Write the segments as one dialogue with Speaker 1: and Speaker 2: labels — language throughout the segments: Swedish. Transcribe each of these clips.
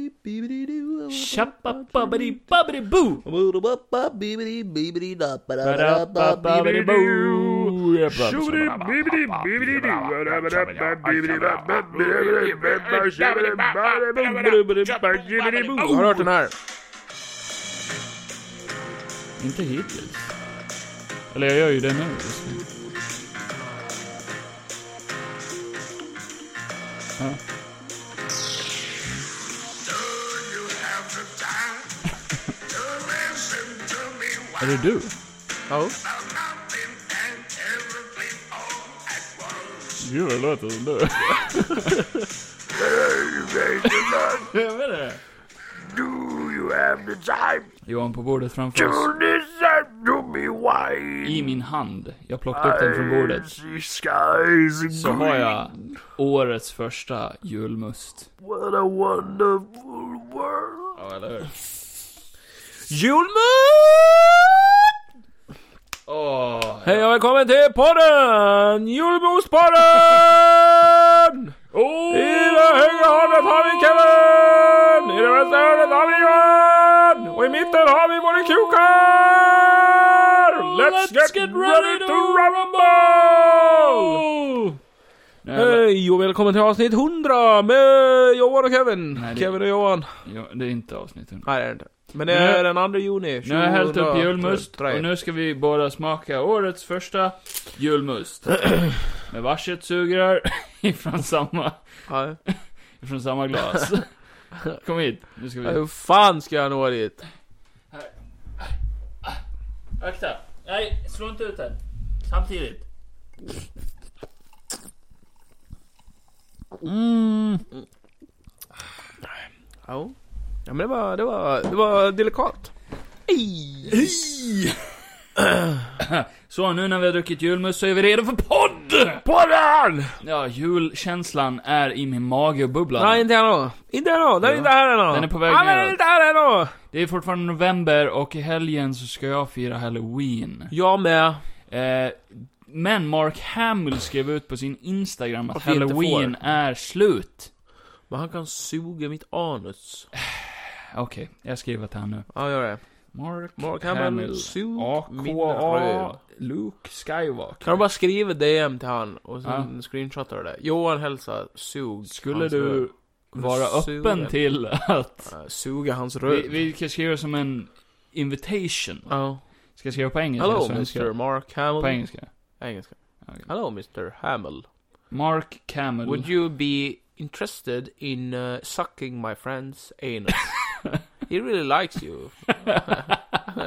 Speaker 1: Bibbidi-doo.
Speaker 2: Tjappappabbidi-babbidi-boo!
Speaker 1: Ba-ba-ba, bibbidi-bibbidi-da, ba-da-da-da, bibbidi-boo.
Speaker 2: Ba-da-ba-babbidi-boo! Har
Speaker 3: Har
Speaker 2: du
Speaker 3: du
Speaker 2: hört
Speaker 3: hört
Speaker 2: den
Speaker 3: den här?
Speaker 2: Inte hittills. Eller jag gör ju det nu just nu. Ja. Är det du? Oh.
Speaker 3: Ja.
Speaker 2: Gud, det låter som du. Vem är det?
Speaker 3: Do you have the time
Speaker 2: Johan på bordet framför oss.
Speaker 3: to listen to me while
Speaker 2: I min hand. Jag plockade upp den från bordet.
Speaker 3: the skies and
Speaker 2: Så har jag årets första julmust.
Speaker 3: what a wonderful world?
Speaker 2: Ja, eller hur?
Speaker 3: Julmust!
Speaker 2: Åh!
Speaker 3: Hej och välkommen till podden! Julmustpodden!
Speaker 2: Oh!
Speaker 3: I det högra hörnet har vi Kevin! I det vänstra hörnet har vi Johan! Och i mitten har vi våra kukar! Let's, get, ready to rumble!
Speaker 2: Nu har jag lä-
Speaker 3: Hej och välkommen till avsnitt 100 med Johan och Kevin.
Speaker 2: Nej, det-
Speaker 3: Kevin och Johan.
Speaker 2: Ja, det är inte avsnitt 100.
Speaker 3: Nej det är det inte. Men det
Speaker 2: Nu-
Speaker 3: är den 2 juni.
Speaker 2: Nu har jag hällt upp
Speaker 3: 2003.
Speaker 2: julmust och nu ska vi båda smaka årets första julmust. Med varsitt sugrör ifrån samma,
Speaker 3: Nej.
Speaker 2: ifrån samma glas. Kom hit, nu ska
Speaker 3: Ja,
Speaker 2: vi...
Speaker 3: Hur fan ska jag nå dit?
Speaker 2: Akta! Nej, slå inte ut den. Samtidigt. Mm.
Speaker 3: Ja. Ja men det var, det var, det var delikat. Ej.
Speaker 2: Så, nu när vi har druckit julmust så är vi redo för podd!
Speaker 3: Podden!
Speaker 2: Ja, julkänslan är i min mage och bubblar.
Speaker 3: Nej, inte ännu. Inte ännu. Den är
Speaker 2: Jo.
Speaker 3: inte här ännu.
Speaker 2: Den är på väg
Speaker 3: Ja, men Den är
Speaker 2: neråt.
Speaker 3: inte här ännu.
Speaker 2: Det är fortfarande november och i helgen så ska jag fira halloween.
Speaker 3: Jag med.
Speaker 2: Eh, men Mark Hamill skrev ut på sin Instagram att
Speaker 3: Att vi inte
Speaker 2: halloween är slut.
Speaker 3: Men han kan suga mitt anus.
Speaker 2: Okej, jag skriver till han nu.
Speaker 3: Ja, gör det.
Speaker 2: Mark,
Speaker 3: Mark Hamill, sug min röv.
Speaker 2: AKA Luke Skywalker.
Speaker 3: Kan du bara skriva DM till han och sen
Speaker 2: Ja.
Speaker 3: screenshotar du det? Johan hälsa, sug
Speaker 2: Skulle
Speaker 3: hans
Speaker 2: du
Speaker 3: röv.
Speaker 2: vara
Speaker 3: Suga.
Speaker 2: öppen till att...
Speaker 3: Ja, Suga hans röv.
Speaker 2: Vi, vi kan skriva som en invitation.
Speaker 3: Ja.
Speaker 2: Ska jag skriva på engelska
Speaker 3: Hello
Speaker 2: eller svenska?
Speaker 3: Mr Mark Hamill.
Speaker 2: På engelska.
Speaker 3: Engelska.
Speaker 2: Okej.
Speaker 3: Hello Mr Hamill.
Speaker 2: Mark Hamill.
Speaker 3: Would you be interested in uh, sucking my friend's anus? he really likes you.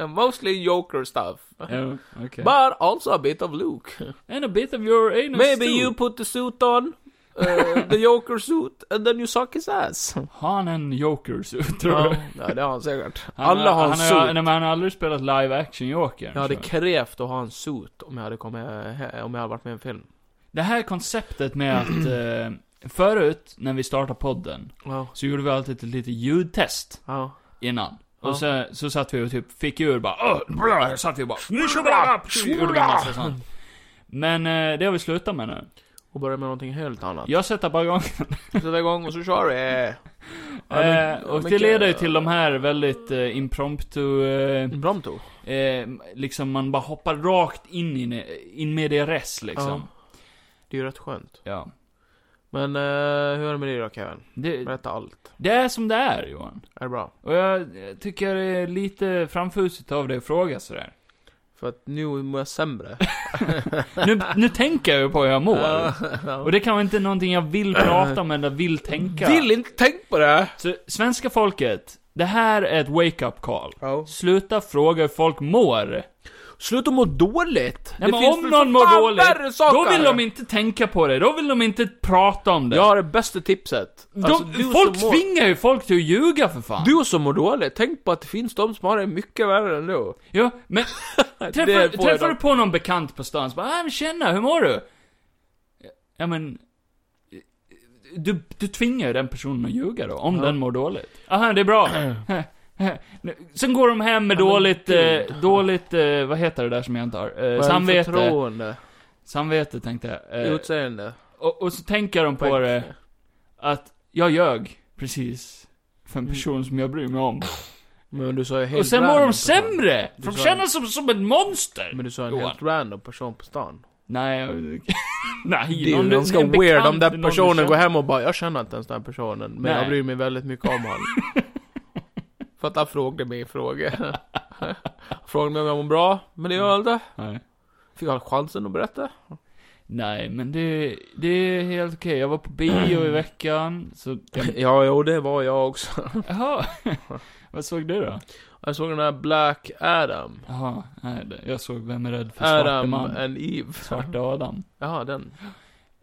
Speaker 3: Mostly Joker stuff.
Speaker 2: Oh, okay.
Speaker 3: But also a bit of Luke.
Speaker 2: And a bit of your anus
Speaker 3: Maybe
Speaker 2: too.
Speaker 3: you put the suit on, uh, the Joker suit, and then you suck his ass.
Speaker 2: Han en joker, så tror
Speaker 3: ja,
Speaker 2: jag.
Speaker 3: nej, det har han säkert.
Speaker 2: Han,
Speaker 3: Alla har en
Speaker 2: han, har-
Speaker 3: suit.
Speaker 2: nej, men han har aldrig spelat live action Joker.
Speaker 3: Jag hade
Speaker 2: så.
Speaker 3: krävt att ha en suit om jag hade, kommit, he- om jag hade varit med i en film.
Speaker 2: Det här konceptet med att... Eh, förut, när vi startade podden,
Speaker 3: Ja.
Speaker 2: så gjorde vi alltid ett litet ljudtest
Speaker 3: Ja.
Speaker 2: innan.
Speaker 3: Ja.
Speaker 2: Och så, så satt vi och typ fick ur bara "Åh, bra", satt vi och bara gjorde vi massa sånt. Men eh, det har vi slutat med nu.
Speaker 3: Och börja med någonting helt annat.
Speaker 2: Jag sätter bara igång.
Speaker 3: Sätta igång och så kör vi.
Speaker 2: Eh,
Speaker 3: men-
Speaker 2: och det
Speaker 3: mycket-
Speaker 2: leder ju till de här väldigt eh, impromptu... Eh,
Speaker 3: Impromptu.
Speaker 2: Eh, liksom man bara hoppar rakt in, in, in med det res liksom.
Speaker 3: Det är ju rätt skönt.
Speaker 2: Ja.
Speaker 3: Men eh, hur är det med dig då Kevin?
Speaker 2: Det,
Speaker 3: Berätta allt.
Speaker 2: det är som det är Johan.
Speaker 3: Är det bra?
Speaker 2: Och jag eh, tycker det är lite framfusigt av dig att fråga sådär.
Speaker 3: För att nu mår jag sämre.
Speaker 2: Nu, nu tänker jag ju på hur jag mår. Och
Speaker 3: Ja.
Speaker 2: det kan väl inte någonting jag vill prata om eller vill tänka.
Speaker 3: Vill inte tänk på det!
Speaker 2: Så, svenska folket, det här är ett wake-up call.
Speaker 3: Ja.
Speaker 2: Sluta fråga hur folk mår.
Speaker 3: Sluta må dåligt!
Speaker 2: Nej, men
Speaker 3: finns
Speaker 2: om
Speaker 3: väl
Speaker 2: någon
Speaker 3: för
Speaker 2: mår
Speaker 3: fan
Speaker 2: dåligt,
Speaker 3: värre saker.
Speaker 2: då vill de inte tänka på det. Då vill de inte prata om det.
Speaker 3: Jag har det bästa tipset.
Speaker 2: de,
Speaker 3: Alltså, du
Speaker 2: folk
Speaker 3: som mår-
Speaker 2: tvingar ju folk till att ljuga för fan.
Speaker 3: Du som mår dåligt, tänk på att det finns de som har det mycket värre än du.
Speaker 2: Ja, men träffar,
Speaker 3: jag
Speaker 2: träffar
Speaker 3: dock.
Speaker 2: du på någon bekant på stan så bara, "Ah, men tjena, hur mår du? Ja men... Du, du tvingar ju den personen att ljuga då, om
Speaker 3: Ja.
Speaker 2: den mår dåligt. Aha, det är bra. Sen går de hem med
Speaker 3: Ja, men
Speaker 2: dåligt, eh,
Speaker 3: gud.
Speaker 2: dåligt, eh, vad heter det där som jag inte har? Eh, samvete.
Speaker 3: Förtroende,
Speaker 2: Samvete tänkte jag. Eh,
Speaker 3: utseende,
Speaker 2: och, och så tänker de på det, att jag ljög precis. för
Speaker 3: Mm.
Speaker 2: en person som jag bryr mig om.
Speaker 3: Men du sa ju helt
Speaker 2: Och sen mår
Speaker 3: random
Speaker 2: de
Speaker 3: person.
Speaker 2: sämre! För de
Speaker 3: sa-
Speaker 2: känner sig som, som ett monster!
Speaker 3: Men du sa en
Speaker 2: Johan.
Speaker 3: helt random person på stan.
Speaker 2: Nej, jag- nej.
Speaker 3: Det är ju
Speaker 2: du-
Speaker 3: ganska
Speaker 2: en
Speaker 3: weird
Speaker 2: bekant,
Speaker 3: om den
Speaker 2: någon du
Speaker 3: personen går
Speaker 2: känner.
Speaker 3: hem och bara 'Jag känner inte ens den här personen, men
Speaker 2: Nej.
Speaker 3: jag bryr mig väldigt mycket om honom' För att han frågade mig frågor. frågade mig om jag mår bra, men det gör jag inte.
Speaker 2: Nej.
Speaker 3: Fick jag chansen att berätta?
Speaker 2: Nej, men det, det är helt okej. Jag var på bio i veckan, så...
Speaker 3: Ja, jo det var jag också.
Speaker 2: Jaha. Vad såg du då?
Speaker 3: Jag såg den här Black Adam.
Speaker 2: Jaha, nej, det- jag såg Vem är rädd för svarte
Speaker 3: Adam eh,
Speaker 2: man?
Speaker 3: and Eve.
Speaker 2: Svarte Adam.
Speaker 3: Jaha, den.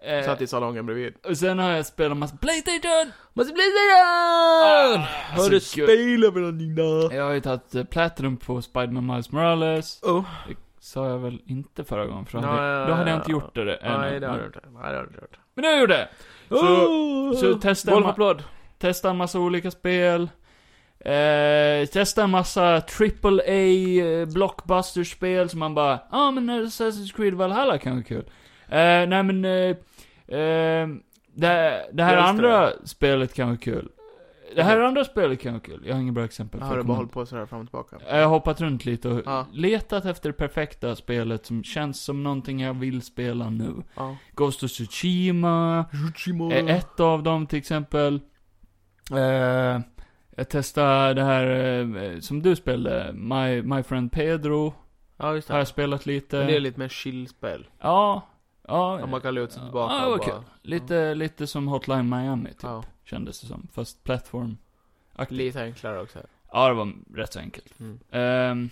Speaker 2: Eh,
Speaker 3: Satt i salongen bredvid.
Speaker 2: och sen har jag spelat massa Playstation!
Speaker 3: Måste bli den! Har du
Speaker 2: alltså, gud.
Speaker 3: spelat med någonting då?
Speaker 2: Jag har ju tagit eh, Platinum på Spiderman Miles Morales.
Speaker 3: Oh.
Speaker 2: Sa jag väl inte förra gången, för då
Speaker 3: Ja,
Speaker 2: hade,
Speaker 3: ja,
Speaker 2: då hade jag
Speaker 3: ja,
Speaker 2: inte gjort det. ännu.
Speaker 3: Nej, det har du inte. Nej, det har du inte gjort.
Speaker 2: Men nu har jag gjort det! Så-
Speaker 3: Oh.
Speaker 2: så testar man-
Speaker 3: Golfapplåd.
Speaker 2: Testa en massa olika spel. Eh, testa en massa AAA blockbusterspel som man bara, ja ah, men Assassin's Creed Valhalla kan vara kul. Eh, nej men, eh, eh, det, det här
Speaker 3: Just det.
Speaker 2: andra spelet kan vara kul. Det här andra spelet kan vara kul. Jag har inget bra exempel.
Speaker 3: Jag
Speaker 2: för
Speaker 3: har du
Speaker 2: jag
Speaker 3: bara
Speaker 2: kommer
Speaker 3: hållit på sådär fram och tillbaka?
Speaker 2: jag har hoppat runt lite och
Speaker 3: Ja.
Speaker 2: letat efter det perfekta spelet som känns som någonting jag vill spela nu.
Speaker 3: Ja. Eh,
Speaker 2: Ghost of Tsushima
Speaker 3: Juchimo.
Speaker 2: är Eh, ett av dem till exempel. Eh, jag testade det här eh, som du spelade, My, My Friend Pedro.
Speaker 3: Ja, just
Speaker 2: Har
Speaker 3: det.
Speaker 2: jag spelat lite.
Speaker 3: Men det är lite mer chill-spel.
Speaker 2: Ja, ja.
Speaker 3: Där man kan luta sig tillbaka
Speaker 2: Ja, Typ. det var
Speaker 3: och
Speaker 2: kul.
Speaker 3: bara...
Speaker 2: Lite, lite som Hotline Miami typ,
Speaker 3: Ja,
Speaker 2: kändes det som. Fast plattform
Speaker 3: lite enklare också.
Speaker 2: Ja, det var rätt så enkelt.
Speaker 3: Mm.
Speaker 2: Ehm,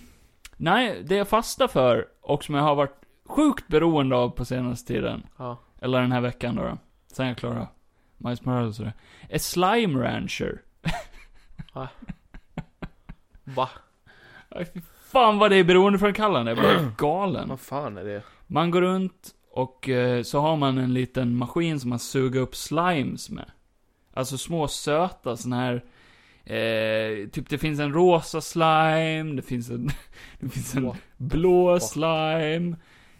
Speaker 2: nej, det jag fastnar för och som jag har varit sjukt beroende av på senaste tiden,
Speaker 3: Ja.
Speaker 2: eller den här veckan då, då sen jag klarade Miles Morales och det, är Slime Rancher.
Speaker 3: Va?
Speaker 2: Aj, fy Fan vad det är beroendeframkallande, jag blir galen.
Speaker 3: Vad fan är det?
Speaker 2: Man går runt och eh, så har man en liten maskin som man suger upp slimes med. Alltså små söta såna här, eh, typ det finns en rosa slime, det finns en, det finns en
Speaker 3: What
Speaker 2: blå
Speaker 3: fuck?
Speaker 2: slime.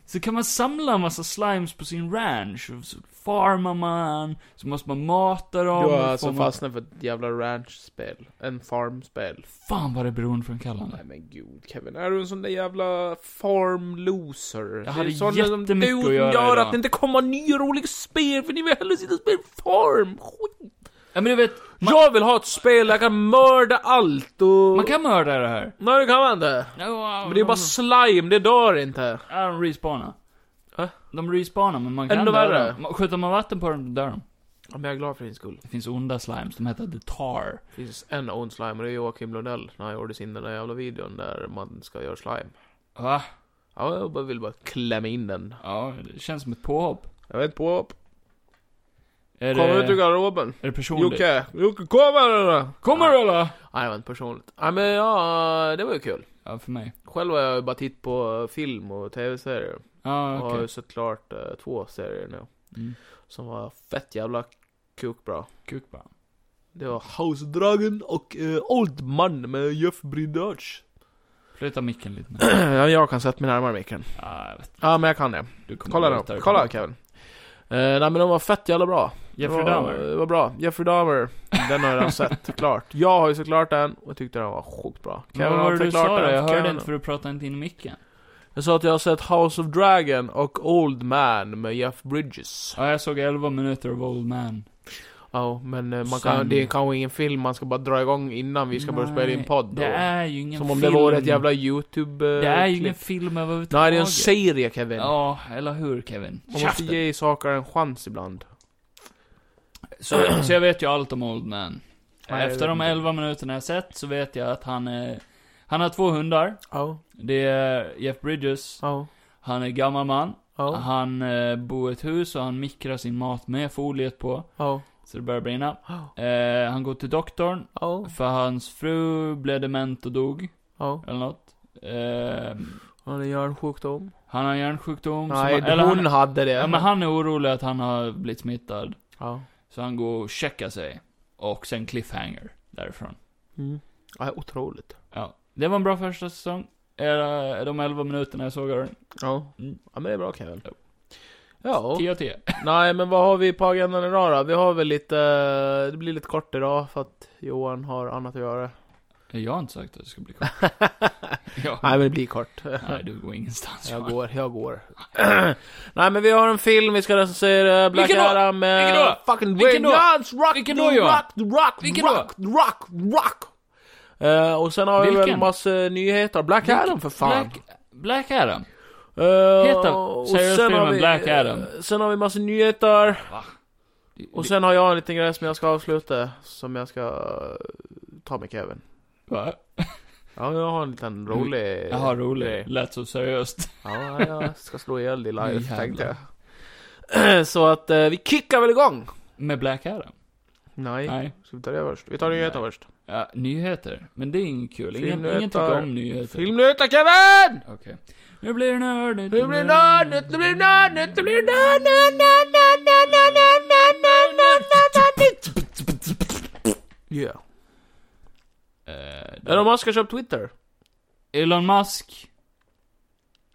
Speaker 2: Så kan man samla en massa slimes på sin ranch, och så farmar man, så måste man mata dem.
Speaker 3: Du
Speaker 2: och
Speaker 3: har
Speaker 2: får
Speaker 3: alltså
Speaker 2: man...
Speaker 3: fastnat för ett jävla ranch-spel. En farm-spel.
Speaker 2: Fan vad det är beroendeframkallande.
Speaker 3: Nej men gud Kevin, är du en sån där jävla farm-loser? Det är
Speaker 2: hade
Speaker 3: sådana som
Speaker 2: jättemycket
Speaker 3: du
Speaker 2: att
Speaker 3: som
Speaker 2: göra
Speaker 3: gör
Speaker 2: idag.
Speaker 3: att det inte kommer nya roliga spel, för ni vill hellre sitta och spela farm. Skit.
Speaker 2: Ja men du vet,
Speaker 3: Jag vill ha ett spel där jag kan mörda allt och...
Speaker 2: man kan mörda det här.
Speaker 3: Nej det kan man inte. Men det är bara slime, det dör inte.
Speaker 2: Ja, de respawnar.
Speaker 3: Va?
Speaker 2: De respawnar, men man kan
Speaker 3: Ändå
Speaker 2: döda
Speaker 3: värre.
Speaker 2: dem. Man- Skjuter man vatten på dem, dör de.
Speaker 3: Ja, men jag är glad för din skull.
Speaker 2: Det finns onda slimes, de heter The Tar.
Speaker 3: Det finns en ond slime och det är Joakim Lundell när han gjorde sin den där jävla videon där man ska göra slime.
Speaker 2: Va?
Speaker 3: Ja, jag bara vill bara klämma in den.
Speaker 2: Ja, det känns som ett påhopp.
Speaker 3: Jag vet på.
Speaker 2: Är
Speaker 3: Kom
Speaker 2: det,
Speaker 3: ut ur garderoben.
Speaker 2: är det personligt?
Speaker 3: Jocke, Jocke kom här nu.
Speaker 2: Kommer du eller?
Speaker 3: Nej, det var inte personligt. Nej, men ja, det var ju kul.
Speaker 2: Ja, för mig.
Speaker 3: Själv har jag ju bara tittat på film och tv-serier.
Speaker 2: Ja,
Speaker 3: Jag
Speaker 2: okej.
Speaker 3: har ju sett klart eh, två serier nu.
Speaker 2: Mm.
Speaker 3: Som var fett jävla kukbra.
Speaker 2: Kuk bara.
Speaker 3: Det var House of Dragon och eh, Old Man med Jeff Bridage.
Speaker 2: Flytta micken lite nu.
Speaker 3: ja, jag kan sätta mig närmare micken.
Speaker 2: Ja, jag vet.
Speaker 3: Ja, men jag kan det.
Speaker 2: Du kommer
Speaker 3: Kolla
Speaker 2: att luta
Speaker 3: då.
Speaker 2: dig
Speaker 3: Kolla
Speaker 2: tillbaka.
Speaker 3: Kevin. Eh, nej men de var fett jävla bra.
Speaker 2: Jeffrey
Speaker 3: det var,
Speaker 2: Dahmer.
Speaker 3: Det var bra. Jeffrey Dahmer. Den har jag redan sett, klart. Jag har ju såklart den och tyckte den var sjukt bra.
Speaker 2: Men vad
Speaker 3: har
Speaker 2: var det du
Speaker 3: såklart
Speaker 2: sa då?
Speaker 3: den.
Speaker 2: Jag hörde
Speaker 3: Kevin-
Speaker 2: inte för du pratade inte in i micken.
Speaker 3: Jag sa att jag har sett House of Dragon och Old Man med Jeff Bridges.
Speaker 2: Ja, jag såg 11 minuter av Old Man.
Speaker 3: Ja, men eh, man
Speaker 2: Sen-
Speaker 3: kan, det är kanske ingen film man ska bara dra igång innan vi ska börja spela in podd. då.
Speaker 2: Det är ju ingen
Speaker 3: Som om det
Speaker 2: film.
Speaker 3: vore ett jävla youtube eh,
Speaker 2: Det är ju
Speaker 3: klipp.
Speaker 2: ingen film överhuvudtaget.
Speaker 3: Nej, det är en serie Kevin.
Speaker 2: Ja, eller hur Kevin?
Speaker 3: Man måste
Speaker 2: Käften.
Speaker 3: ge saker en chans ibland.
Speaker 2: Så, så jag vet ju allt om Old Man.
Speaker 3: Nej, jag
Speaker 2: Efter
Speaker 3: vet
Speaker 2: de
Speaker 3: inte.
Speaker 2: 11 minuterna jag sett så vet jag att han är... Han har två hundar.
Speaker 3: Ja,
Speaker 2: Det är Jeff Bridges.
Speaker 3: ja,
Speaker 2: Han är gammal man.
Speaker 3: ja,
Speaker 2: Han eh, bor i ett hus och han mikrar sin mat med foliet på.
Speaker 3: ja.
Speaker 2: Så det börjar brinna. Eh, han går till doktorn.
Speaker 3: Ja,
Speaker 2: För hans fru blev dement och dog.
Speaker 3: ja.
Speaker 2: Eller något. Eh,
Speaker 3: Han är hjärnsjukdom.
Speaker 2: han har hjärnsjukdom. som
Speaker 3: Nej,
Speaker 2: han, eller
Speaker 3: hon
Speaker 2: han,
Speaker 3: hade det.
Speaker 2: ja, men han är orolig att han har blivit smittad.
Speaker 3: Ja.
Speaker 2: Så han går och checkar sig. Och sen cliffhanger därifrån.
Speaker 3: Mm. Ja, otroligt.
Speaker 2: Ja. Det var en bra första säsong. Eh, De 11 minuterna jag såg av den.
Speaker 3: Ja.
Speaker 2: Mm.
Speaker 3: Ja, men det är bra Kevin.
Speaker 2: Ja.
Speaker 3: Ja.
Speaker 2: 10 av 10.
Speaker 3: Nej, men vad har vi på agendan idag då? Vi har väl lite... eh, Det blir lite kort idag för att Johan har annat att göra.
Speaker 2: Jag har inte sagt att det ska bli kort.
Speaker 3: Nej,
Speaker 2: ja.
Speaker 3: men det blir kort.
Speaker 2: Nej, du går ingenstans.
Speaker 3: Jag
Speaker 2: Johan.
Speaker 3: går, jag går. Nej men vi har en film vi ska recensera, Black
Speaker 2: Vilken då?
Speaker 3: Adam med...
Speaker 2: Vilken då?
Speaker 3: Fucking
Speaker 2: Vilken
Speaker 3: Dwayne
Speaker 2: då?
Speaker 3: Johnson, rock,
Speaker 2: Vilken
Speaker 3: the
Speaker 2: då, Johan?
Speaker 3: rock, the rock,
Speaker 2: Vilken
Speaker 3: rock, rock, rock! Eh, och sen har vi väl
Speaker 2: Vilken?
Speaker 3: massa nyheter. Black Adam för fan!
Speaker 2: Black, Black Adam?
Speaker 3: Eh,
Speaker 2: Heter
Speaker 3: och
Speaker 2: seriöst
Speaker 3: sen har
Speaker 2: filmen
Speaker 3: vi-
Speaker 2: Black Adam?
Speaker 3: eh, Sen har vi massa nyheter.
Speaker 2: Det-
Speaker 3: Och
Speaker 2: det-
Speaker 3: sen har jag en liten grej som jag ska avsluta, som jag ska eh, ta med Kevin.
Speaker 2: Va?
Speaker 3: Ja, jag har en liten rolig...
Speaker 2: Jaha, Mm.
Speaker 3: Eh.
Speaker 2: rolig. Lät så seriöst.
Speaker 3: Ja, jag ska slå ihjäl dig
Speaker 2: Nu
Speaker 3: live,
Speaker 2: jävlar.
Speaker 3: tänkte jag. Så att eh, vi kickar väl igång!
Speaker 2: Med Black Adam?
Speaker 3: Nej.
Speaker 2: Nej.
Speaker 3: Ska vi ta det först? Vi tar nyheterna först.
Speaker 2: Ja, nyheter. Men det är inget kul. Ingen,
Speaker 3: Filmnyheter.
Speaker 2: ingen tycker om nyheter.
Speaker 3: Filmnyheter Kevin!
Speaker 2: Okej. Nu blir det nördigt.
Speaker 3: Nu blir det nördigt, nu blir det nördigt, nu blir det nördigt, nördigt, nördigt, nördigt, nördigt, nördigt, nördigt, nördigt. Yeah.
Speaker 2: Eh, det-
Speaker 3: Elon Musk har köpt Twitter.
Speaker 2: Elon Musk.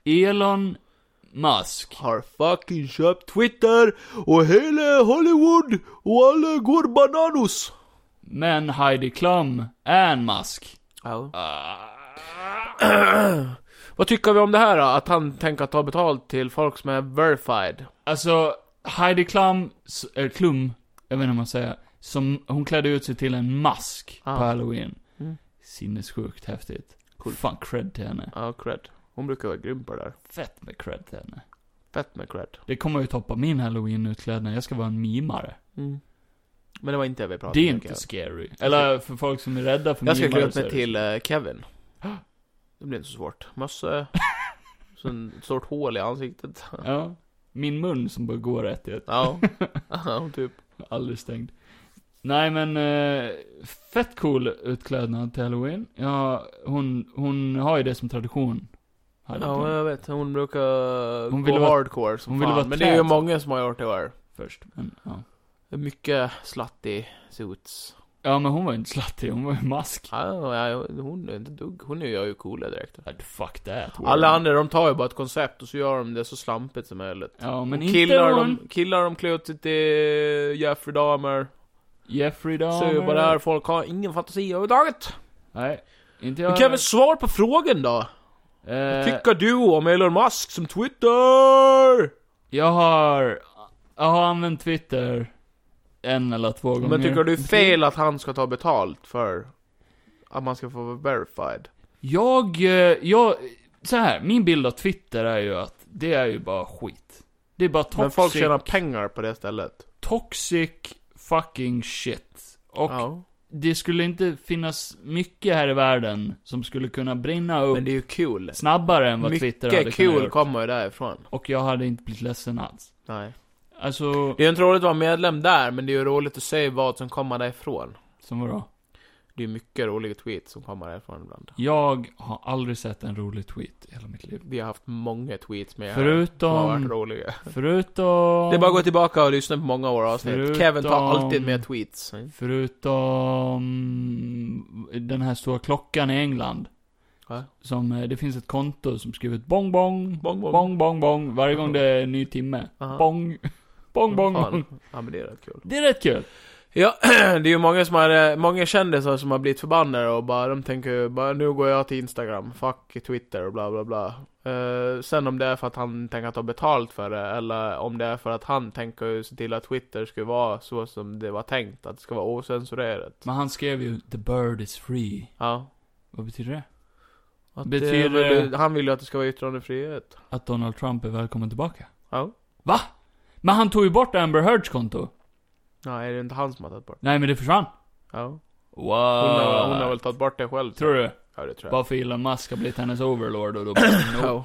Speaker 2: Elon Musk.
Speaker 3: Har fucking köpt Twitter och hela Hollywood och alla går bananos.
Speaker 2: Men Heidi Klum är en Musk.
Speaker 3: Ja.
Speaker 2: Ah.
Speaker 3: Vad tycker vi om det här då? Att han tänker ta betalt till folk som är verified?
Speaker 2: Alltså, Heidi Klum, s- eller Klum, jag vet inte om man säger, som, hon klädde ut sig till en mask
Speaker 3: Ah.
Speaker 2: på halloween.
Speaker 3: Mm.
Speaker 2: Sinnessjukt häftigt.
Speaker 3: Coolt.
Speaker 2: Fan cred till henne.
Speaker 3: Ja, cred. Hon brukar vara grym på det där.
Speaker 2: Fett med cred till henne.
Speaker 3: Fett med cred.
Speaker 2: Det kommer ju toppa min halloween-utklädnad, jag ska vara en mimare.
Speaker 3: Men det var inte det vi pratade
Speaker 2: Mm. det är
Speaker 3: om,
Speaker 2: inte scary.
Speaker 3: Kevin.
Speaker 2: Eller för folk som är rädda för
Speaker 3: Jag ska
Speaker 2: mimare.
Speaker 3: klä upp
Speaker 2: så är
Speaker 3: mig
Speaker 2: det-
Speaker 3: till eh, Kevin. Det blir inte så svårt. Mössa. Sen ett stort hål i ansiktet.
Speaker 2: Ja. Min mun som bara går rätt i ett,
Speaker 3: Ja. Ja, typ.
Speaker 2: aldrig stängd. Nej men, eh, fett cool utklädnad till halloween. Ja, hon, hon har ju det som tradition. Heidi Klum.
Speaker 3: Ja, jag vet. Hon brukar
Speaker 2: Hon
Speaker 3: gå
Speaker 2: ville vara-
Speaker 3: hardcore som
Speaker 2: hon
Speaker 3: fan.
Speaker 2: ville vara
Speaker 3: Men det är ju
Speaker 2: tät.
Speaker 3: många som har gjort det där.
Speaker 2: först. Men, ja.
Speaker 3: Mycket slutty suits.
Speaker 2: ja, men hon var ju inte slattig, hon var ju mask.
Speaker 3: Ja, ja, hon är inte dugg. Hon gör ju coola direkt.
Speaker 2: Ah, Fuck that. word.
Speaker 3: Alla andra de tar ju bara ett koncept och så gör de det så slampigt som möjligt.
Speaker 2: Ja, men
Speaker 3: Men
Speaker 2: inte
Speaker 3: killar,
Speaker 2: hon.
Speaker 3: de, killar de klär ut sig till Jeffrey Dahmer.
Speaker 2: Jeffrey Dahmer.
Speaker 3: Så är det bara där, folk har ingen fantasi överhuvudtaget.
Speaker 2: Nej, inte jag.
Speaker 3: Men Kevin, svar på frågan då! Vad
Speaker 2: eh,
Speaker 3: tycker du om Elon Musk som Twitter?
Speaker 2: jag har... Jag har använt Twitter en eller två gånger.
Speaker 3: Men tycker du det är fel att han ska ta betalt för att man ska få vara verified?
Speaker 2: Jag, eh, jag, så här, min bild av Twitter är ju att det är ju bara skit. Det är bara toxic,
Speaker 3: Men folk tjänar pengar på det stället.
Speaker 2: toxic fucking shit. Och
Speaker 3: Ja.
Speaker 2: det skulle inte finnas mycket här i världen som skulle kunna brinna upp
Speaker 3: Men det är ju kul.
Speaker 2: snabbare än vad Twitter hade
Speaker 3: Mycket
Speaker 2: kunnat
Speaker 3: kul
Speaker 2: gjort.
Speaker 3: kommer ju därifrån.
Speaker 2: Och jag hade inte blivit ledsen alls.
Speaker 3: Nej.
Speaker 2: Alltså,
Speaker 3: Det är ju inte roligt att vara medlem där, men det är ju roligt att se vad som kommer därifrån.
Speaker 2: som vadå?
Speaker 3: Det är mycket roliga tweets som kommer därifrån ibland.
Speaker 2: Jag har aldrig sett en rolig tweet i hela mitt liv.
Speaker 3: Vi har haft många tweets med här som har varit
Speaker 2: Förutom,
Speaker 3: roliga.
Speaker 2: förutom...
Speaker 3: Det är bara att gå tillbaka och lyssna på många av våra avsnitt.
Speaker 2: Förutom-
Speaker 3: Kevin tar alltid med tweets.
Speaker 2: Förutom den här stora klockan i England.
Speaker 3: Va?
Speaker 2: Som, eh, det finns ett konto som skriver ut bong bong,
Speaker 3: Bong, bong.
Speaker 2: bong bong bong varje gång det är en ny timme.
Speaker 3: Aha.
Speaker 2: Bong, bong bong bong.
Speaker 3: Fan. Ja men det är rätt kul.
Speaker 2: Det är rätt kul.
Speaker 3: Ja, det är ju många som har, eh, många kändisar som har blivit förbannade och bara, de tänker ju bara nu går jag till Instagram, fuck Twitter och bla bla bla. Eh, sen om det är för att han tänker att ha betalt för det, eller om det är för att han tänker ju se till att Twitter ska vara så som det var tänkt, att det ska vara osensurerat.
Speaker 2: Men han skrev ju 'The bird is free'
Speaker 3: Ja.
Speaker 2: Vad betyder det?
Speaker 3: Att det
Speaker 2: Betyder-
Speaker 3: väl- han vill ju att det ska vara yttrandefrihet.
Speaker 2: Att Donald Trump är välkommen tillbaka?
Speaker 3: Ja.
Speaker 2: Va? Men han tog ju bort Amber Heards konto.
Speaker 3: Nej, det är inte han som har tagit bort det.
Speaker 2: Nej men det försvann.
Speaker 3: Ja. Hon,
Speaker 2: Wow.
Speaker 3: har, hon har väl tagit bort det själv.
Speaker 2: Ah. Tror du?
Speaker 3: Ja, det tror jag.
Speaker 2: Bara för Elon Musk har blivit hennes overlord och då bara, no.
Speaker 3: Ja.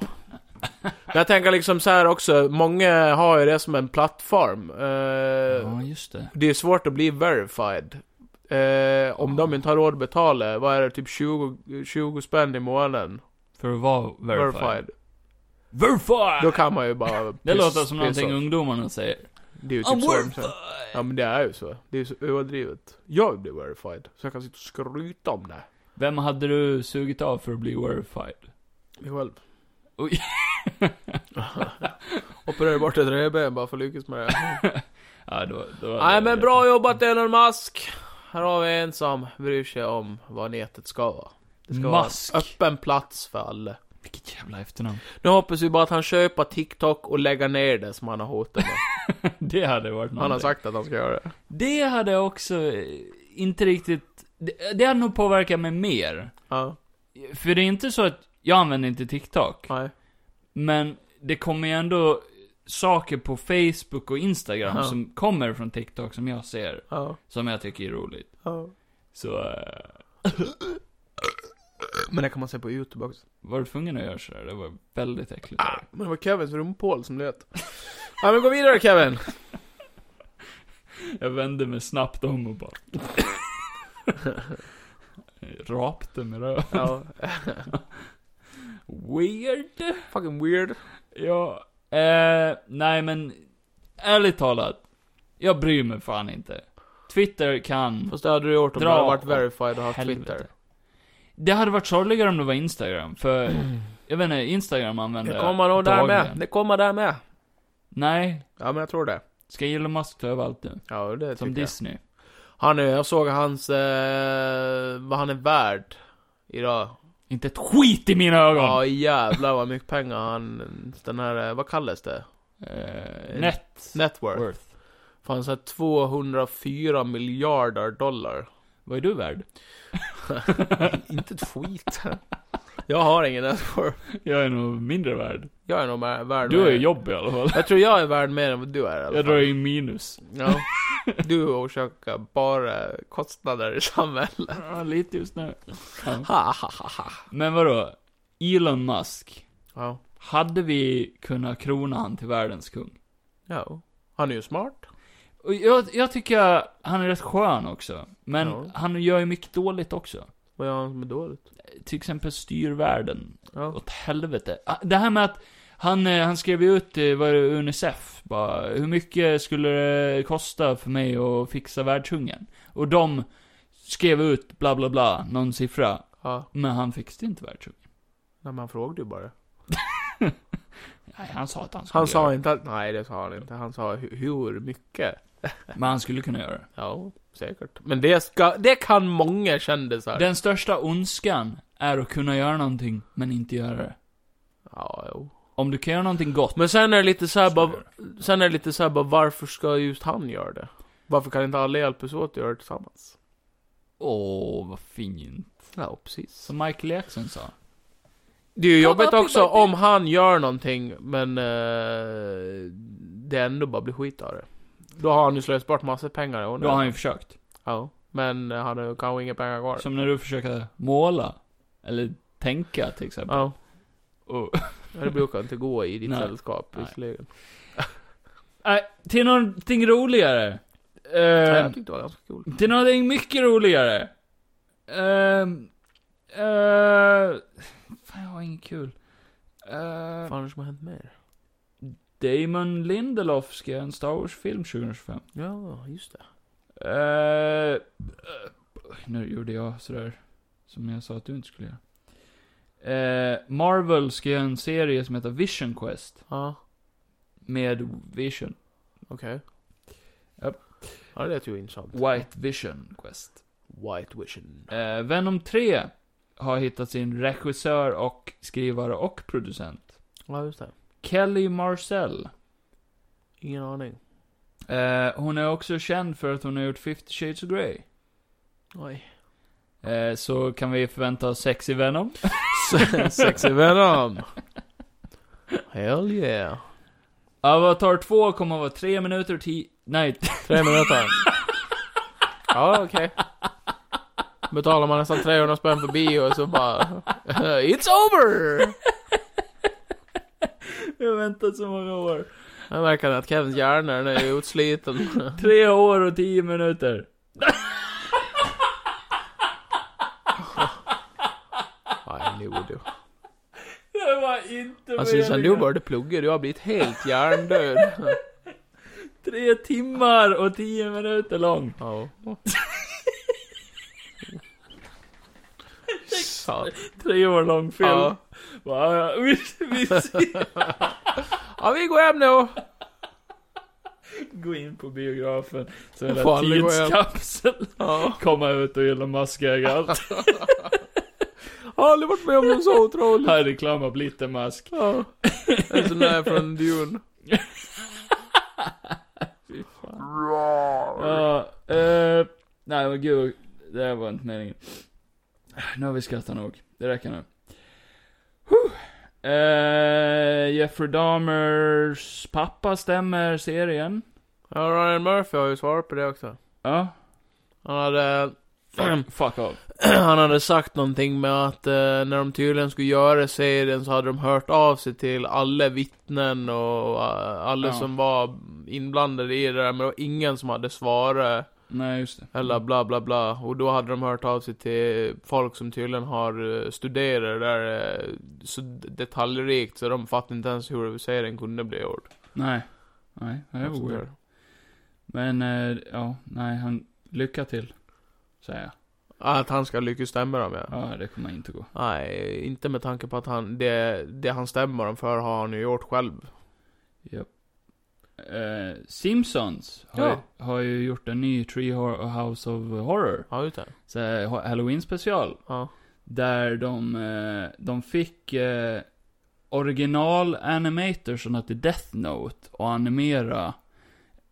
Speaker 3: Men jag tänker liksom så här också, många har ju det som en plattform. Eh,
Speaker 2: Ja, just det.
Speaker 3: Det är svårt att bli verified. Eh, om de inte har råd att betala, vad är det, typ 20, 20 spänn i månaden?
Speaker 2: För att vara verified.
Speaker 3: Verified.
Speaker 2: Verified!
Speaker 3: Då kan man ju bara
Speaker 2: det
Speaker 3: piss-
Speaker 2: låter som någonting
Speaker 3: piss off.
Speaker 2: ungdomarna säger.
Speaker 3: Det är ju
Speaker 2: I'm
Speaker 3: typ så de
Speaker 2: verified!
Speaker 3: säger. Ja men det är ju så. Det är ju så överdrivet. Jag vill bli verified, så jag kan sitta och skryta om det.
Speaker 2: Vem hade du sugit av för att bli verified?
Speaker 3: Mig själv.
Speaker 2: Oj.
Speaker 3: Opererade bort ett revben bara för att lyckas med det.
Speaker 2: Ja, då, då,
Speaker 3: Nej men bra jobbat Elon Musk. Här har vi en som bryr sig om vad nätet ska vara. Det ska
Speaker 2: Musk.
Speaker 3: vara en öppen plats för alla.
Speaker 2: Vilket jävla efternamn.
Speaker 3: Nu hoppas vi bara att han köper TikTok och lägger ner det som han har hotat med.
Speaker 2: Det hade varit någonting.
Speaker 3: Han har sagt att han ska göra det.
Speaker 2: Det hade också eh, inte riktigt... Det, det hade nog påverkat mig mer.
Speaker 3: Ja,
Speaker 2: För det är inte så att jag använder inte TikTok.
Speaker 3: nej.
Speaker 2: Men det kommer ju ändå saker på Facebook och Instagram
Speaker 3: Ja.
Speaker 2: som kommer från TikTok som jag ser.
Speaker 3: Ja,
Speaker 2: Som jag tycker är roligt.
Speaker 3: ja.
Speaker 2: Så, eh,
Speaker 3: Men det kan man se på YouTube också.
Speaker 2: var du tvungen att göra sådär? Det var väldigt äckligt.
Speaker 3: Ah, Men det var Kevins rumpål som lät. Ja men gå vidare Kevin.
Speaker 2: Jag vände mig snabbt om och bara... Rapte med röven.
Speaker 3: Ja.
Speaker 2: Weird.
Speaker 3: Fucking weird.
Speaker 2: Ja, eh, nej men, ärligt talat. Jag bryr mig fan inte. Twitter kan...
Speaker 3: Fast det hade du gjort om
Speaker 2: Dra
Speaker 3: du hade varit
Speaker 2: åt
Speaker 3: verified och haft
Speaker 2: helvete.
Speaker 3: Twitter.
Speaker 2: Det hade varit sorgligare om det var Instagram, för jag vet inte, Instagram använder
Speaker 3: Det
Speaker 2: jag
Speaker 3: kommer nog där med.
Speaker 2: dagligen.
Speaker 3: Det kommer där med.
Speaker 2: Nej,
Speaker 3: Ja men jag tror det.
Speaker 2: ska Elon Musk ta över allt nu?
Speaker 3: Ja det
Speaker 2: Som
Speaker 3: tycker jag.
Speaker 2: Disney.
Speaker 3: Han är, jag såg hans, eh, vad han är värd. Idag.
Speaker 2: Inte ett skit i mina ögon!
Speaker 3: Ja jävlar vad mycket pengar han, den här, eh, vad kallas det?
Speaker 2: Eh, net
Speaker 3: Network.
Speaker 2: worth.
Speaker 3: Fan såhär 204 miljarder dollar.
Speaker 2: Vad är du värd?
Speaker 3: Inte ett skit. jag har ingen network.
Speaker 2: Jag är nog mindre värd.
Speaker 3: Jag är nog mer- värd
Speaker 2: Du
Speaker 3: mer.
Speaker 2: är jobb i alla fall.
Speaker 3: Jag tror jag är värd mer än vad du är i alla fall.
Speaker 2: Jag drar in minus.
Speaker 3: Ja. Du orsakar bara kostnader i samhället.
Speaker 2: Ja, lite just nu.
Speaker 3: Ha, ha, ha, ha.
Speaker 2: Men vadå? Elon Musk.
Speaker 3: Ja.
Speaker 2: Hade vi kunnat krona han till världens kung?
Speaker 3: ja. Han är ju smart.
Speaker 2: Och jag, jag tycker han är rätt skön också. Men
Speaker 3: Ja.
Speaker 2: han gör ju mycket dåligt också.
Speaker 3: Vad gör han som är dåligt?
Speaker 2: Till exempel styr världen
Speaker 3: Ja.
Speaker 2: åt helvete. Ah, Det här med att han, eh, han skrev ju ut, eh, vad är det, Unicef, bara, hur mycket skulle det kosta för mig att fixa världshungern? Och de skrev ut bla bla bla, någon siffra.
Speaker 3: ja.
Speaker 2: Men han fixade inte världshungern.
Speaker 3: Nej men han frågade ju bara.
Speaker 2: Nej, han sa att han skulle
Speaker 3: Han
Speaker 2: göra
Speaker 3: sa inte att, nej det sa han inte. Han sa hu- hur mycket.
Speaker 2: det. Men han skulle kunna göra det.
Speaker 3: Ja, säkert. Men det ska, det kan många kändisar.
Speaker 2: Den största ondskan är att kunna göra någonting, men inte göra det.
Speaker 3: Ja, jo.
Speaker 2: Om du kan göra någonting gott,
Speaker 3: Men sen är det lite såhär
Speaker 2: ska du
Speaker 3: bara,
Speaker 2: göra det.
Speaker 3: sen är det lite såhär bara, varför ska just han göra det? Varför kan inte alla hjälpas åt att göra det tillsammans?
Speaker 2: Åh, vad fint.
Speaker 3: Ja, precis.
Speaker 2: Som Michael Jackson sa.
Speaker 3: Det är
Speaker 2: Come
Speaker 3: ju jobbigt
Speaker 2: up with
Speaker 3: också
Speaker 2: my dick.
Speaker 3: om han gör någonting, men eh, det ändå bara blir skit av det. Då har han ju slösat bort massa pengar. i
Speaker 2: Då
Speaker 3: onödan.
Speaker 2: har han ju försökt.
Speaker 3: Ja, men eh, han har ju kanske inga pengar kvar.
Speaker 2: Som när du försöker måla. Eller tänka till exempel.
Speaker 3: Ja, Oh.
Speaker 2: Och,
Speaker 3: det brukar inte gå i ditt
Speaker 2: Nej.
Speaker 3: sällskap
Speaker 2: Nej.
Speaker 3: visserligen.
Speaker 2: nej, till någonting roligare. Eh,
Speaker 3: Men jag tyckte det var ganska kul.
Speaker 2: till någonting mycket roligare. Ehm... eh, fan, jag har inget kul.
Speaker 3: Vad
Speaker 2: Eh,
Speaker 3: fan är det som har hänt mer?
Speaker 2: Damon Lindelof ska göra en Star Wars-film 2025.
Speaker 3: Ja, just det.
Speaker 2: Eh, eh, nu gjorde jag sådär som jag sa att du inte skulle göra. Eh, Marvel ska göra en serie som heter Vision Quest.
Speaker 3: Ja.
Speaker 2: Med Vision.
Speaker 3: Okej.
Speaker 2: Japp.
Speaker 3: Ja, det lät ju intressant.
Speaker 2: White Vision Quest.
Speaker 3: White Vision.
Speaker 2: Eh, Venom 3 har hittat sin regissör och skrivare och producent.
Speaker 3: Ja, just det.
Speaker 2: Kelly Marcel.
Speaker 3: Ingen aning.
Speaker 2: Eh, hon är också känd för att hon har gjort 50 Shades of Grey.
Speaker 3: Oj.
Speaker 2: Eh, så kan vi förvänta oss sexy Venom.
Speaker 3: Sexy Venom. Hell yeah.
Speaker 2: Avatar 2 kommer att vara 3 minuter och 10... Nej,
Speaker 3: Tre minuter. ja, okej. Betalar man nästan 300 spänn för bio och så bara... It's over!
Speaker 2: Jag har väntat så många år.
Speaker 3: Jag märker att Kevins hjärna den är utsliten.
Speaker 2: Tre år och tio minuter.
Speaker 3: I knew du.
Speaker 2: Det var inte
Speaker 3: Alltså, sen du började plugga, du har blivit helt hjärndöd.
Speaker 2: Tre timmar och tio minuter lång.
Speaker 3: Ja. Satan.
Speaker 2: Tre år lång film.
Speaker 3: Ja.
Speaker 2: Bara, ja, vi, vi
Speaker 3: Ja, vi går hem nu!
Speaker 2: går in på biografen, så är det
Speaker 3: Fan, det går jag.
Speaker 2: tidskapsel.
Speaker 3: Ja.
Speaker 2: Komma ut och Elon Musk äger allt.
Speaker 3: Jag har aldrig varit med om något så otroligt.
Speaker 2: Här är reklam av Little Musk.
Speaker 3: Ja. En sån där från Dune.
Speaker 2: Ja, eh, nej men gud, det här var inte meningen. Nu har vi skrattat nog, det räcker nu. Huh. Eh, Jeffrey Dahmers pappa stämmer serien.
Speaker 3: Ja, Ryan Murphy har ju svarat på det också.
Speaker 2: Ja,
Speaker 3: Han hade...
Speaker 2: fuck, fuck off.
Speaker 3: Han hade sagt någonting med att eh, när de tydligen skulle göra serien så hade de hört av sig till alla vittnen och eh, alla
Speaker 2: Ja.
Speaker 3: som var inblandade i det där, men det var ingen som hade svarat.
Speaker 2: Nej just det.
Speaker 3: Eller bla bla bla. Och då hade de hört av sig till folk som tydligen har eh, studerat det där eh, så detaljrikt så de fattade inte ens hur serien kunde bli gjord.
Speaker 2: Nej. Nej, det var weird. Men, eh, ja, nej, han, lycka till. Säger jag.
Speaker 3: Att han ska lyckas stämma dem ja.
Speaker 2: Ja, det kommer inte gå.
Speaker 3: Nej, inte med tanke på att han, det, det han stämmer dem för har han ju gjort själv.
Speaker 2: Japp. Eh, Simpsons har,
Speaker 3: Ja.
Speaker 2: ju, har ju gjort en ny Tree Hor- House of Horror.
Speaker 3: Ja, just det.
Speaker 2: Så här, ha- Halloween special.
Speaker 3: Ja.
Speaker 2: Där de, eh, de fick eh, original animators som hette Death Note och animera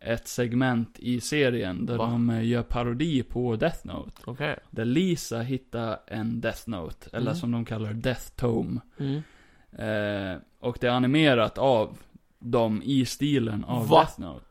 Speaker 2: ett segment i serien där
Speaker 3: Va?
Speaker 2: de eh, gör parodi på Death Note.
Speaker 3: Okej.
Speaker 2: Där Lisa hittar en Death Note, eller
Speaker 3: Mm.
Speaker 2: som de kallar Death Tome.
Speaker 3: Mm.
Speaker 2: Eh, och det är animerat av dem i stilen av
Speaker 3: Va?
Speaker 2: Death Note.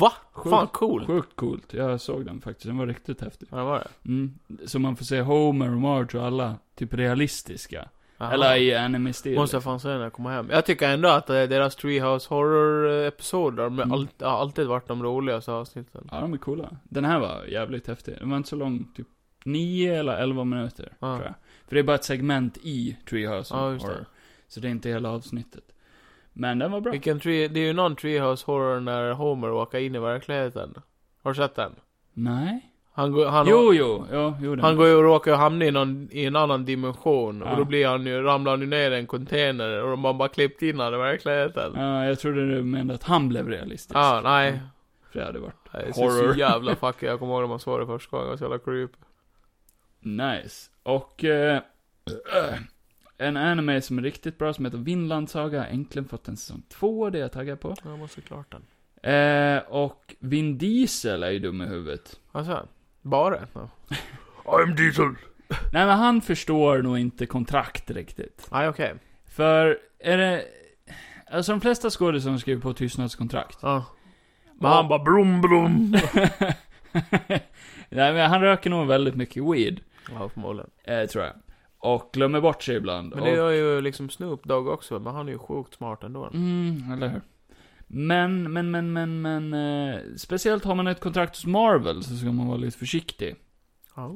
Speaker 3: Va? Fan
Speaker 2: Sjukt.
Speaker 3: cool.
Speaker 2: Sjukt coolt. Jag såg den faktiskt. Den var riktigt häftig.
Speaker 3: Ja, det var det.
Speaker 2: Mm. Så man får se Homer och Marge och alla typ realistiska.
Speaker 3: Aha.
Speaker 2: Eller i anime-stil.
Speaker 3: Måste jag fan se när jag kommer hem. Jag tycker ändå att eh, deras Treehouse Horror-episoder de har
Speaker 2: Mm.
Speaker 3: all, har alltid varit de roligaste avsnitten.
Speaker 2: Ja, de är coola. Den här var jävligt häftig. Den var inte så lång, typ 9 eller 11 minuter,
Speaker 3: Ja.
Speaker 2: tror jag. För det är bara ett segment i Treehouse
Speaker 3: Ja,
Speaker 2: of
Speaker 3: just det.
Speaker 2: Horror. Så det är inte hela avsnittet. Men den var bra.
Speaker 3: Vilken tree, det är ju någon Treehouse Horror när Homer åker in i verkligheten. Har du sett den?
Speaker 2: Nej.
Speaker 3: Han, går- han,
Speaker 2: Jo, jo, jo, jo den.
Speaker 3: han går ju och råkar hamna i, någon, i en annan dimension.
Speaker 2: Ja.
Speaker 3: Och då blir han ju, ramlar han ju ner i en container och de har bara klippt in honom i verkligheten. Ja,
Speaker 2: Ja, jag trodde du menade att han blev realistisk.
Speaker 3: nej.
Speaker 2: För det hade varit
Speaker 3: Det är
Speaker 2: Horror.
Speaker 3: så jävla fucking, jag kommer ihåg när man såg det första gången, det var så jävla creep.
Speaker 2: nice. Och... Eh, en anime som är riktigt bra som heter Vinland Saga. Äntligen fått en säsong två, det är jag taggad på.
Speaker 3: Jag måste klart den.
Speaker 2: Eh, och Vin Diesel är ju dum i huvudet.
Speaker 3: Alltså, bara? Ja.
Speaker 2: Nej men han förstår nog inte kontrakt riktigt.
Speaker 3: Nej, okej.
Speaker 2: För, är det... Alltså de flesta skådespelare skriver på tystnadskontrakt.
Speaker 3: Ja.
Speaker 2: Men han
Speaker 3: bara brum brum.
Speaker 2: Nej men han röker nog väldigt mycket weed.
Speaker 3: Ja, förmodligen.
Speaker 2: Eh, tror jag. Och glömmer bort sig ibland.
Speaker 3: Men
Speaker 2: och...
Speaker 3: det gör ju liksom Snoop Dogg också, men han är ju sjukt smart ändå.
Speaker 2: Mm, eller hur. Men, men, men, men, men. Eh, speciellt har man ett kontrakt hos Marvel så ska man vara lite försiktig.
Speaker 3: Ja.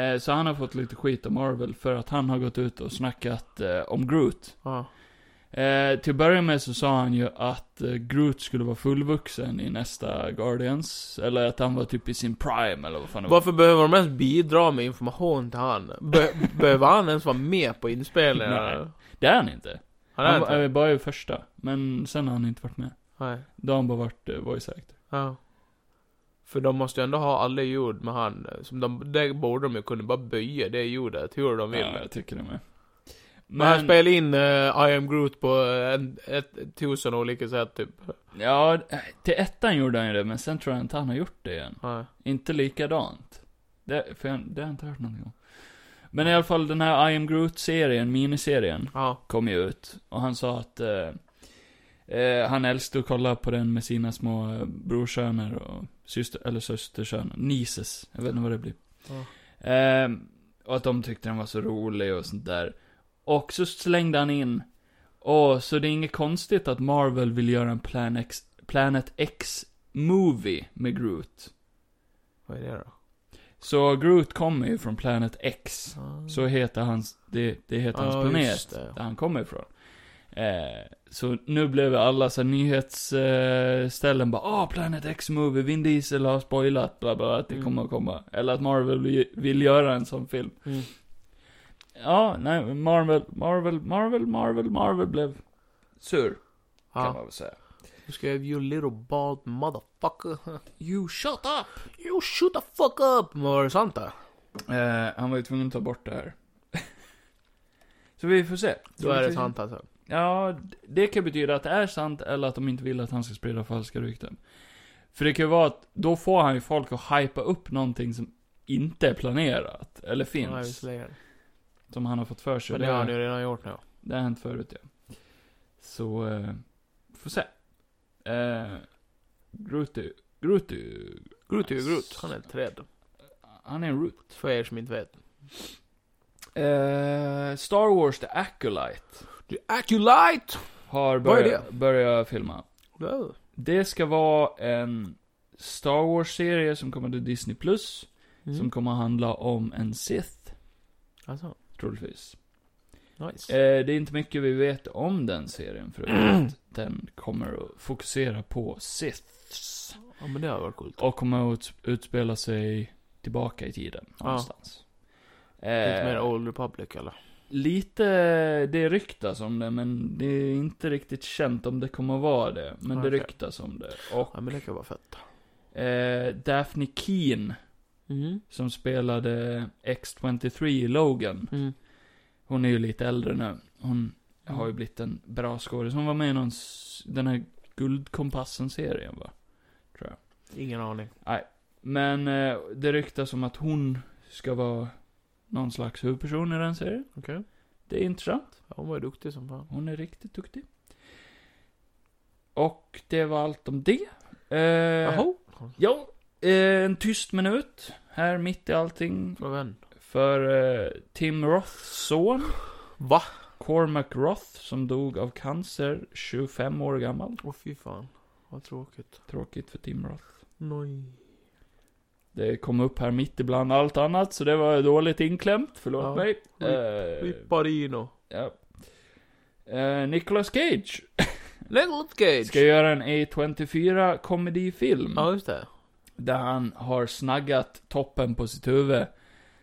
Speaker 2: Eh, så han har fått lite skit av Marvel för att han har gått ut och snackat eh, om Groot.
Speaker 3: Ja.
Speaker 2: Eh, till att börja med så sa han ju att eh, Groot skulle vara fullvuxen i nästa Guardians. Eller att han var typ i sin prime eller vad fan det var.
Speaker 3: Varför behöver de ens bidra med information till han? Be behöver han ens vara med på inspelningarna?
Speaker 2: Nej. Det är han inte.
Speaker 3: Han är
Speaker 2: Han
Speaker 3: inte.
Speaker 2: var, eh, bara i första. Men sen har han inte varit med.
Speaker 3: Nej.
Speaker 2: Då har han bara varit eh, voice actor.
Speaker 3: Ja. För de måste ju ändå ha alla ljud med han. eh, Som de, det borde de ju kunna bara böja det ljudet hur de vill.
Speaker 2: Ja, jag tycker det med.
Speaker 3: Men han spelar in eh, I am Groot på eh, en, ett tusen olika sätt typ.
Speaker 2: Ja, till ettan gjorde han ju det, men sen tror jag inte han har gjort det igen.
Speaker 3: Nej.
Speaker 2: Inte likadant. Det, för jag, det har jag inte hört någonting om. Men i alla fall den här I am Groot-serien, miniserien,
Speaker 3: Ja.
Speaker 2: kom ju ut. Och han sa att eh, eh, han älskade att kolla på den med sina små eh, brorsöner och syster, eller systersöner, nieces, jag vet inte vad det blir.
Speaker 3: Ja.
Speaker 2: Ehm, och att de tyckte den var så rolig och sånt där. Och så slängde han in, åh, så det är inget konstigt att Marvel vill göra en Plan X, Planet X-movie med Groot.
Speaker 3: Vad är det då?
Speaker 2: Så Groot kommer ju från Planet X.
Speaker 3: Ah.
Speaker 2: Så heter hans, det, det heter hans
Speaker 3: Ja, just
Speaker 2: planet,
Speaker 3: det.
Speaker 2: där han kommer ifrån. Eh, så nu blev alla så nyhetsställen eh, ställen bara ah Planet X-movie, Vin Diesel har spoilat, bla bla, att det
Speaker 3: Mm.
Speaker 2: kommer att komma. Eller att Marvel vill, vill göra en sån film.
Speaker 3: Mm.
Speaker 2: ja, nej, Marvel, Marvel, Marvel, Marvel, Marvel blev sur, kan
Speaker 3: Ja.
Speaker 2: man väl säga.
Speaker 3: Du skrev you little bald motherfucker.
Speaker 2: You shut up!
Speaker 3: You shut the fuck up! Men var det sant det?
Speaker 2: Eh, han var ju tvungen att ta bort det här. Så vi får se.
Speaker 3: Då är det sant alltså.
Speaker 2: Ja, d- det kan betyda att det är sant eller att de inte vill att han ska sprida falska rykten. För det kan ju vara att då får han ju folk att hypa upp någonting som inte är planerat, eller
Speaker 3: Ja,
Speaker 2: finns.
Speaker 3: visserligen.
Speaker 2: som han har fått för sig.
Speaker 3: Men det har han ju redan gjort nu.
Speaker 2: det har hänt förut, ja. Så, eh, får se. Eh, Groot Grutu,
Speaker 3: Groot är ju Groot. Han är ett träd.
Speaker 2: han är en root.
Speaker 3: För er som inte vet.
Speaker 2: Eh, Star Wars The Acolyte
Speaker 3: The Acolyte!
Speaker 2: har
Speaker 3: Vad är
Speaker 2: börjat, börjat filma.
Speaker 3: Ja.
Speaker 2: Det ska vara en Star Wars-serie som kommer till Disney+, Plus som
Speaker 3: Mm.
Speaker 2: kommer handla om en Sith,
Speaker 3: Alltså,
Speaker 2: troligtvis.
Speaker 3: nice.
Speaker 2: Eh, det är inte mycket vi vet om den serien, förutom att den kommer att fokusera på Siths.
Speaker 3: Ja men det har varit coolt.
Speaker 2: Och kommer att ut- utspela sig tillbaka i tiden,
Speaker 3: Ja.
Speaker 2: någonstans.
Speaker 3: Lite
Speaker 2: Eh,
Speaker 3: mer Old Republic eller?
Speaker 2: Lite, det ryktas om det, men det är inte riktigt känt om det kommer att vara det. Men det
Speaker 3: Okej.
Speaker 2: ryktas om det. Och
Speaker 3: Ja men det kan vara fett.
Speaker 2: eh, Daphne Keen,
Speaker 3: Mm.
Speaker 2: som spelade X-23 i Logan,
Speaker 3: Mm.
Speaker 2: hon är ju lite äldre nu. Hon har ju blivit en bra skådis. Hon var med i någon, s- den här Guldkompassen-serien va?
Speaker 3: Ingen aning.
Speaker 2: Men eh, det ryktas om att hon ska vara någon slags huvudperson i den serien.
Speaker 3: Okej.
Speaker 2: Det är intressant.
Speaker 3: Ja, hon var ju duktig som fan.
Speaker 2: Hon är riktigt duktig. Och det var allt om det. Eh,
Speaker 3: Jaha.
Speaker 2: ja, eh, en tyst minut här mitt i allting.
Speaker 3: Från vem?
Speaker 2: För eh, Tim Roths son,
Speaker 3: Va?
Speaker 2: Cormac Roth, som dog av cancer, 25 år gammal.
Speaker 3: Åh fy fan. Vad tråkigt.
Speaker 2: Tråkigt för Tim Roth.
Speaker 3: Noj.
Speaker 2: Det kom upp här mitt ibland allt annat, så det var dåligt inklämt. Förlåt
Speaker 3: Ja.
Speaker 2: mig.
Speaker 3: Rip-
Speaker 2: Eh,
Speaker 3: Ripparino.
Speaker 2: ja. eh, Nicolas Cage
Speaker 3: Legolas Cage!
Speaker 2: ska göra en A24 komedifilm.
Speaker 3: Ja just det.
Speaker 2: Där han har snaggat toppen på sitt huvud.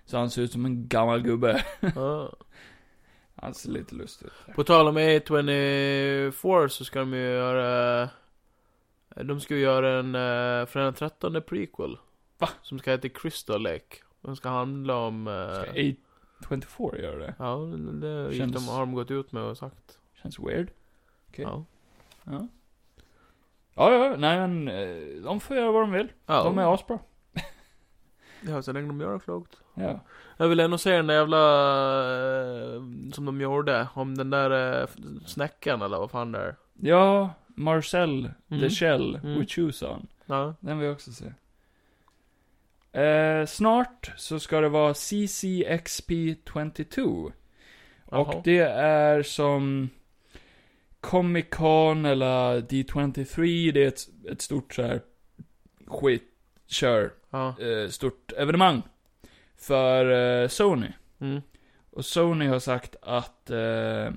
Speaker 2: Så han ser ut som en gammal gubbe.
Speaker 3: Ja.
Speaker 2: Han ser lite lustig ut.
Speaker 3: På tal om A24 så ska de ju göra... eh, De ska ju göra en eh, Fredag den 13 prequel.
Speaker 2: Va?
Speaker 3: Som ska heta Crystal Lake. Och Den ska handla om... eh,
Speaker 2: Ska A24 göra det?
Speaker 3: Ja, det gick
Speaker 2: Känns-
Speaker 3: de, har de gått ut med och sagt.
Speaker 2: Känns weird. Okej.
Speaker 3: Ja.
Speaker 2: Ja. Ja, ja, nej men eh, de får göra vad de vill.
Speaker 3: ja.
Speaker 2: De är asbra.
Speaker 3: Ja, så länge de gör det klokt.
Speaker 2: Ja.
Speaker 3: Jag vill ändå se den där jävla... eh, Som de gjorde. Om den där eh, snäckan eller vad fan det är.
Speaker 2: Ja, Marcel, The
Speaker 3: Mm.
Speaker 2: Shell,
Speaker 3: Mm.
Speaker 2: with shoes on.
Speaker 3: Ja.
Speaker 2: Den vill jag också se. Eh, snart så ska det vara CCXP22.
Speaker 3: Jaha.
Speaker 2: Och det är som Comic Con eller D23, det är ett, ett stort så här skit, kör,
Speaker 3: Ja.
Speaker 2: eh, stort evenemang. För eh, Sony.
Speaker 3: Mm.
Speaker 2: Och Sony har sagt att eh,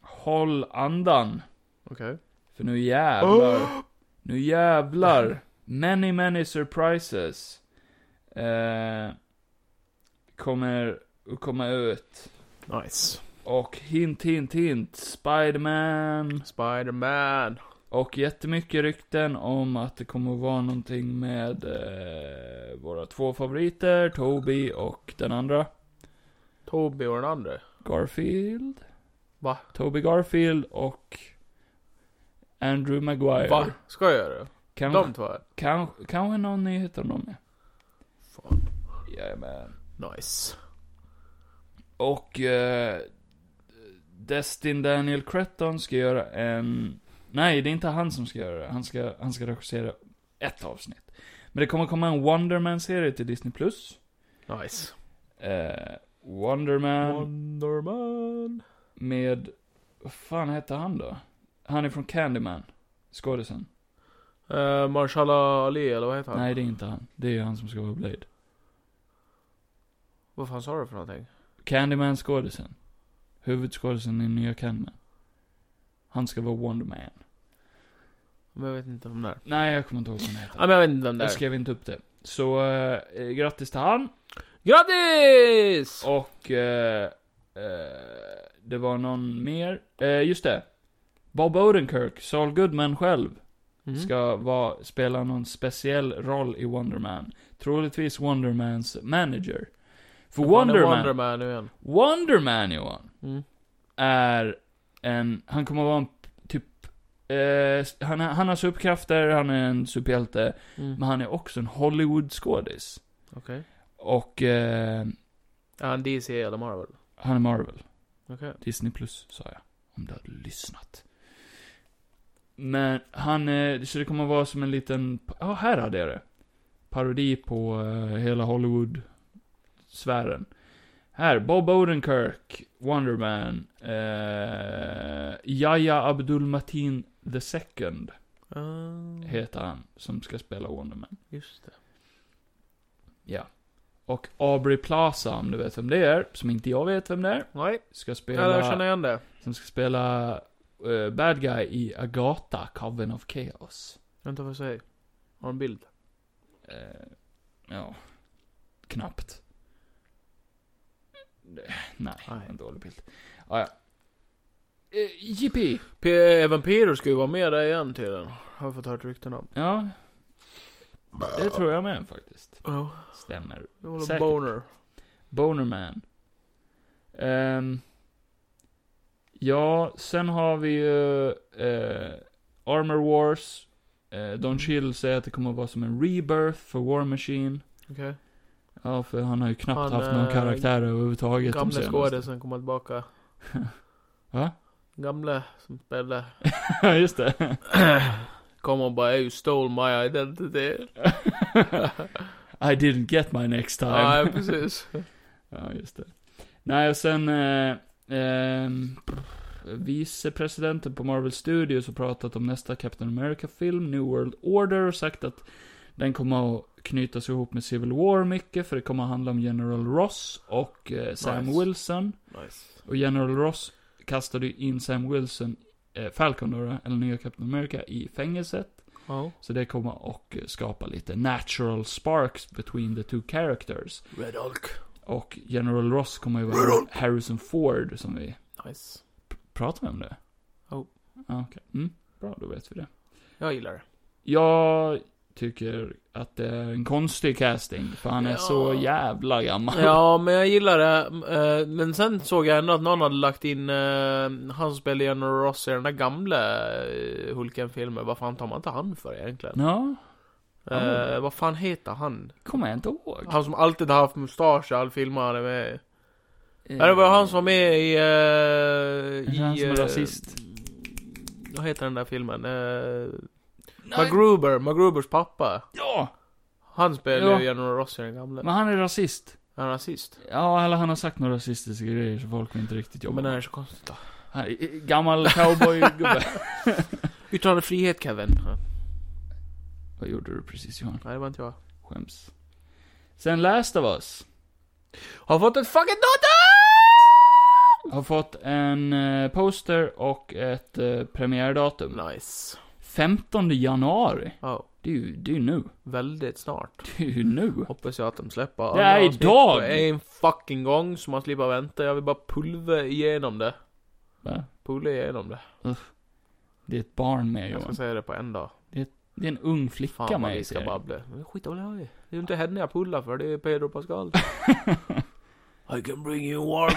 Speaker 2: håll andan.
Speaker 3: Okej.
Speaker 2: För nu jävlar.
Speaker 3: Oh!
Speaker 2: Nu jävlar. Many, many surprises. Eh, kommer att komma ut.
Speaker 3: Nice.
Speaker 2: Och hint, hint, hint. Spiderman.
Speaker 3: Spider-Man.
Speaker 2: Och jättemycket rykten om att det kommer att vara någonting med eh, våra två favoriter, Toby och den andra.
Speaker 3: Toby och den andra.
Speaker 2: Garfield.
Speaker 3: Va?
Speaker 2: Toby Garfield och Andrew Maguire.
Speaker 3: Va? Ska jag göra det?
Speaker 2: Kan,
Speaker 3: De två?
Speaker 2: kan, kanske någon nyhet om dem, ja.
Speaker 3: Fan.
Speaker 2: Jajamän.
Speaker 3: Nice.
Speaker 2: Och eh, Destin Daniel Cretton ska göra en... Nej, det är inte han som ska göra det. Han ska, han ska regissera ett avsnitt. Men det kommer komma en Wonderman-serie till Disney+. Plus.
Speaker 3: Nice.
Speaker 2: Eh, Wonderman
Speaker 3: Wonderman.
Speaker 2: med... Vad fan hette han då? Han är från Candyman. Skådisen.
Speaker 3: Uh, Marshala Ali, eller vad heter han?
Speaker 2: Nej, det är inte han. Det är ju han som ska vara Blade.
Speaker 3: Vad fan sa du för någonting?
Speaker 2: Candyman-skådisen. Huvudskådisen i nya Candyman. Han ska vara Wonderman.
Speaker 3: Men jag vet inte om det är.
Speaker 2: Nej, jag kommer inte ihåg vad han heter.
Speaker 3: Ja, men jag vet inte vem det är.
Speaker 2: Jag skrev inte upp det. eh, Så, eh, grattis till han.
Speaker 3: Grattis!
Speaker 2: Och eh, Eh, det var någon mer. Eh, just det. Bob Odenkirk, Saul Goodman själv,
Speaker 3: Mm.
Speaker 2: ska vara, spela någon speciell roll i Wonder Man. Troligtvis Wonder Mans manager. För Wonder
Speaker 3: Wonderman.
Speaker 2: Man,
Speaker 3: Wonderman nu igen.
Speaker 2: Wonder Man Johan,
Speaker 3: Mm.
Speaker 2: är en, han kommer vara en typ, eh, han, han har superkrafter, han är en superhjälte.
Speaker 3: Mm.
Speaker 2: Men han är också en Hollywood-skådis.
Speaker 3: Okej.
Speaker 2: Och eh,
Speaker 3: Är han DC eller Marvel?
Speaker 2: han är Marvel.
Speaker 3: Okej.
Speaker 2: Disney plus, sa jag. Om du hade lyssnat. Men han, eh, så det kommer vara som en liten, ja här hade jag det. Parodi på eh, hela Hollywood-sfären. Här, Bob Odenkirk, Wonderman, eh, Yahya Abdulmatin the second
Speaker 3: Ah,
Speaker 2: heter han, som ska spela Wonderman.
Speaker 3: just det.
Speaker 2: Ja. Och Aubrey Plaza, om du vet vem det är, som inte jag vet vem det är,
Speaker 3: Nej,
Speaker 2: ska
Speaker 3: eller jag känner
Speaker 2: spela,
Speaker 3: igen det.
Speaker 2: som ska spela eh, bad guy i Agatha, Coven of Chaos.
Speaker 3: Vänta, vad säger Har en bild?
Speaker 2: Eh, ja, knappt. Eh, Nej,
Speaker 3: Nej.
Speaker 2: en dålig bild. Ah, ja. Eh, Jippie!
Speaker 3: P- Även Peter ska ju vara med där igen till den. Har jag fått hört rykten om.
Speaker 2: Ja. Det tror jag med faktiskt.
Speaker 3: Ja.
Speaker 2: Stämmer.
Speaker 3: Det var
Speaker 2: Säkert.
Speaker 3: en boner.
Speaker 2: Bonerman. Ehm, ja, sen har vi ju eh, Armor Wars. Eh, Don Chill säger att det kommer att vara som en rebirth för War Machine.
Speaker 3: Okej.
Speaker 2: Ja, för han har ju knappt
Speaker 3: Han,
Speaker 2: haft någon
Speaker 3: eh,
Speaker 2: karaktär överhuvudtaget. de
Speaker 3: Gamla
Speaker 2: senaste.
Speaker 3: skådisen kommer tillbaka.
Speaker 2: Va?
Speaker 3: Gamla som spelade.
Speaker 2: Ja, just det.
Speaker 3: Kom och bara 'You stole my identity'
Speaker 2: I didn't get my next time.
Speaker 3: Nej, precis.
Speaker 2: Ja, just det. Nej, och sen... Eh, ehm, vicepresidenten på Marvel Studios har pratat om nästa Captain America-film, New World Order, och sagt att den kommer att knytas ihop med Civil War mycket, för det kommer att handla om General Ross och eh, Sam
Speaker 3: Nice.
Speaker 2: Wilson.
Speaker 3: Nice.
Speaker 2: Och General Ross kastade ju in Sam Wilson, eh, Falcon då, då, eller nya Captain America, i fängelset.
Speaker 3: Ja.
Speaker 2: Så det kommer att eh, skapa lite natural sparks between the two characters.
Speaker 3: Red Hulk.
Speaker 2: Och General Ross kommer ju vara Harrison Ford som vi...
Speaker 3: Nice.
Speaker 2: Pratar vi om det?
Speaker 3: Jo.
Speaker 2: Ja, okej. Mm, bra, då vet vi det.
Speaker 3: Jag gillar det.
Speaker 2: Jag tycker att det är en konstig casting, för han är
Speaker 3: Ja.
Speaker 2: så jävla gammal.
Speaker 3: Ja, men jag gillar det. Eh, Men sen såg jag ändå att någon hade lagt in eh, han som spelade General Ross i den där gamla eh, Hulken-filmen. Vad fan tar man inte han för egentligen?
Speaker 2: Ja,
Speaker 3: Eh, vad fan heter han?
Speaker 2: kommer jag inte ihåg.
Speaker 3: Han som alltid har haft mustasch i all film han är med i.
Speaker 2: Eh,
Speaker 3: Ja, det var han som var med i...
Speaker 2: Är det
Speaker 3: Uh,
Speaker 2: han
Speaker 3: i
Speaker 2: som är
Speaker 3: eh,
Speaker 2: rasist?
Speaker 3: Vad heter den där filmen? Uh,
Speaker 2: Nej,
Speaker 3: MacGruber, MacGrubers pappa.
Speaker 2: Ja!
Speaker 3: Han spelar ju
Speaker 2: Ja.
Speaker 3: General Ross i den gamla.
Speaker 2: Men han är rasist.
Speaker 3: Han är rasist.
Speaker 2: Ja, eller han har sagt några rasistiska grejer så folk vill inte riktigt jobba
Speaker 3: Men det
Speaker 2: med
Speaker 3: här är så konstigt då.
Speaker 2: Han är Gammal cowboygubbe.
Speaker 3: Yttrandefrihet Kevin. Ja.
Speaker 2: Vad gjorde du precis Johan?
Speaker 3: Nej, det var inte jag.
Speaker 2: Skäms. Sen Last of Us.
Speaker 3: Har fått ett fucking dotter!
Speaker 2: Har fått en eh, poster och ett eh, premiärdatum.
Speaker 3: Nice.
Speaker 2: 15 januari.
Speaker 3: Ja,
Speaker 2: Det är ju, det är ju nu.
Speaker 3: väldigt snart.
Speaker 2: Det är ju nu.
Speaker 3: Hoppas jag att de släpper
Speaker 2: Det är
Speaker 3: alla avsnitt
Speaker 2: idag!
Speaker 3: på En fucking gång så man slipper vänta. Jag vill bara pulva igenom det.
Speaker 2: Va?
Speaker 3: Pulva igenom det.
Speaker 2: Det är ett barn med
Speaker 3: Jag ska
Speaker 2: Johan.
Speaker 3: säga det på en dag.
Speaker 2: Det är en ung flicka
Speaker 3: Fan vad
Speaker 2: med
Speaker 3: vi
Speaker 2: i
Speaker 3: ska
Speaker 2: serien.
Speaker 3: babbla. Men Skit vad det är. Det är ju inte henne jag pullar för, det är Pedro Pascal. I can bring you warm.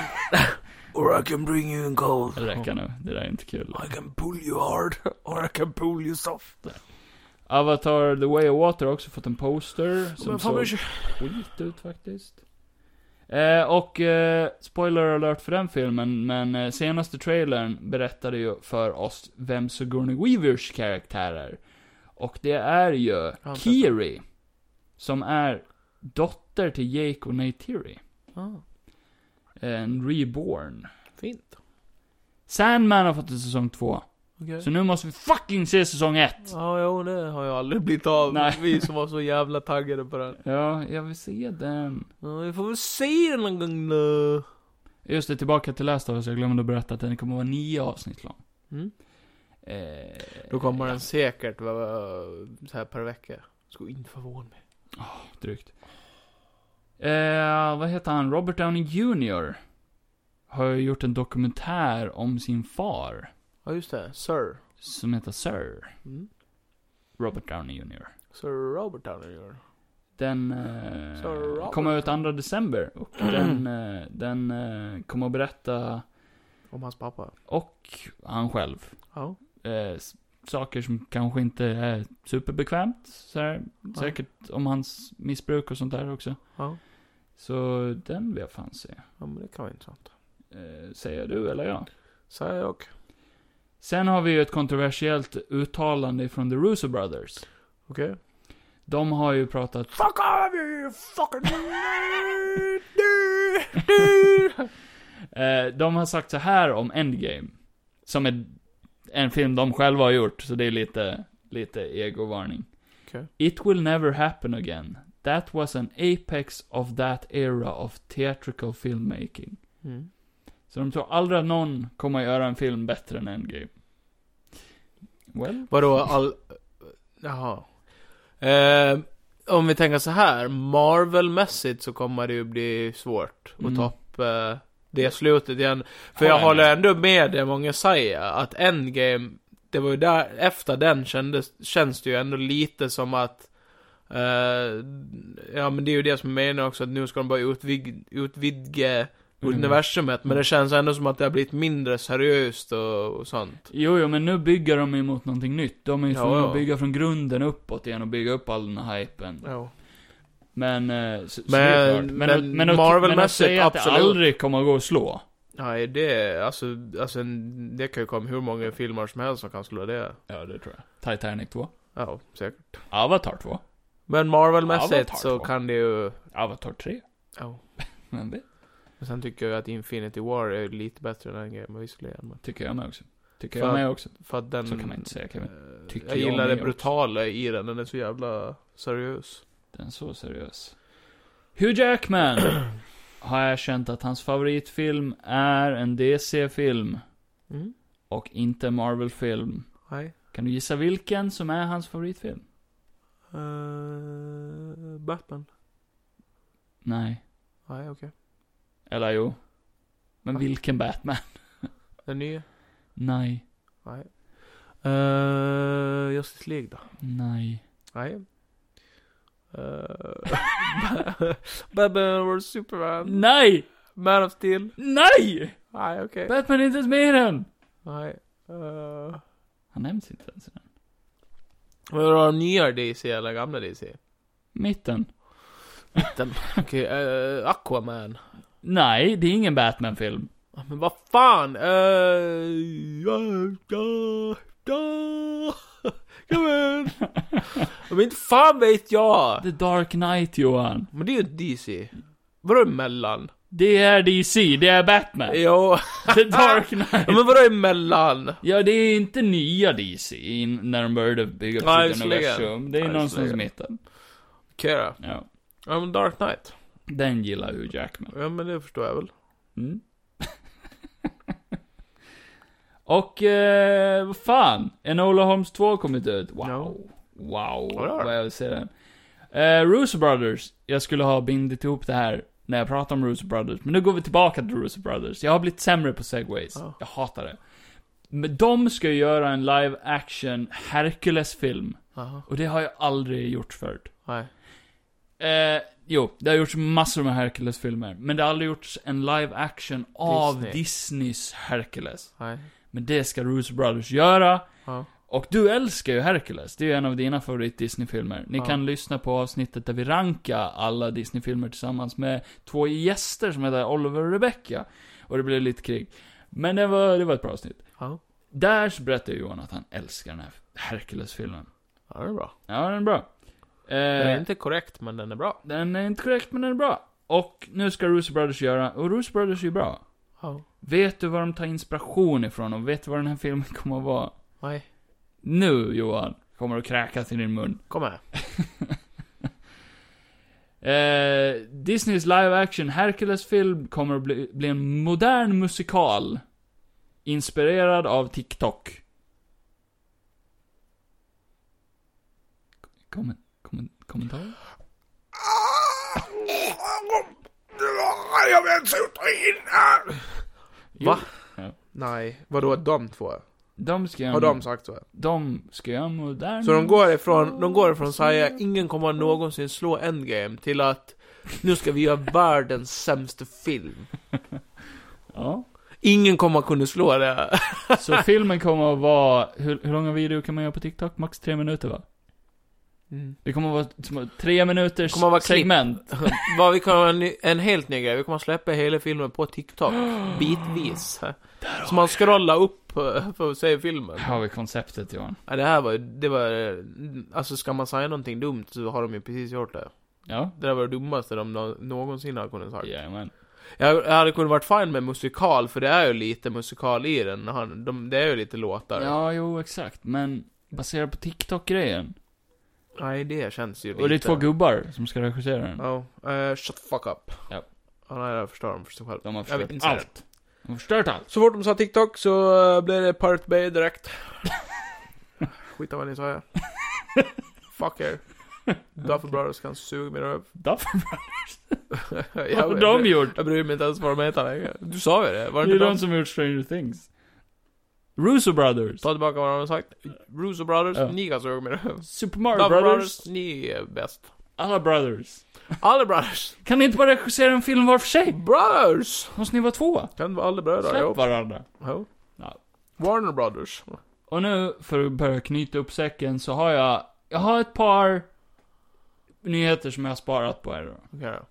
Speaker 3: Or I can bring you in cold.
Speaker 2: Det räcker nu. Det där är inte kul.
Speaker 3: I can pull you hard. Or I can pull you soft.
Speaker 2: Avatar The Way of Water har också fått en poster. Som
Speaker 3: Men fan,
Speaker 2: såg skit ut faktiskt. Eh, och eh, spoiler alert för den filmen, men eh, senaste trailern berättade ju för oss vem Sigourney Weavers karaktär är. Och det är ju
Speaker 3: har inte
Speaker 2: Kiri. Som är dotter till Jake och Neytiri.
Speaker 3: Ah,
Speaker 2: En reborn.
Speaker 3: fint.
Speaker 2: Sandman har fått en säsong två.
Speaker 3: Okej.
Speaker 2: Så nu måste vi fucking se säsong ett!
Speaker 3: Ja, jo, det har jag aldrig blivit av.
Speaker 2: Nej.
Speaker 3: Vi som var så jävla taggade på den.
Speaker 2: Ja, jag vill se den.
Speaker 3: Ja, vi får väl se den någon gång då.
Speaker 2: Just det, tillbaka till Last of Us. Jag glömde att berätta att den kommer att vara nio avsnitt lång.
Speaker 3: Mm.
Speaker 2: Eh,
Speaker 3: Då kommer den säkert vara eh, så här per vecka. Skulle inte förvåna mig.
Speaker 2: Drygt. Eh, vad heter han? Robert Downey Jr. har ju gjort en dokumentär om sin far.
Speaker 3: Ja just det, Sir.
Speaker 2: Som heter Sir.
Speaker 3: Mm.
Speaker 2: Robert Downey Jr.
Speaker 3: Sir Robert Downey Jr.
Speaker 2: Den eh,
Speaker 3: Så Robert.
Speaker 2: kommer ut 2 december. Och den, eh, den eh, kommer att berätta,
Speaker 3: Om hans pappa.
Speaker 2: och han själv,
Speaker 3: Ja.
Speaker 2: eh, s- saker som kanske inte är superbekvämt. Så här,
Speaker 3: Ja.
Speaker 2: Säkert om hans missbruk och sånt där också.
Speaker 3: Ja.
Speaker 2: Så den vill jag fan se.
Speaker 3: ja men det kan vara intressant.
Speaker 2: Eh, säger du eller jag?
Speaker 3: Säger jag.
Speaker 2: Sen har vi ju ett kontroversiellt uttalande från The Russo Brothers.
Speaker 3: Okej.
Speaker 2: De har ju pratat...
Speaker 3: Fuck off you fucking... Du, du.
Speaker 2: Eh, de har sagt så här om Endgame. Som är en film de själva har gjort, så det är lite, lite egovarning.
Speaker 3: Okej.
Speaker 2: It will never happen again. That was an apex of that era of theatrical filmmaking.
Speaker 3: Mm.
Speaker 2: Så de tror aldrig att någon kommer att göra en film bättre än Endgame. Well,
Speaker 3: Vadå all... Jaha. Eh, om vi tänker så här, Marvel-mässigt så kommer det ju bli svårt att
Speaker 2: Mm.
Speaker 3: ta upp eh, det slutet igen. För
Speaker 2: Ja,
Speaker 3: jag
Speaker 2: ja,
Speaker 3: håller
Speaker 2: ja.
Speaker 3: ändå med det många säger, att Endgame, det var ju där, efter den kändes, känns det ju ändå lite som att eh, ja men det är ju det som jag menar också, att nu ska de bara utvid, utvidga
Speaker 2: Mm.
Speaker 3: universumet, men det känns ändå som att det har blivit mindre seriöst och, och sånt.
Speaker 2: Jo, jo, men nu bygger de emot någonting nytt. De är ju
Speaker 3: Ja,
Speaker 2: tvungna
Speaker 3: ja.
Speaker 2: att bygga från grunden uppåt igen och bygga upp all den här hypen.
Speaker 3: Ja.
Speaker 2: Men, eh, så, men, så det är klart.
Speaker 3: Men-
Speaker 2: men,
Speaker 3: men
Speaker 2: att- men, att- men att
Speaker 3: Marvel-mässigt,
Speaker 2: säga att det
Speaker 3: absolut.
Speaker 2: aldrig kommer att gå att slå.
Speaker 3: Nej, det, alltså, alltså, en- det kan ju komma hur många filmer som helst som kan slå det.
Speaker 2: Ja, det tror jag. Titanic 2.
Speaker 3: Ja, säkert.
Speaker 2: Avatar 2.
Speaker 3: Men Marvel-mässigt
Speaker 2: Avatar
Speaker 3: så
Speaker 2: två.
Speaker 3: kan det ju...
Speaker 2: Avatar 3.
Speaker 3: Ja.
Speaker 2: Men det
Speaker 3: Men sen tycker jag att Infinity War är lite bättre än Endgame visserligen. Men
Speaker 2: tycker jag med också. Tycker
Speaker 3: För-
Speaker 2: jag med också.
Speaker 3: för att den...
Speaker 2: Så kan man inte säga, Kevin.
Speaker 3: eh,
Speaker 2: Tycker
Speaker 3: jag
Speaker 2: jag
Speaker 3: gillar
Speaker 2: med
Speaker 3: det brutala i den, den är så jävla seriös.
Speaker 2: Den är så seriös. Hugh Jackman har erkänt att hans favoritfilm är en DC-film
Speaker 3: Mm.
Speaker 2: och inte en Marvel-film.
Speaker 3: Nej.
Speaker 2: Kan du gissa vilken som är hans favoritfilm?
Speaker 3: Eh, Batman.
Speaker 2: Nej.
Speaker 3: Nej, okej.
Speaker 2: Eller jo. Men
Speaker 3: Va?
Speaker 2: vilken Batman?
Speaker 3: Den nya?
Speaker 2: Nej.
Speaker 3: Nej. Uh, Justice League då?
Speaker 2: Nej.
Speaker 3: Nej. Eh, Batman vs Superman.
Speaker 2: Nej!
Speaker 3: Man of Steel?
Speaker 2: Nej!
Speaker 3: Nej, okej.
Speaker 2: Batman är inte ens med i den!
Speaker 3: Nej. Uh...
Speaker 2: Han nämns inte ens i den.
Speaker 3: Men var de nya DC eller gamla DC?
Speaker 2: Mitten.
Speaker 3: Okej, eh, Aquaman.
Speaker 2: Nej, det är ingen Batman-film.
Speaker 3: Ah, Men vad fan! Uh... Ja, ja, ja. Kom igen! Men inte fan vet jag!
Speaker 2: The Dark Knight, Johan.
Speaker 3: Men det är ju DC. Vadå emellan?
Speaker 2: Det är DC, det är Batman.
Speaker 3: Jo.
Speaker 2: The Dark
Speaker 3: Ja,
Speaker 2: Knight.
Speaker 3: men vadå emellan?
Speaker 2: Ja, det är inte nya DC in, när de började bygga
Speaker 3: Nej,
Speaker 2: upp sitt
Speaker 3: visserligen.
Speaker 2: universum. Det är
Speaker 3: Nej,
Speaker 2: någonstans i
Speaker 3: visserligen.
Speaker 2: mitten.
Speaker 3: Okej då.
Speaker 2: Ja.
Speaker 3: Ja men Dark Knight.
Speaker 2: Den gillar Hugh Jackman.
Speaker 3: Ja men det förstår jag väl.
Speaker 2: Mm. Och, eh, vad fan? Enola Holmes 2 har kommit ut. Wow.
Speaker 3: Ja.
Speaker 2: Wow,
Speaker 3: Ja, det har
Speaker 2: vad jag vill se den. Eh, Russo Brothers. Jag skulle ha bindit ihop det här när jag pratade om Russo Brothers, men nu går vi tillbaka till Russo Brothers. Jag har blivit sämre på segways.
Speaker 3: Ja.
Speaker 2: Jag hatar det. Men de ska ju göra en live action Hercules-film.
Speaker 3: Jaha.
Speaker 2: Och det har jag aldrig gjort förut.
Speaker 3: Nej.
Speaker 2: Eh, jo, det har gjorts massor med Hercules-filmer. Men det har aldrig gjorts en live action av
Speaker 3: Disney.
Speaker 2: Disneys Hercules.
Speaker 3: Nej.
Speaker 2: Men det ska Russo Brothers göra.
Speaker 3: Ja.
Speaker 2: Och du älskar ju Hercules, det är ju en av dina favorit Disney-filmer. Ni
Speaker 3: Ja.
Speaker 2: kan lyssna på avsnittet där vi rankar alla Disney-filmer tillsammans med två gäster som heter Oliver och Rebecca. Och det blev lite krig. Men det var, det var ett bra avsnitt.
Speaker 3: Ja.
Speaker 2: Där så berättade Johan att han älskar den här Hercules-filmen.
Speaker 3: Ja det är bra.
Speaker 2: Ja, den är bra.
Speaker 3: Den är
Speaker 2: Eh,
Speaker 3: inte korrekt men den är bra.
Speaker 2: den är inte korrekt, men den är bra. Och nu ska Russo Brothers göra, och Russo Brothers är ju bra.
Speaker 3: Ja.
Speaker 2: Vet du var de tar inspiration ifrån och vet du vad den här filmen kommer att vara?
Speaker 3: Nej.
Speaker 2: Nu, Johan, kommer du kräkas i din mun.
Speaker 3: Kom här.
Speaker 2: Eh, Disneys live action Hercules-film kommer att bli, bli en modern musikal. Inspirerad av TikTok. Kom, kom, kommentar?
Speaker 4: Jag vet inte in här.
Speaker 2: Jo,
Speaker 3: Va?
Speaker 2: Ja.
Speaker 3: Nej, vadå de två?
Speaker 2: De ska
Speaker 3: Har de sagt så?
Speaker 2: De ska göra moderna...
Speaker 3: Så de går ifrån, de går ifrån Saja, ingen kommer någonsin slå Endgame, till att nu ska vi göra världens sämsta film.
Speaker 2: Ja.
Speaker 3: Ingen kommer kunna slå det.
Speaker 2: Så filmen kommer att vara, hur, hur långa video kan man göra på TikTok? Max tre minuter va?
Speaker 3: Mm.
Speaker 2: Det kommer att vara små, tre minuters
Speaker 3: Kommer att vara klipp.
Speaker 2: segment.
Speaker 3: Vad vi kommer ha en, ny- en helt ny grej, vi kommer släppa hela filmen på TikTok, bitvis. Så man scrollar upp eh, för att se filmen.
Speaker 2: Här har vi konceptet Johan.
Speaker 3: Ja, det här var ju, det var, eh, alltså ska man säga någonting dumt så har de ju precis gjort det.
Speaker 2: Ja.
Speaker 3: Det där var det dummaste de nå- någonsin har kunnat sagt.
Speaker 2: Jajamän.
Speaker 3: Jag, jag hade kunnat varit fine med musikal, för det är ju lite musikal i den. Han, de, det är ju lite låtar.
Speaker 2: Ja, jo exakt. Men baserat på TikTok-grejen.
Speaker 3: Nej, det känns ju lite...
Speaker 2: Och det är två gubbar som ska regissera den.
Speaker 3: Ja, eh, shut the fuck up.
Speaker 2: Ja.
Speaker 3: Ja, nej, jag förstår dem för sig själv.
Speaker 2: De har
Speaker 3: Jag vet
Speaker 2: förstört
Speaker 3: inte
Speaker 2: allt. De har förstört allt.
Speaker 3: Så fort de sa TikTok så eh, blev det Pirate Bay direkt. Skit av vad ni sa ja. Fuck er. Duffer Brothers kan suga min röv.
Speaker 2: Duffer
Speaker 3: Brothers?
Speaker 2: Vad har de gjort?
Speaker 3: Jag bryr mig inte ens vad de heter längre. Du sa ju det,
Speaker 2: Det
Speaker 3: var det
Speaker 2: är
Speaker 3: inte
Speaker 2: de
Speaker 3: de?
Speaker 2: som har gjort Stranger Things. Russo Brothers.
Speaker 3: Ta tillbaka vad de har sagt. Russo Brothers,
Speaker 2: Ja.
Speaker 3: ni kan suga min röv.
Speaker 2: Super Mario
Speaker 3: Duffer
Speaker 2: Brothers.
Speaker 3: Brothers. ni är bäst.
Speaker 2: Alla Brothers.
Speaker 3: Alla Brothers!
Speaker 2: Kan ni inte bara regissera en film var för sig?
Speaker 3: Brothers!
Speaker 2: Måste ni vara två?
Speaker 3: Kan vara alla bröder
Speaker 2: Släpp
Speaker 3: ihop.
Speaker 2: varandra.
Speaker 3: Ja.
Speaker 2: Ja.
Speaker 3: Warner Brothers.
Speaker 2: Och nu, för att börja knyta upp säcken, så har jag, jag har ett par nyheter som jag har sparat på här då.
Speaker 3: Okej då.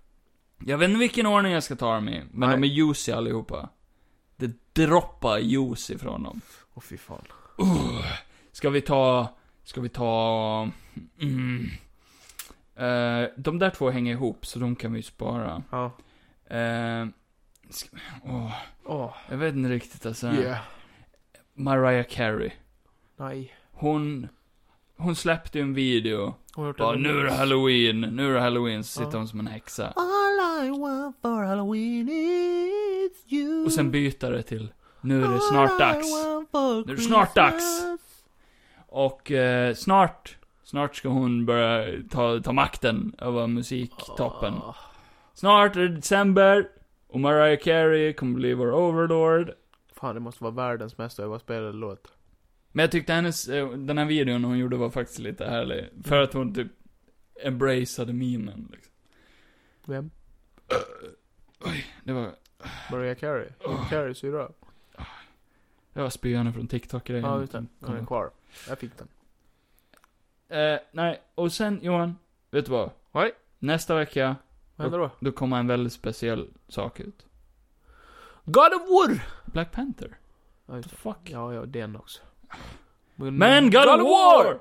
Speaker 2: Jag vet inte vilken ordning jag ska ta dem i, men
Speaker 3: Nej.
Speaker 2: de är juicy allihopa. Det droppar juice ifrån dem.
Speaker 3: Åh fy fan.
Speaker 2: Ska vi ta, ska vi ta, mm, eh, de där två hänger ihop, så de kan vi spara.
Speaker 3: Ja.
Speaker 2: Eh, ska, åh,
Speaker 3: Åh,
Speaker 2: jag vet inte riktigt alltså.
Speaker 3: yeah.
Speaker 2: Mariah Carey.
Speaker 3: Nej.
Speaker 2: Hon, hon släppte ju en video.
Speaker 3: Hon har gjort
Speaker 2: Bara,
Speaker 3: en-
Speaker 2: nu är det halloween, nu är det halloween, så sitter
Speaker 3: Ja.
Speaker 2: hon som en häxa.
Speaker 1: All I want for Halloween is you.
Speaker 2: Och sen byter det till, nu är det
Speaker 3: Ah.
Speaker 2: snart dags. Nu är det snart dags. Och eh, snart, snart ska hon börja ta, ta makten över musiktoppen.
Speaker 3: Ah.
Speaker 2: Snart är det december, och Mariah Carey kommer bli vår overlord.
Speaker 3: Fan, det måste vara världens mest överspelade låt.
Speaker 2: Men jag tyckte hennes, eh, den här videon hon gjorde var faktiskt lite härlig. För att hon typ embraceade memen liksom.
Speaker 3: Vem?
Speaker 2: Det var,
Speaker 3: Mariah Carey? Carey syrra?
Speaker 2: det var spyande från TikTok-grejen.
Speaker 3: Ja, just det.
Speaker 2: som kom
Speaker 3: Den är
Speaker 2: upp.
Speaker 3: kvar. Jag fick den.
Speaker 2: Eh, nej, och sen Johan, vet du vad?
Speaker 3: Nej.
Speaker 2: Nästa vecka,
Speaker 3: Vad händer då?
Speaker 2: då kommer en väldigt speciell sak ut.
Speaker 3: God of War!
Speaker 2: Black Panther.
Speaker 3: Ja, just
Speaker 2: The
Speaker 3: det.
Speaker 2: fuck?
Speaker 3: Ja, ja, den också.
Speaker 2: Men God, of War!
Speaker 3: Oj.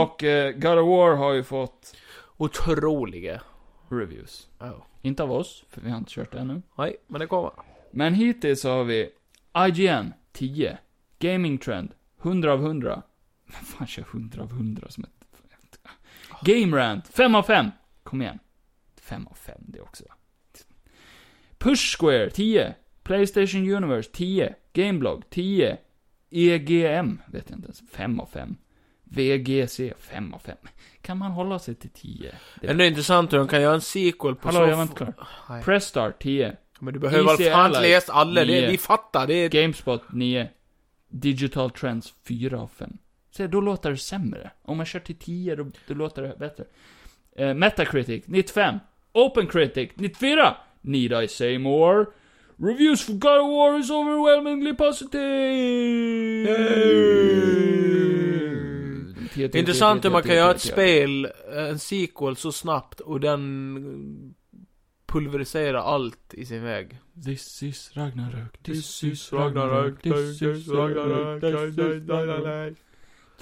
Speaker 2: Och eh, God of War har ju fått
Speaker 3: Otroliga.
Speaker 2: reviews.
Speaker 3: Ja.
Speaker 2: Inte av oss, för vi har inte kört det ännu.
Speaker 3: Nej, men det kommer.
Speaker 2: Men hittills så har vi IGN 10, Gaming Trend 100 av 100. Vem fan kör 100 av 100 som ett... Game Rant 5 av 5. Kom igen. 5 av 5 det också. Push Square 10, Playstation Universe 10, Gameblog 10, EGM vet jag inte ens, 5 av 5. VGC 5 av 5. Kan man hålla sig till 10?
Speaker 3: Det är intressant hur de kan göra en sequel på
Speaker 2: Hallå,
Speaker 3: så
Speaker 2: jag var inte klar.
Speaker 3: Nej.
Speaker 2: Pressstart 10,
Speaker 3: Men du behöver
Speaker 2: Easy
Speaker 3: väl fan inte
Speaker 2: Allies.
Speaker 3: läsa alla, det,
Speaker 2: Yeah.
Speaker 3: vi fattar. Det är...
Speaker 2: Gamespot 9. Digital Trends 4 av 5. Så då låter det sämre. Om man kör till 10 då, då låter det bättre. Eh, Metacritic 95. Open Critic 94. Need I say more? Reviews for God of War is overwhelmingly positive! Tio,
Speaker 3: Det
Speaker 2: tio,
Speaker 3: är intressant
Speaker 2: tio,
Speaker 3: hur man
Speaker 2: tio,
Speaker 3: kan
Speaker 2: tio,
Speaker 3: göra ett
Speaker 2: tio, tio.
Speaker 3: spel, eh, en sequel, så snabbt och den pulveriserar allt i sin väg.
Speaker 2: This is Ragnarök,
Speaker 3: This is Ragnarök, this is Ragnarök, this is Ragnarök.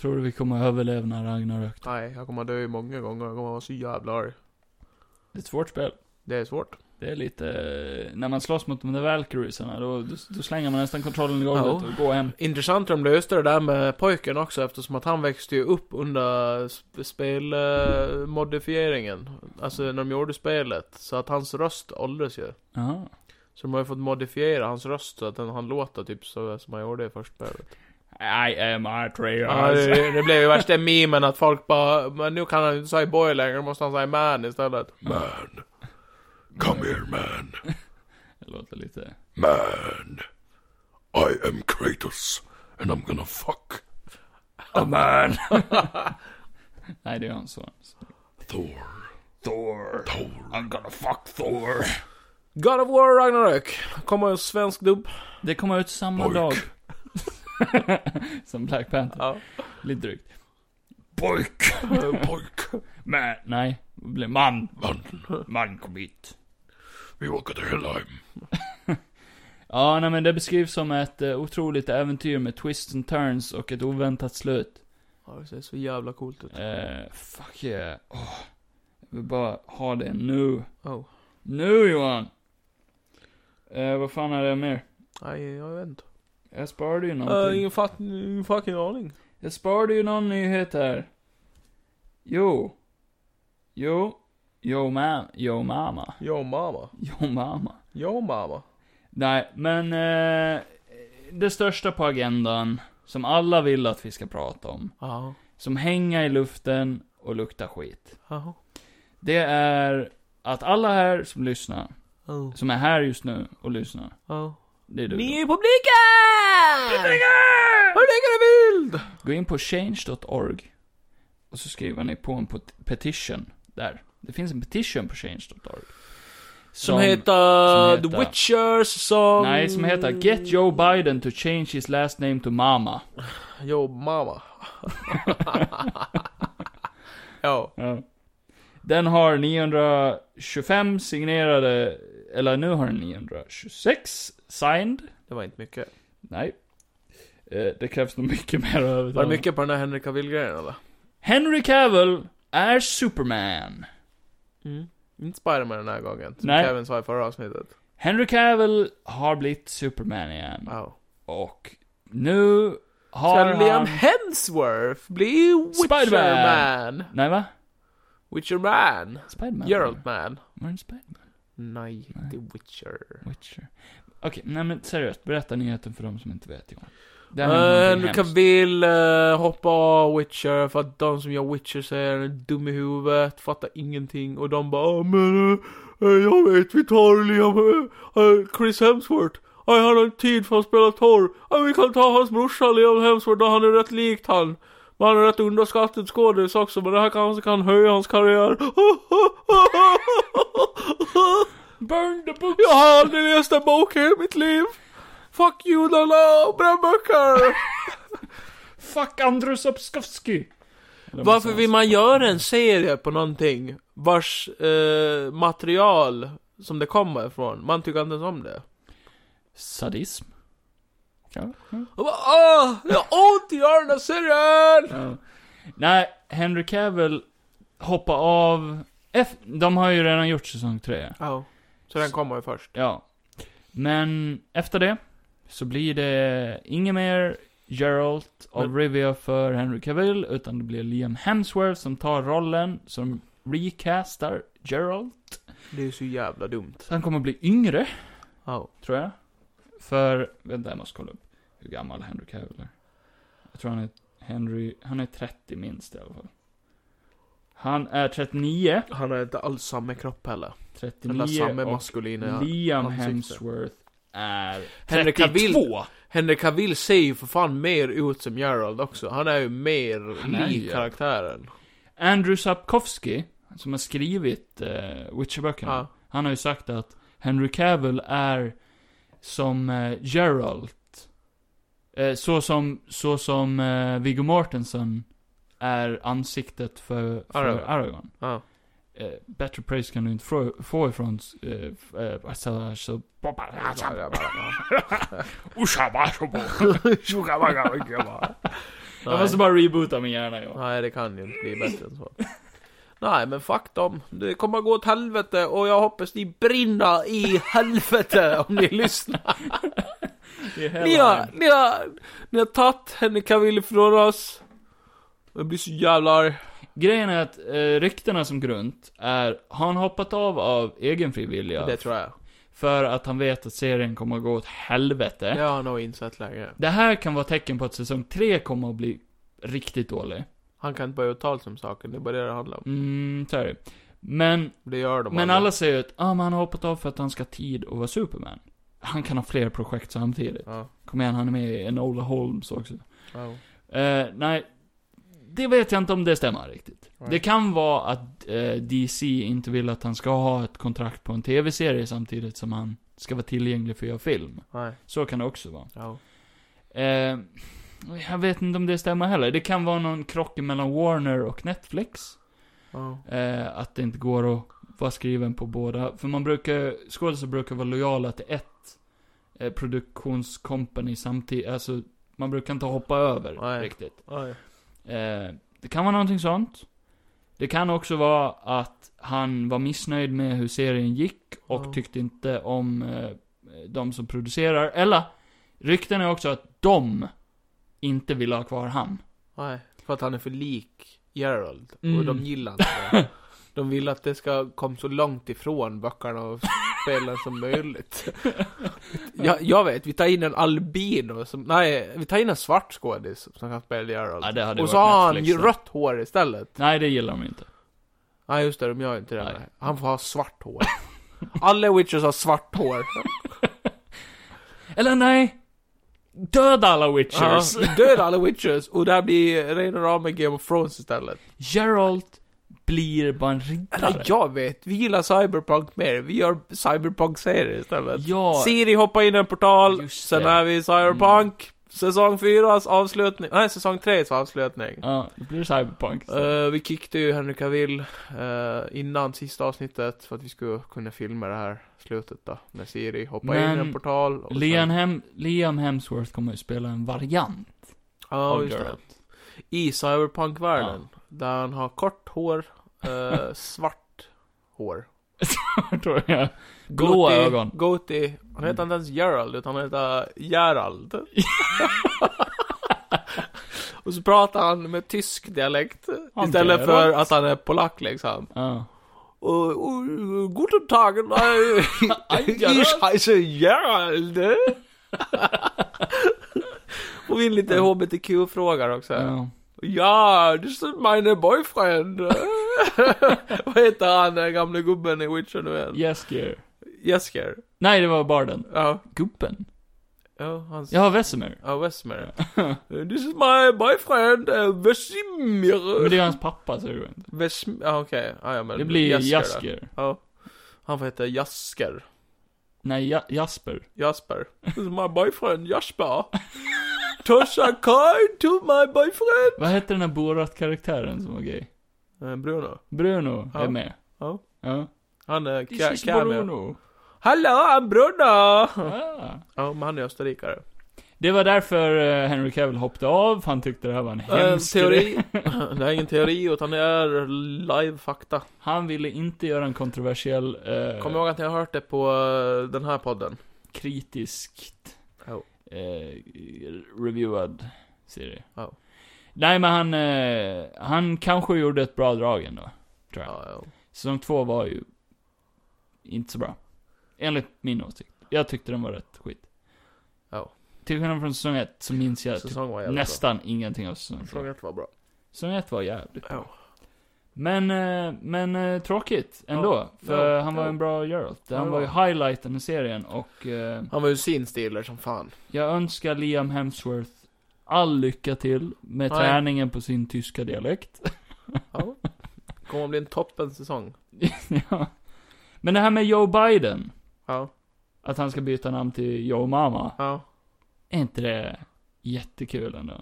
Speaker 2: Tror du vi kommer överleva när Ragnarök?
Speaker 3: Nej, jag kommer dö många gånger, jag kommer vara så jävla arg.
Speaker 2: Det är ett svårt spel.
Speaker 3: Det är svårt.
Speaker 2: Det är lite, eh, när man slåss mot de där Valkyriesarna, då, då, då slänger man nästan kontrollen i golvet
Speaker 3: Ja.
Speaker 2: och går hem.
Speaker 3: Intressant hur de löste det där med pojken också eftersom att han växte ju upp under sp- spelmodifieringen. Alltså när de gjorde spelet. Så att hans röst åldras ju.
Speaker 2: Jaha.
Speaker 3: Så de har ju fått modifiera hans röst så att den, han låter typ så som han gjorde i första spelet.
Speaker 2: I am Atreus.
Speaker 3: Ja, det, det blev ju värsta memen att folk bara Men nu kan han ju inte säga boy längre, nu måste han säga man istället.
Speaker 4: Man. Come here, man.
Speaker 2: Det låter lite...
Speaker 4: Man.
Speaker 5: am Kratos and I'm gonna fuck a man.
Speaker 2: Nej, det är hans son.
Speaker 5: Thor. Thor. Thor. I'm gonna fuck Thor.
Speaker 3: God of War Ragnarök. Kommer en svensk dubb.
Speaker 2: Det kommer ut samma
Speaker 5: Pojk.
Speaker 2: dag. Som Black Panther.
Speaker 3: Ja.
Speaker 2: Lite drygt.
Speaker 5: Pojk. Pojk.
Speaker 2: Men, nej. Det blir Man.
Speaker 5: Man.
Speaker 2: Man, kom hit.
Speaker 5: Vi åker till Helheim.
Speaker 2: Ja, nej men det beskrivs som ett eh, otroligt äventyr med twists and turns och ett oväntat slut.
Speaker 3: ja, det ser så jävla coolt ut.
Speaker 2: Eh, fuck yeah. Åh. Jag vill bara ha det nu.
Speaker 3: Oh.
Speaker 2: Nu Johan! Eh, vad fan är det mer?
Speaker 3: Nej, jag vet inte.
Speaker 2: Jag sparade ju
Speaker 3: Uh,
Speaker 2: någonting.
Speaker 3: ingen, fat, ingen fucking aning.
Speaker 2: Jag sparade ju någon nyhet här. Jo. Jo. Jo ma Jo mamma.
Speaker 3: Yo mama.
Speaker 2: Jo mamma.
Speaker 3: Yo mama.
Speaker 2: Nej, men eh, det största på agendan, som alla vill att vi ska prata om,
Speaker 3: Ja.
Speaker 2: som hänger i luften och luktar skit.
Speaker 3: Jaha.
Speaker 2: Det är att alla här som lyssnar,
Speaker 3: Oh.
Speaker 2: som är här just nu och lyssnar,
Speaker 3: Oh.
Speaker 2: det är du.
Speaker 3: Ni i publiken! Publiken! Hur lägger en bild?
Speaker 2: Gå in på change.org och så skriver ni på en pot- petition där. Det finns en petition på change.org.
Speaker 3: Som, heter
Speaker 2: som heter-
Speaker 3: The Witchers som...
Speaker 2: Nej, som heter 'Get Joe Biden to change his last name to mama'
Speaker 3: Yo mama. ja.
Speaker 2: Den har 925 signerade, eller nu har den 926 signed.
Speaker 3: Det var inte mycket.
Speaker 2: Nej. Eh, Det krävs nog mycket mer
Speaker 3: Var det
Speaker 2: övertalning.
Speaker 3: mycket på den där Henrik Cavill-grejen eller?
Speaker 2: Henry Cavill är Superman.
Speaker 3: Mm. Inte Spiderman den här gången. Som
Speaker 2: Nej.
Speaker 3: Kevin sa i förra avsnittet.
Speaker 2: Henry Cavill har blivit Superman igen.
Speaker 3: Wow.
Speaker 2: Och nu har
Speaker 3: Ska Liam
Speaker 2: han...
Speaker 3: Hemsworth bli Witcherman?
Speaker 2: Spiderman. Nej va?
Speaker 3: Witcherman?
Speaker 2: Spiderman?
Speaker 3: Geraltman?
Speaker 2: Var det en Spiderman?
Speaker 3: Nej, det är Witcher.
Speaker 2: Witcher. Okej, nej men seriöst. Berätta nyheten för de som inte vet Johan. Det här är
Speaker 3: Uh,
Speaker 2: någonting
Speaker 3: nu
Speaker 2: hemskt.
Speaker 3: kan Bill eh, hoppa av Witcher för att de som gör Witcher säger han är dum i huvudet, fattar ingenting och de bara "Ah, men eh, eh, jag vet vi tar Liam, eh, eh, Chris Hemsworth. Aj, han har inte tid för att spela torr. Aj, vi kan ta hans brorsa Liam Hemsworth, då han är rätt likt han. Men han är rätt underskattad skådis också, men det här kanske kan höja hans karriär.
Speaker 2: Burn the book!
Speaker 3: Jag har aldrig läst en bok i hela mitt liv. Fuck judarna och brännböcker.
Speaker 2: Fuck Andrus Obskowski!
Speaker 3: Varför vill man göra en serie på någonting vars eh, material som det kommer ifrån, man tycker inte ens om det?
Speaker 2: Sadism? Ja.
Speaker 3: Jag bara, Åh, jag har ont i göra den här serien!
Speaker 2: ja. Nej, Henry Cavill hoppar av... F- de har ju redan gjort säsong 3.
Speaker 3: Ja, så den kommer ju först.
Speaker 2: Ja. Men efter det så blir det inget mer Geralt av
Speaker 3: Men-
Speaker 2: Rivia för Henry Cavill, utan det blir Liam Hemsworth som tar rollen som recastar Geralt.
Speaker 3: Det är så jävla dumt.
Speaker 2: Så han kommer bli yngre,
Speaker 3: Ja.
Speaker 2: tror jag. För, vänta jag måste kolla upp hur gammal Henry Cavill är. Jag tror han är, Henry, han är 30 minst i alla fall. Han är 39.
Speaker 3: Han har inte alls samma kropp heller. Den där
Speaker 2: 39
Speaker 3: samma
Speaker 2: och
Speaker 3: maskulina...
Speaker 2: Liam
Speaker 3: ansikte.
Speaker 2: Hemsworth är
Speaker 3: Henry
Speaker 2: 32.
Speaker 3: Cavill- Henry Cavill ser ju för fan mer ut som Gerald också. Han är ju mer
Speaker 2: Han är ju-
Speaker 3: lik karaktären.
Speaker 2: Andrew Sapkowski, som har skrivit eh, Witcher-böckerna,
Speaker 3: Ja.
Speaker 2: han har ju sagt att Henry Cavill är som eh, Geralt. Eh, så som, så som eh, Viggo Mortensen är ansiktet för, för
Speaker 3: Aragorn.
Speaker 2: Aragorn.
Speaker 3: Ja.
Speaker 2: Eh, bättre praise kan du inte få, få ifrån... Eh, f- eh, alltså, alltså, jag måste bara reboota min hjärna, jag.
Speaker 3: Nej, det kan ju inte bli bättre än så. Nej, men fuck dem. Det kommer gå åt helvete och jag hoppas ni brinner i helvete om ni lyssnar.
Speaker 2: Det är
Speaker 3: Ni
Speaker 2: hela-
Speaker 3: har, ni har, ni har tagit Henrik Cavill från oss. Jag blir så jävla arg.
Speaker 2: Grejen är att eh, ryktena som grunt är, har han hoppat av av egen frivilliga?
Speaker 3: Det tror jag.
Speaker 2: För att han vet att serien kommer att gå åt helvete.
Speaker 3: Det har han nog insett längre.
Speaker 2: Det här kan vara tecken på att säsong 3 kommer att bli riktigt dålig.
Speaker 3: Han kan inte börja uttala sig om saken, det är bara det det handlar om.
Speaker 2: Mm, så är det. Men,
Speaker 3: Det gör de
Speaker 2: men
Speaker 3: aldrig.
Speaker 2: alla säger att ah, men han har hoppat av för att han ska ha tid att vara Superman. Han kan ha flera projekt samtidigt.
Speaker 3: Ja. Oh,
Speaker 2: Kom igen, han är med i Enola Holmes också.
Speaker 3: Ja.
Speaker 2: Eh, nej, det vet jag inte om det stämmer riktigt.
Speaker 3: Nej.
Speaker 2: Det kan vara att eh, DC inte vill att han ska ha ett kontrakt på en TV-serie samtidigt som han ska vara tillgänglig för att göra film.
Speaker 3: Nej. Oh,
Speaker 2: Så kan det också vara.
Speaker 3: Ja.
Speaker 2: Eh, jag vet inte om det stämmer heller. Det kan vara någon krock mellan Warner och Netflix.
Speaker 3: Ja.
Speaker 2: Eh, att det inte går att vara skriven på båda. För man brukar, skådespelare brukar vara lojala till ett eh, produktionscompany samtidigt. Alltså, man brukar inte hoppa över
Speaker 3: Nej.
Speaker 2: riktigt.
Speaker 3: Ja.
Speaker 2: Eh, det kan vara någonting sånt. Det kan också vara att han var missnöjd med hur serien gick och
Speaker 3: Ja.
Speaker 2: tyckte inte om eh, de som producerar. Eller, rykten är också att de inte vill ha kvar han.
Speaker 3: Nej. För att han är för lik Gerald.
Speaker 2: Mm.
Speaker 3: Och de gillar inte det. De vill att det ska komma så långt ifrån böckerna och spelen som möjligt. Jag, jag vet, vi tar in en albino som, nej, vi tar in en svart skådis som kan spela Gerald.
Speaker 2: Ja, det hade
Speaker 3: och
Speaker 2: varit
Speaker 3: så har han
Speaker 2: Netflix
Speaker 3: ju
Speaker 2: då.
Speaker 3: rött hår istället.
Speaker 2: Nej, det gillar de inte.
Speaker 3: Nej just det, de gör inte det.
Speaker 2: Nej.
Speaker 3: Nej. Han får ha svart hår. Alla witches har svart hår.
Speaker 2: Eller nej! Döda alla witchers!
Speaker 3: Ja, Döda alla witches och där blir ren och rama Game of Thrones istället.
Speaker 2: Gerald blir bara en riddare.
Speaker 3: Eller jag vet, vi gillar cyberpunk mer. Vi gör cyberpunk-serier istället.
Speaker 2: Ja.
Speaker 3: Siri hoppar in i en portal,
Speaker 2: Just
Speaker 3: sen
Speaker 2: det.
Speaker 3: är vi i cyberpunk. Säsong 4s avslutning, nej säsong 3s avslutning.
Speaker 2: Ja, det blir cyberpunk.
Speaker 3: Eh, vi kickade ju Henry Cavill eh, innan sista avsnittet för att vi skulle kunna filma det här slutet då. När Siri hoppar in
Speaker 2: Men
Speaker 3: i en portal. och sen-
Speaker 2: Liam, Hem Liam Hemsworth kommer ju spela en variant
Speaker 3: Ja,
Speaker 2: av
Speaker 3: just det.
Speaker 2: Gerald.
Speaker 3: I cyberpunk-världen. Där han har kort hår, eh, svart hår.
Speaker 2: Tror jag. Blåa
Speaker 3: Goatee-
Speaker 2: ögon.
Speaker 3: Goatee. Han heter inte ens Gerald, utan han heter Gerald. Och så pratar han med tysk dialekt.
Speaker 2: Han
Speaker 3: istället
Speaker 2: Gerald.
Speaker 3: för att han är polack liksom.
Speaker 2: Ja.
Speaker 3: Och, och, och, guten Tag, nej.
Speaker 2: Gerald.
Speaker 3: ich heiße Gerald. Och vi är lite HBTQ-frågor också.
Speaker 2: Ja.
Speaker 3: Ja, det är min boyfriend. Vad heter han den gamle gubben i Witcher nu igen?
Speaker 2: Yes, gear.
Speaker 3: Jesker.
Speaker 2: Nej, det var barden.
Speaker 3: Ja.
Speaker 2: Gubben.
Speaker 3: Ja, hans...
Speaker 2: Ja, Vesemir.
Speaker 3: Ja, Westmer. This is my boyfriend, uh, Vesimir.
Speaker 2: Men det är hans pappa, säger du inte.
Speaker 3: Vesim... Ja, okej. Ja, ja, men
Speaker 2: Det blir
Speaker 3: Jasker då.
Speaker 2: Jasker.
Speaker 3: Ja. Han får heta Jasker.
Speaker 2: Nej, ja Jasper.
Speaker 3: Jasper. This is my boyfriend, Jasper. Tosha kind to my boyfriend.
Speaker 2: Vad heter den här Borat-karaktären som var gay?
Speaker 3: Eh, Bruno.
Speaker 2: Bruno
Speaker 3: Ja.
Speaker 2: är med.
Speaker 3: Ja.
Speaker 2: Ja.
Speaker 3: Han är
Speaker 2: This
Speaker 3: ca-
Speaker 2: is
Speaker 3: cameo.
Speaker 2: Bruno.
Speaker 3: Hallå, han Bruno!
Speaker 2: Ah.
Speaker 3: Ja, men han är österrikare.
Speaker 2: Det var därför eh, Henry Cavill hoppade av, för han tyckte det här var en
Speaker 3: En
Speaker 2: hemsk grej.
Speaker 3: Eh, teori. det är ingen teori, utan det är live fakta.
Speaker 2: Han ville inte göra en kontroversiell, eh,
Speaker 3: Kom ihåg att ni har hört det på eh, den här podden.
Speaker 2: kritiskt
Speaker 3: Ja.
Speaker 2: eh, reviewad serie.
Speaker 3: Ja.
Speaker 2: Nej men han, eh, han kanske gjorde ett bra drag ändå. Tror jag.
Speaker 3: Ja, ja.
Speaker 2: Säsong två var ju inte så bra. Enligt min åsikt. Jag tyckte den var rätt skit.
Speaker 3: Ja.
Speaker 2: Till skillnad från säsong ett så minns jag typ
Speaker 3: Oh. Säsong var jävligt
Speaker 2: nästan ingenting av säsong
Speaker 3: bra. Säsong
Speaker 2: två.
Speaker 3: ett var bra.
Speaker 2: Säsong ett var jävligt
Speaker 3: Ja.
Speaker 2: Men, eh, men eh, tråkigt ändå. För
Speaker 3: Ja.
Speaker 2: han var
Speaker 3: Ja.
Speaker 2: en bra Geralt.
Speaker 3: Ja,
Speaker 2: Han
Speaker 3: det
Speaker 2: var ju
Speaker 3: var.
Speaker 2: highlighten i serien och eh,
Speaker 3: Han var ju sin stealer som fan.
Speaker 2: Jag önskar Liam Hemsworth all lycka till med
Speaker 3: Nej.
Speaker 2: träningen på sin tyska dialekt.
Speaker 3: Ja. Kommer att bli en toppen säsong.
Speaker 2: ja. Men det här med Joe Biden,
Speaker 3: Ja,
Speaker 2: att han ska byta namn till Joe Mama,
Speaker 3: ja.
Speaker 2: är inte det jättekul ändå?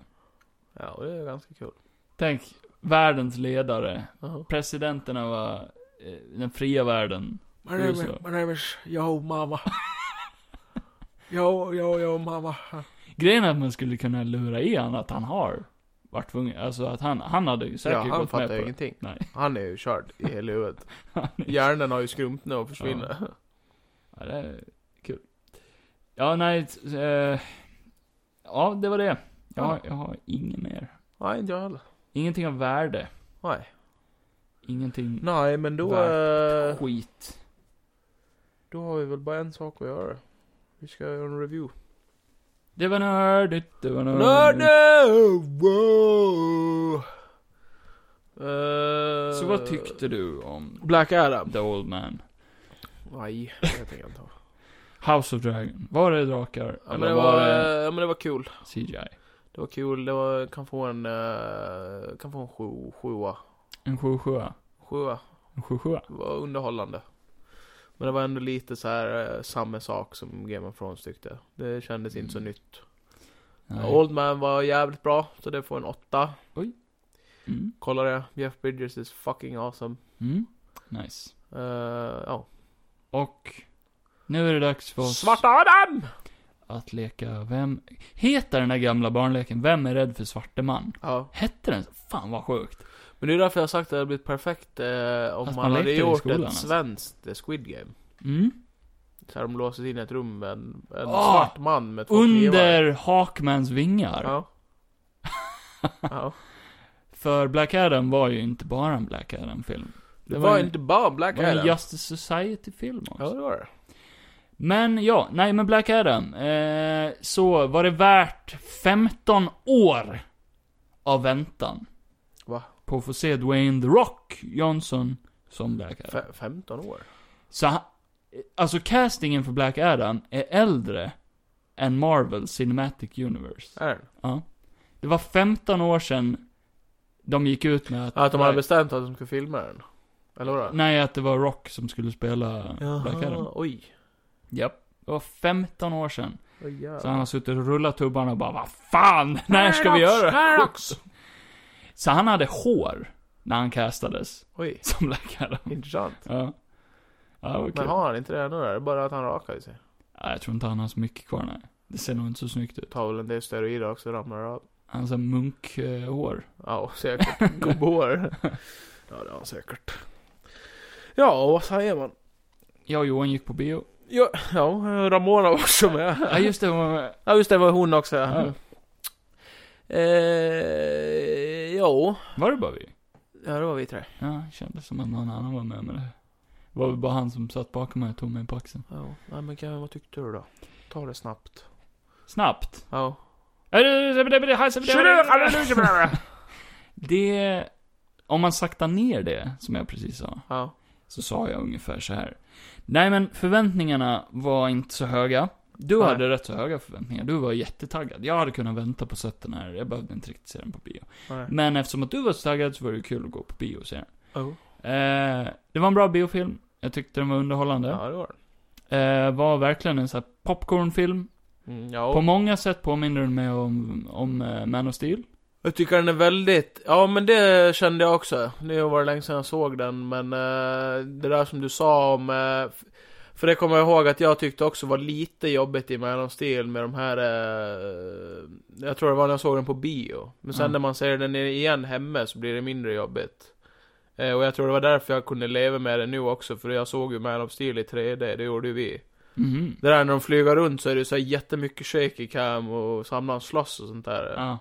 Speaker 3: Ja, och det är ganska kul.
Speaker 2: Tänk, världens ledare,
Speaker 3: Ja.
Speaker 2: presidenterna var eh, den fria världen.
Speaker 3: My
Speaker 2: name is- my
Speaker 3: name is Yo Mama. Yo, yo, yo Mama.
Speaker 2: Grejen är att man skulle kunna lura i han att han har varit tvungen, alltså att han, han hade ju
Speaker 3: Ja,
Speaker 2: säkert
Speaker 3: han
Speaker 2: gått med på
Speaker 3: fattar ju
Speaker 2: det.
Speaker 3: ingenting.
Speaker 2: Nej.
Speaker 3: Han är ju körd i hela huvudet.
Speaker 2: Han är-
Speaker 3: Hjärnan har ju skrumpnat nu och försvinner.
Speaker 2: Ja, det är kul. Ja, nej. t- Eh, ja, det var det. Jag, har, jag har inget mer.
Speaker 3: Nej, inte jag heller.
Speaker 2: Ingenting av värde.
Speaker 3: Nej.
Speaker 2: Ingenting
Speaker 3: Nej, men då... eh,
Speaker 2: skit.
Speaker 3: Då har vi väl bara en sak att göra. Vi ska göra en review.
Speaker 2: Det var nördigt, det var nördigt. Mm.
Speaker 3: Wow. Eh,
Speaker 2: Så vad tyckte du om
Speaker 3: Black Adam?
Speaker 2: The Old Man?
Speaker 3: Nej, det tänker jag inte ha.
Speaker 2: House of Dragon. Var det drakar?
Speaker 3: Ja, men
Speaker 2: eller
Speaker 3: det
Speaker 2: var,
Speaker 3: var,
Speaker 2: det
Speaker 3: eh, ja, men det var kul.
Speaker 2: CGI?
Speaker 3: Det var kul, det var, kan få en, eh, kan få en sju, sjua.
Speaker 2: En 77
Speaker 3: Sjua.
Speaker 2: En 77
Speaker 3: Det var underhållande. Men det var ändå lite så här eh, samma sak som Game of Thrones tyckte. Det kändes inte så
Speaker 2: Mm.
Speaker 3: nytt. Old Man var jävligt bra, så det får en åtta.
Speaker 2: Mm.
Speaker 3: Kolla det. Jeff Bridges is fucking awesome.
Speaker 2: Mm. Nice.
Speaker 3: Eh, ja.
Speaker 2: Och nu är det dags för oss
Speaker 3: Svarta Adam!
Speaker 2: att leka Vem... Heter den där gamla barnleken Vem är rädd för svarte man?
Speaker 3: Ja.
Speaker 2: Hette den så? Fan vad sjukt.
Speaker 3: Men det är därför jag har sagt att det hade blivit perfekt eh, om
Speaker 2: Fast man
Speaker 3: man hade
Speaker 2: lekte det i
Speaker 3: gjort
Speaker 2: skolan,
Speaker 3: ett
Speaker 2: alltså.
Speaker 3: svenskt eh, Squid Game.
Speaker 2: Mm.
Speaker 3: Så här, de låses in i ett rum med en, en
Speaker 2: Ah!
Speaker 3: svart man med två knivar.
Speaker 2: Under Hawkmans vingar.
Speaker 3: Ja. ja.
Speaker 2: För Black Adam var ju inte bara en Black Adam-film.
Speaker 3: Det,
Speaker 2: Det
Speaker 3: var,
Speaker 2: var en-
Speaker 3: inte bara Black
Speaker 2: Det var en
Speaker 3: Adam.
Speaker 2: Justice Society-film också.
Speaker 3: Ja, det var det.
Speaker 2: Men ja, nej men Black Adam. Eh, så var det värt 15 år av väntan.
Speaker 3: Va?
Speaker 2: På att få se Dwayne The Rock Johnson som Black Adam.
Speaker 3: Fe- 15 år.
Speaker 2: Så han, alltså castingen för Black Adam är äldre än Marvel Cinematic Universe.
Speaker 3: Är den?
Speaker 2: Ja. Det var 15 år sedan de gick ut med att...
Speaker 3: Att de hade bestämt att de skulle filma den? Eller vadå?
Speaker 2: Nej, att det var Rock som skulle spela Black Adam.
Speaker 3: oj.
Speaker 2: Japp. Det var 15 år sedan.
Speaker 3: Oj, jävlar.
Speaker 2: Så han har suttit och rullat tubbarna och bara Vad fan, när ska vi göra det? Så han hade hår när han castades
Speaker 3: Oj,
Speaker 2: som Black Adam.
Speaker 3: intressant.
Speaker 2: Ja. Ja, det var kul.
Speaker 3: Men har han inte det ännu då? Är det bara att han rakade sig?
Speaker 2: Nej, jag tror inte han har så mycket kvar, nej. Det ser nog inte så snyggt ut.
Speaker 3: Tar väl en del steroider också, ramlar av.
Speaker 2: Han har så här munkhår.
Speaker 3: Ja, och säkert gubbhår. ja, det har han säkert. Ja, och vad säger man?
Speaker 2: Jag och Johan gick på bio.
Speaker 3: Ja, ja Ramona var också
Speaker 2: Ja,
Speaker 3: med.
Speaker 2: just det. var-
Speaker 3: Ja, just det, var hon också.
Speaker 2: Ja.
Speaker 3: Eh, ja.
Speaker 2: Var det bara vi?
Speaker 3: ja, det var vi tre.
Speaker 2: Ja, det kändes som att någon annan var med med det. Det var väl bara han som satt bakom mig och tog mig på axeln.
Speaker 3: Ja, nej, men Kevin, vad tyckte du då? Ta det snabbt.
Speaker 2: Snabbt!
Speaker 3: Ja.
Speaker 2: Alltså, Det... Om man saktar ner det, som jag precis sa.
Speaker 3: Ja.
Speaker 2: så sa jag ungefär så här. Nej men förväntningarna var inte så höga. Du
Speaker 3: Nej.
Speaker 2: hade rätt så höga förväntningar, du var jättetaggad. Jag hade kunnat vänta på att den här, jag behövde inte riktigt se den på bio.
Speaker 3: Nej.
Speaker 2: Men eftersom att du var så taggad så var det ju kul att gå på bio och se den.
Speaker 3: Oh.
Speaker 2: Eh, det var en bra biofilm, jag tyckte den var underhållande.
Speaker 3: Ja, det var
Speaker 2: Eh, var verkligen en så här popcornfilm.
Speaker 3: det. Mm, ja.
Speaker 2: På många sätt påminner den mig om, om eh, Man of Steel.
Speaker 3: Jag tycker den är väldigt, ja men det kände jag också. Det var länge sedan jag såg den, men eh, det där som du sa om, eh, f- för det kommer jag ihåg att jag tyckte också var lite jobbigt i Man of Steel med de här, eh, jag tror det var när jag såg den på bio. Men sen
Speaker 2: Ja.
Speaker 3: när man ser den igen hemma så blir det mindre jobbigt. Eh, och jag tror det var därför jag kunde leva med det nu också, för jag såg ju Man of Steel i 3D, det gjorde ju vi.
Speaker 2: Mhm.
Speaker 3: Det där när de flyger runt så är det så här jättemycket shaky cam och samlar slåss och sånt där.
Speaker 2: Ja.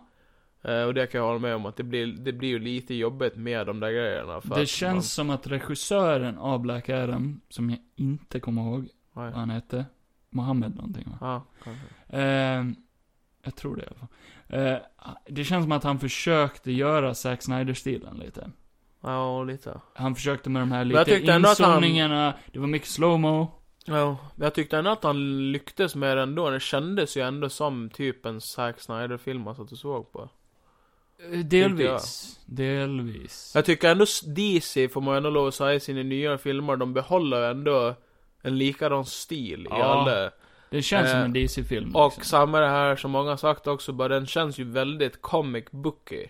Speaker 3: Eh, Och det kan jag hålla med om att det blir, det blir ju lite jobbigt med de där grejerna. För
Speaker 2: Det
Speaker 3: att
Speaker 2: känns som att regissören av Black Adam, som jag inte kommer ihåg
Speaker 3: Man,
Speaker 2: vad
Speaker 3: nej.
Speaker 2: han hette, Mohammed någonting va?
Speaker 3: Ja, kanske.
Speaker 2: Eh, jag tror det i alla fall. Eh, det känns som att han försökte göra Zack Snyder-stilen lite.
Speaker 3: ja, lite.
Speaker 2: Han försökte med de här
Speaker 3: jag
Speaker 2: lite
Speaker 3: tyckte ändå att han-
Speaker 2: inzoomningarna, det var mycket slowmo.
Speaker 3: Ja, men jag tyckte ändå att han lyckades med den då. Det kändes ju ändå som typ en Zack Snyder-film man satt och såg på.
Speaker 2: Eh, Delvis. Delvis.
Speaker 3: Jag tycker ändå s- DC, får man ändå lov att säga, i sina nyare filmer, de behåller ändå en likadan stil i
Speaker 2: Ja.
Speaker 3: alla.
Speaker 2: Det känns som
Speaker 3: eh,
Speaker 2: en DC-film.
Speaker 3: Och
Speaker 2: liksom.
Speaker 3: samma det här som många har sagt också, bara den känns ju väldigt comic booky.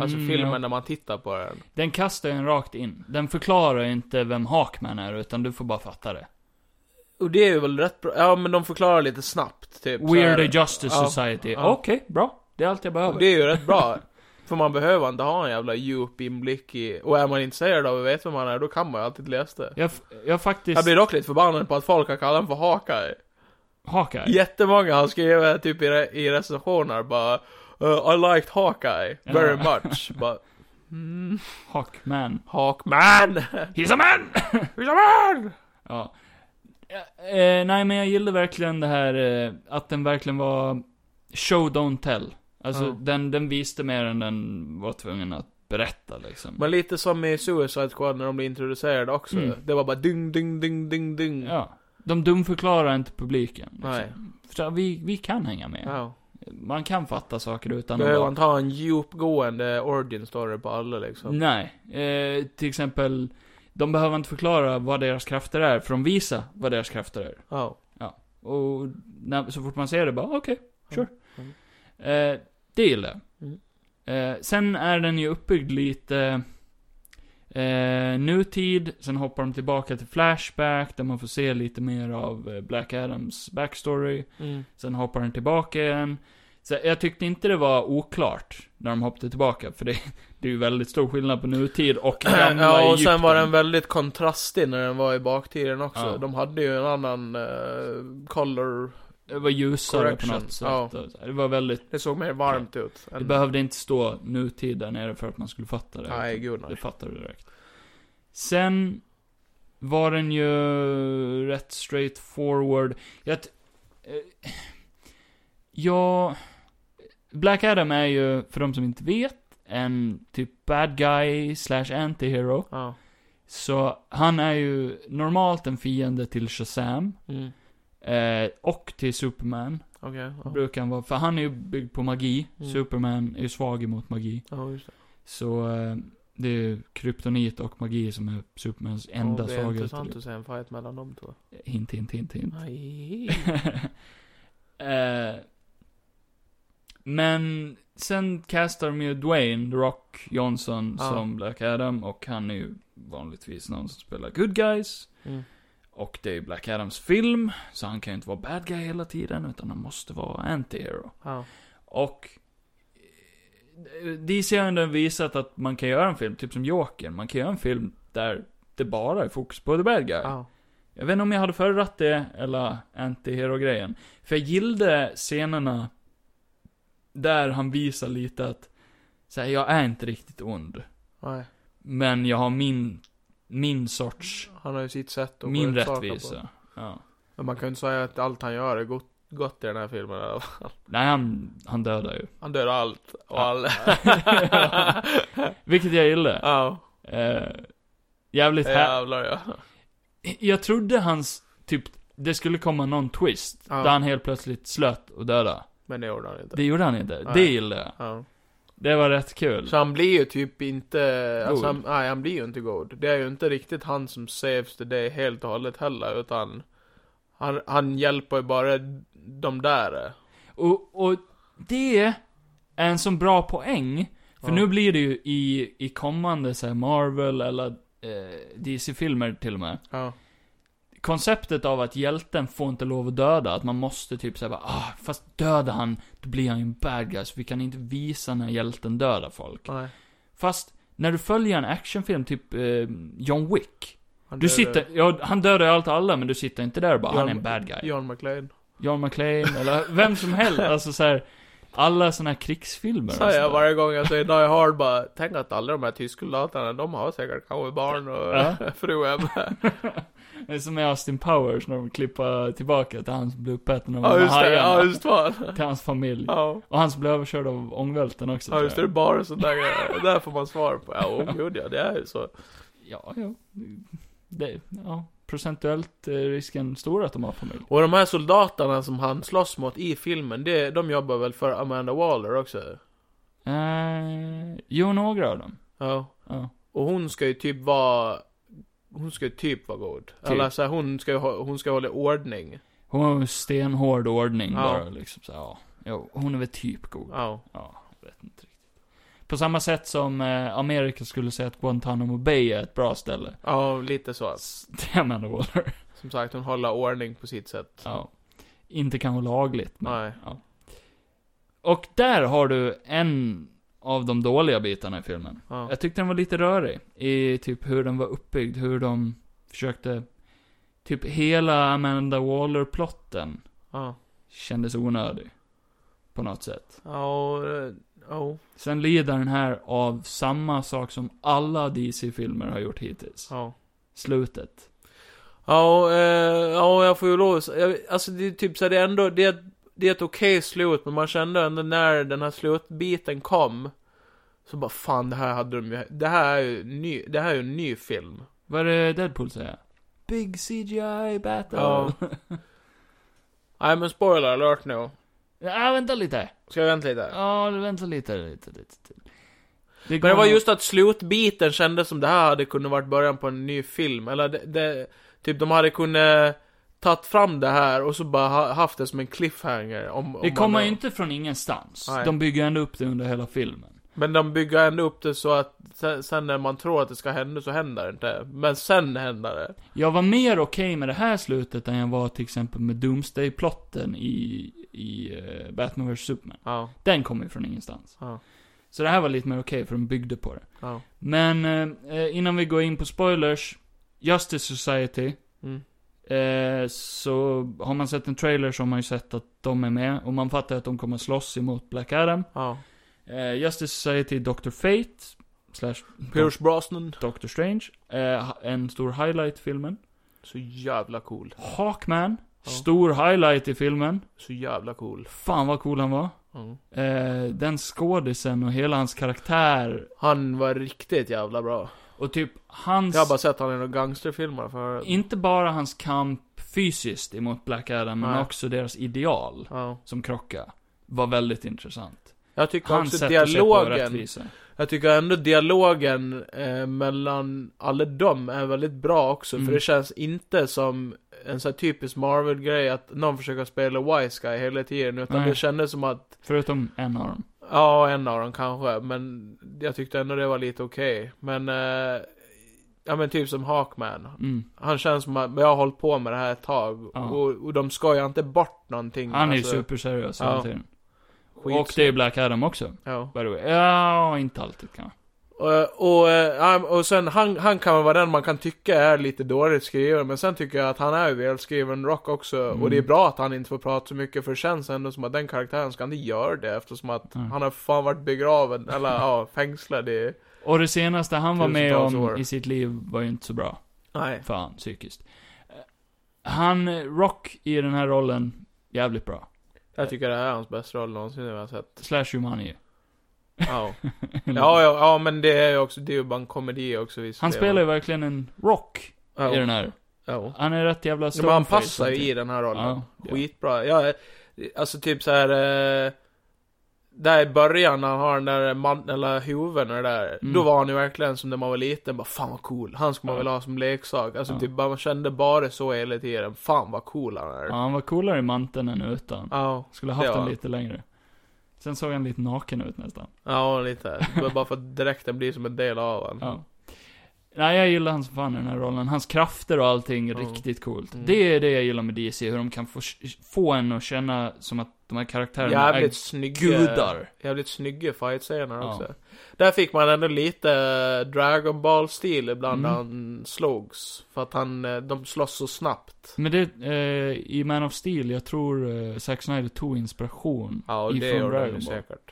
Speaker 3: Alltså
Speaker 2: Mm,
Speaker 3: filmen
Speaker 2: ja.
Speaker 3: när man tittar på den.
Speaker 2: Den kastar en rakt in. Den förklarar inte vem Hawkman är, utan du får bara fatta det.
Speaker 3: Och det är ju väl rätt bra, ja men de förklarar lite snabbt typ. så här.
Speaker 2: We're the Justice
Speaker 3: Ja,
Speaker 2: Society.
Speaker 3: ja.
Speaker 2: Okej, bra. Det är allt jag
Speaker 3: Och
Speaker 2: behöver.
Speaker 3: det är ju rätt bra. För man behöver inte ha en jävla djup inblick i, och är man intresserad av att veta vem man är, då kan man ju alltid läsa det.
Speaker 2: Jag, f- jag faktiskt...
Speaker 3: Jag blir dock lite förbannad på att folk har kallat honom för Hawkeye.
Speaker 2: Hawkeye.
Speaker 3: Jättemånga har skrivit typ i, re- i recensioner bara "Uh, I liked Hawkeye very much, but mm,
Speaker 2: Hawkman.
Speaker 3: Hawkman!
Speaker 2: He's a man!
Speaker 3: He's a man!
Speaker 2: Ja. Eh, eh, nej, men jag gillar verkligen det här eh, att den verkligen var show don't tell. Alltså,
Speaker 3: Ja.
Speaker 2: den, den visste mer än den var tvungen att berätta liksom.
Speaker 3: Men lite som i Suicide Squad när de blev introducerade också.
Speaker 2: Mm.
Speaker 3: Det var bara dyng, dyng, dyng, dyng, dyng.
Speaker 2: ja. De dumförklarar inte publiken. Liksom.
Speaker 3: Nej.
Speaker 2: För vi, vi kan hänga med.
Speaker 3: Ja.
Speaker 2: Man kan fatta saker utan att
Speaker 3: Behöver
Speaker 2: bara...
Speaker 3: man ta en djupgående origin story på alla liksom?
Speaker 2: Nej. Eh, till exempel, de behöver inte förklara vad deras krafter är, för de visar vad deras krafter är.
Speaker 3: Ja.
Speaker 2: Och när, så fort man ser det bara, okej, sure.
Speaker 3: Mm.
Speaker 2: Eh, det gillar jag.
Speaker 3: Mm.
Speaker 2: Eh, sen är den ju uppbyggd lite eh, nutid, sen hoppar de tillbaka till Flashback, där man får se lite mer av eh, Black Adams backstory.
Speaker 3: Mm.
Speaker 2: Sen hoppar den tillbaka igen. Så jag tyckte inte det var oklart när de hoppade tillbaka, för det, det är ju väldigt stor skillnad på nutid och gamla
Speaker 3: Ja, och sen
Speaker 2: Egypten.
Speaker 3: var den väldigt kontrastig när den var i baktiden också.
Speaker 2: Ja.
Speaker 3: De hade ju en annan eh, color.
Speaker 2: Det var ljusare på
Speaker 3: Correction,
Speaker 2: något sätt.
Speaker 3: ja.
Speaker 2: Det var väldigt...
Speaker 3: Det såg mer varmt ut.
Speaker 2: Det
Speaker 3: Än...
Speaker 2: behövde inte stå nutid där nere för att man skulle fatta det.
Speaker 3: Nej, gud
Speaker 2: Det
Speaker 3: nej.
Speaker 2: fattar du direkt. Sen var den ju rätt straight forward. Jag... t- eh, Ja... Black Adam är ju, för de som inte vet, en typ bad guy slash anti-hero.
Speaker 3: Ja.
Speaker 2: Så han är ju normalt en fiende till Shazam.
Speaker 3: Mm.
Speaker 2: Eh, och till Superman.
Speaker 3: Okej. ja.
Speaker 2: Brukar han vara, för han är ju byggd på magi.
Speaker 3: Mm.
Speaker 2: Superman är ju svag emot magi.
Speaker 3: Ja, just det.
Speaker 2: Så eh, det är ju kryptonit och magi som är Supermans
Speaker 3: Ja,
Speaker 2: enda
Speaker 3: Det är
Speaker 2: svaghet.
Speaker 3: intressant att se en fight mellan de två.
Speaker 2: Hint, hint, hint, hint.
Speaker 3: Nej.
Speaker 2: eh, men sen castar de ju Dwayne, The Rock Johnson,
Speaker 3: Ja.
Speaker 2: som Black Adam. Och han är ju vanligtvis någon som spelar good guys.
Speaker 3: Mm.
Speaker 2: Och det är ju Black Adams film, så han kan ju inte vara bad guy hela tiden, utan han måste vara anti-hero.
Speaker 3: Ja.
Speaker 2: Och eh, DC har ändå visat att man kan göra en film, typ som Joker, man kan göra en film där det bara är fokus på the bad guy.
Speaker 3: Ja.
Speaker 2: Jag vet inte om jag hade föredragit det, eller anti-hero-grejen. För jag gillade scenerna där han visar lite att, så här, jag är inte riktigt ond,
Speaker 3: Nej.
Speaker 2: men jag har min, min sorts,
Speaker 3: Han har ju sitt sätt att
Speaker 2: min
Speaker 3: gå ut saker på.
Speaker 2: rättvisa. Ja.
Speaker 3: Men man kan ju inte säga att allt han gör är gott, gott i den här filmen. eller?
Speaker 2: Nej, han, han dödar ju.
Speaker 3: Han dör allt och
Speaker 2: Ja.
Speaker 3: alla.
Speaker 2: Vilket jag gillar.
Speaker 3: Ja.
Speaker 2: Eh, jävligt här.
Speaker 3: Jävlar ja.
Speaker 2: Jag trodde hans, typ, det skulle komma någon twist.
Speaker 3: Ja.
Speaker 2: Där han helt plötsligt slöt och döda.
Speaker 3: Men det gjorde han inte.
Speaker 2: Det gjorde han inte.
Speaker 3: Nej.
Speaker 2: Det gillade jag.
Speaker 3: Ja.
Speaker 2: Det var rätt kul.
Speaker 3: Så han blir ju typ inte,
Speaker 2: God.
Speaker 3: alltså han, nej han blir ju inte god. Det är ju inte riktigt han som saves the day helt och hållet heller, utan han, han hjälper ju bara de där.
Speaker 2: Och, och det är en sån bra poäng. För
Speaker 3: Ja.
Speaker 2: nu blir det ju i, i kommande så här Marvel eller eh, DC-filmer till och med.
Speaker 3: Ja.
Speaker 2: konceptet av att hjälten får inte lov att döda, att man måste typ säga ah, fast dödar han, då blir han ju en bad guy, så vi kan inte visa när hjälten dödar folk.
Speaker 3: Nej.
Speaker 2: Fast, när du följer en actionfilm, typ eh, John Wick.
Speaker 3: Han
Speaker 2: Du
Speaker 3: dödar-
Speaker 2: sitter, ja, han dödar ju allt och alla, men du sitter inte där och bara, han är en bad guy.
Speaker 3: John McClane.
Speaker 2: John McClane, eller vem som helst, alltså så här, alla såna här krigsfilmer. och
Speaker 3: Säger jag
Speaker 2: sånt där.
Speaker 3: varje gång jag säger Die Hard bara, tänk att alla de här tysksoldaterna, de har säkert kanske barn och
Speaker 2: Ja.
Speaker 3: fru hemma.
Speaker 2: Det är som i Austin Powers, när de klipper tillbaka till han som blev uppäten av
Speaker 3: Ja
Speaker 2: de
Speaker 3: just det, ja
Speaker 2: hajarna.
Speaker 3: just fan.
Speaker 2: Till hans familj.
Speaker 3: Ja.
Speaker 2: Och han som blev överkörd av ångvälten också.
Speaker 3: Ja
Speaker 2: tror
Speaker 3: just det,
Speaker 2: jag.
Speaker 3: det är bara sådana grejer. Där får man svar på. Ja, oh, gud ja, det är ju så.
Speaker 2: Ja, ja. Det, ja. Procentuellt är risken stor att de har familj.
Speaker 3: Och de här soldaterna som han slåss mot i filmen, det, de jobbar väl för Amanda Waller också?
Speaker 2: Eh, jo, några av dem.
Speaker 3: Ja.
Speaker 2: Ja.
Speaker 3: Och hon ska ju typ vara... Hon ska ju typ vara god. Eller så här, hon ska ju ha- hon ska hålla ordning.
Speaker 2: Hon har ju stenhård ordning
Speaker 3: Ja.
Speaker 2: bara liksom så, ja. Jo, hon är väl typ god.
Speaker 3: Ja.
Speaker 2: Ja, jag vet inte riktigt. På samma sätt som eh, Amerika skulle säga att Guantanamo Bay är ett bra ställe.
Speaker 3: Ja, lite så.
Speaker 2: S- Det är Amanda Waller.
Speaker 3: Som sagt, hon håller ordning på sitt sätt.
Speaker 2: Ja. Inte kanske lagligt, men.
Speaker 3: Nej.
Speaker 2: Ja. Och där har du en av de dåliga bitarna i filmen.
Speaker 3: Ja.
Speaker 2: Jag tyckte den var lite rörig i typ hur den var uppbyggd, hur de försökte... Typ hela Amanda Waller-plotten
Speaker 3: Ja.
Speaker 2: kändes onödig. På något sätt.
Speaker 3: Ja. och, eh, Ja.
Speaker 2: Sen lider den här av samma sak som alla DC-filmer har gjort hittills.
Speaker 3: Ja.
Speaker 2: Slutet.
Speaker 3: Ja, och, eh, ja, jag får ju lov att sä- jag, Alltså det är typ så här, det är ändå, det är, ett- det är ett okej slut, men man kände ändå när den här slutbiten kom, så bara fan det här hade de ju, det här är ju ny, det här är ju en ny film.
Speaker 2: Vad är det Deadpool säger? Big CGI battle.
Speaker 3: Ja. Nej men spoiler alert nu.
Speaker 2: Ja, vänta lite.
Speaker 3: Ska jag vänta lite?
Speaker 2: Ja, vänta lite, lite, lite till.
Speaker 3: Men det var just att slutbiten kändes som det här hade kunnat varit början på en ny film. Eller det, det, typ de hade kunnat tagit fram det här och så bara ha, haft det som en cliffhanger. Om, om
Speaker 2: Det
Speaker 3: man-
Speaker 2: kommer ju inte från ingenstans.
Speaker 3: Oh Nej.
Speaker 2: De bygger ändå upp det under hela filmen.
Speaker 3: Men de bygger ändå upp det så att sen, sen när man tror att det ska hända så händer det inte. Men sen händer det.
Speaker 2: Jag var mer okej med det här slutet än jag var till exempel med Doomsday-plotten i, i eh, Batman vs Superman.
Speaker 3: Ja,
Speaker 2: Den kommer ju från ingenstans.
Speaker 3: Ja.
Speaker 2: Så det här var lite mer okej, för de byggde på det.
Speaker 3: ja.
Speaker 2: Men eh, innan vi går in på spoilers, Justice Society.
Speaker 3: Mm.
Speaker 2: Eh, så har man sett en trailer så har man ju sett att de är med. Och man fattar att de kommer slåss emot Black Adam.
Speaker 3: ja.
Speaker 2: Eh, Justice Society, Dr. Fate. Slash
Speaker 3: Pierce Brosnan.
Speaker 2: Dr. Strange. Eh, en stor highlight i filmen.
Speaker 3: Så jävla cool.
Speaker 2: Hawkman.
Speaker 3: Ja.
Speaker 2: Stor highlight i filmen.
Speaker 3: Så jävla cool.
Speaker 2: Fan vad cool han var.
Speaker 3: Mm.
Speaker 2: Eh, den skådisen och hela hans karaktär.
Speaker 3: Han var riktigt jävla bra.
Speaker 2: Och typ hans...
Speaker 3: Jag har bara sett han i några gangsterfilmer för
Speaker 2: Inte bara hans kamp fysiskt emot Black Adam, men
Speaker 3: Nej.
Speaker 2: också deras ideal
Speaker 3: Ja.
Speaker 2: som krocka. Var väldigt intressant.
Speaker 3: Jag tycker
Speaker 2: Han
Speaker 3: också
Speaker 2: sätter sig på
Speaker 3: dialogen.
Speaker 2: rättvisa.
Speaker 3: Jag tycker ändå dialogen eh, mellan alla dem är väldigt bra också.
Speaker 2: Mm.
Speaker 3: För det känns inte som en sån här typisk Marvel-grej att någon försöker spela wise guy hela tiden. Utan
Speaker 2: Nej.
Speaker 3: det kändes som att
Speaker 2: Förutom en av dem.
Speaker 3: Ja, en av dem kanske, men jag tyckte ändå det var lite okej. Men, eh, ja men typ som Hawkman.
Speaker 2: Mm.
Speaker 3: Han känns som att, jag har hållit på med det här ett tag.
Speaker 2: Ja.
Speaker 3: Och, och de skojar inte bort någonting.
Speaker 2: Han är ju
Speaker 3: Alltså,
Speaker 2: superseriös
Speaker 3: ja.
Speaker 2: hela tiden.
Speaker 3: skit-
Speaker 2: Och det är Black Adam också.
Speaker 3: Ja.
Speaker 2: By the way. Ja, inte alltid kanske.
Speaker 3: Och, och, eh, ja, och sen, han, han kan väl vara den man kan tycka är lite dåligt skriven, men sen tycker jag att han är ju välskriven rock också.
Speaker 2: Mm.
Speaker 3: Och det är bra att han inte får prata så mycket, för det känns ändå som att den karaktären ska inte göra det, eftersom att
Speaker 2: Mm.
Speaker 3: han har fan varit begraven, eller ja, fängslad i...
Speaker 2: Och det senaste han var med
Speaker 3: Tusentals
Speaker 2: om
Speaker 3: år.
Speaker 2: i sitt liv var ju inte så bra.
Speaker 3: Nej.
Speaker 2: För han, psykiskt. Eh, Han, eh, Rock, i den här rollen, jävligt bra.
Speaker 3: Jag tycker det här är hans bästa roll någonsin jag har sett.
Speaker 2: Slash Humani.
Speaker 3: Ja. ja, ja, ja, men det är ju också, det är ju bara en komedi också visst.
Speaker 2: Han
Speaker 3: Det är-
Speaker 2: spelar ju verkligen en Rock
Speaker 3: ja.
Speaker 2: i den här.
Speaker 3: Ja.
Speaker 2: Han är rätt jävla
Speaker 3: Ja, men han
Speaker 2: stoneface
Speaker 3: passar ju
Speaker 2: samtidigt.
Speaker 3: i den här rollen.
Speaker 2: Ja, ja.
Speaker 3: Skitbra. Ja, alltså typ så här. Eh, där i början när han har den där man, eller huven och det där.
Speaker 2: Mm.
Speaker 3: Då var han ju verkligen som när man var liten, bara fan vad cool. Han ska man
Speaker 2: Ja.
Speaker 3: väl ha som leksak. Alltså
Speaker 2: Ja.
Speaker 3: typ bara, man kände bara så hela tiden. Fan vad cool han är.
Speaker 2: Ja,
Speaker 3: Ja.
Speaker 2: han var coolare i manteln än utan.
Speaker 3: Ja, Mm.
Speaker 2: Skulle haft
Speaker 3: det var
Speaker 2: den
Speaker 3: han.
Speaker 2: lite längre. Sen såg han lite naken ut nästan.
Speaker 3: lite. Det var bara för att dräkten blir som en del av honom.
Speaker 2: Ja. Nej, jag gillar han som fan i den här rollen. Hans krafter och allting är
Speaker 3: Ja.
Speaker 2: riktigt coolt.
Speaker 3: Mm.
Speaker 2: Det är det jag gillar med DC, hur de kan få, få en att känna som att de här karaktärerna
Speaker 3: Jävligt
Speaker 2: är
Speaker 3: snygga,
Speaker 2: gudar.
Speaker 3: jävligt snygga fightscener
Speaker 2: Ja.
Speaker 3: också. Där fick man ändå lite eh, Dragon Ball-stil ibland när
Speaker 2: Mm.
Speaker 3: han slogs. För att han, eh, de slåss så snabbt.
Speaker 2: Men det, eh, i Man of Steel, jag tror eh, Zack Snyder tog inspiration.
Speaker 3: Ja, och det
Speaker 2: Ifrån
Speaker 3: gjorde han
Speaker 2: Dragon
Speaker 3: ju
Speaker 2: Ball.
Speaker 3: säkert.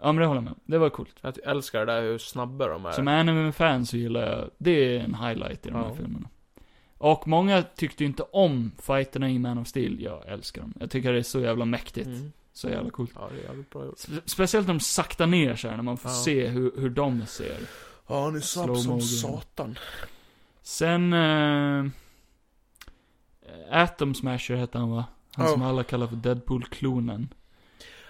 Speaker 2: Ja, men det håller jag med om. Det var coolt.
Speaker 3: Jag älskar det där hur snabba de är.
Speaker 2: Som anime-fan så gillar jag, det är en highlight i de här
Speaker 3: Ja.
Speaker 2: filmerna. Och många tyckte ju inte om fighterna i Man of Steel. Jag älskar dem. Jag tycker det är så jävla mäktigt.
Speaker 3: Mm.
Speaker 2: Så jävla coolt.
Speaker 3: Ja, det är jävligt bra gjort.
Speaker 2: Spe- Speciellt när de saktar ner sig när man får
Speaker 3: Ja.
Speaker 2: se hur, hur de ser.
Speaker 3: Ja, han är
Speaker 2: snabb Slow som motion.
Speaker 3: satan.
Speaker 2: Sen... Eh, Atom Smasher hette han va? Han som
Speaker 3: Ja.
Speaker 2: alla kallar för Deadpool-klonen.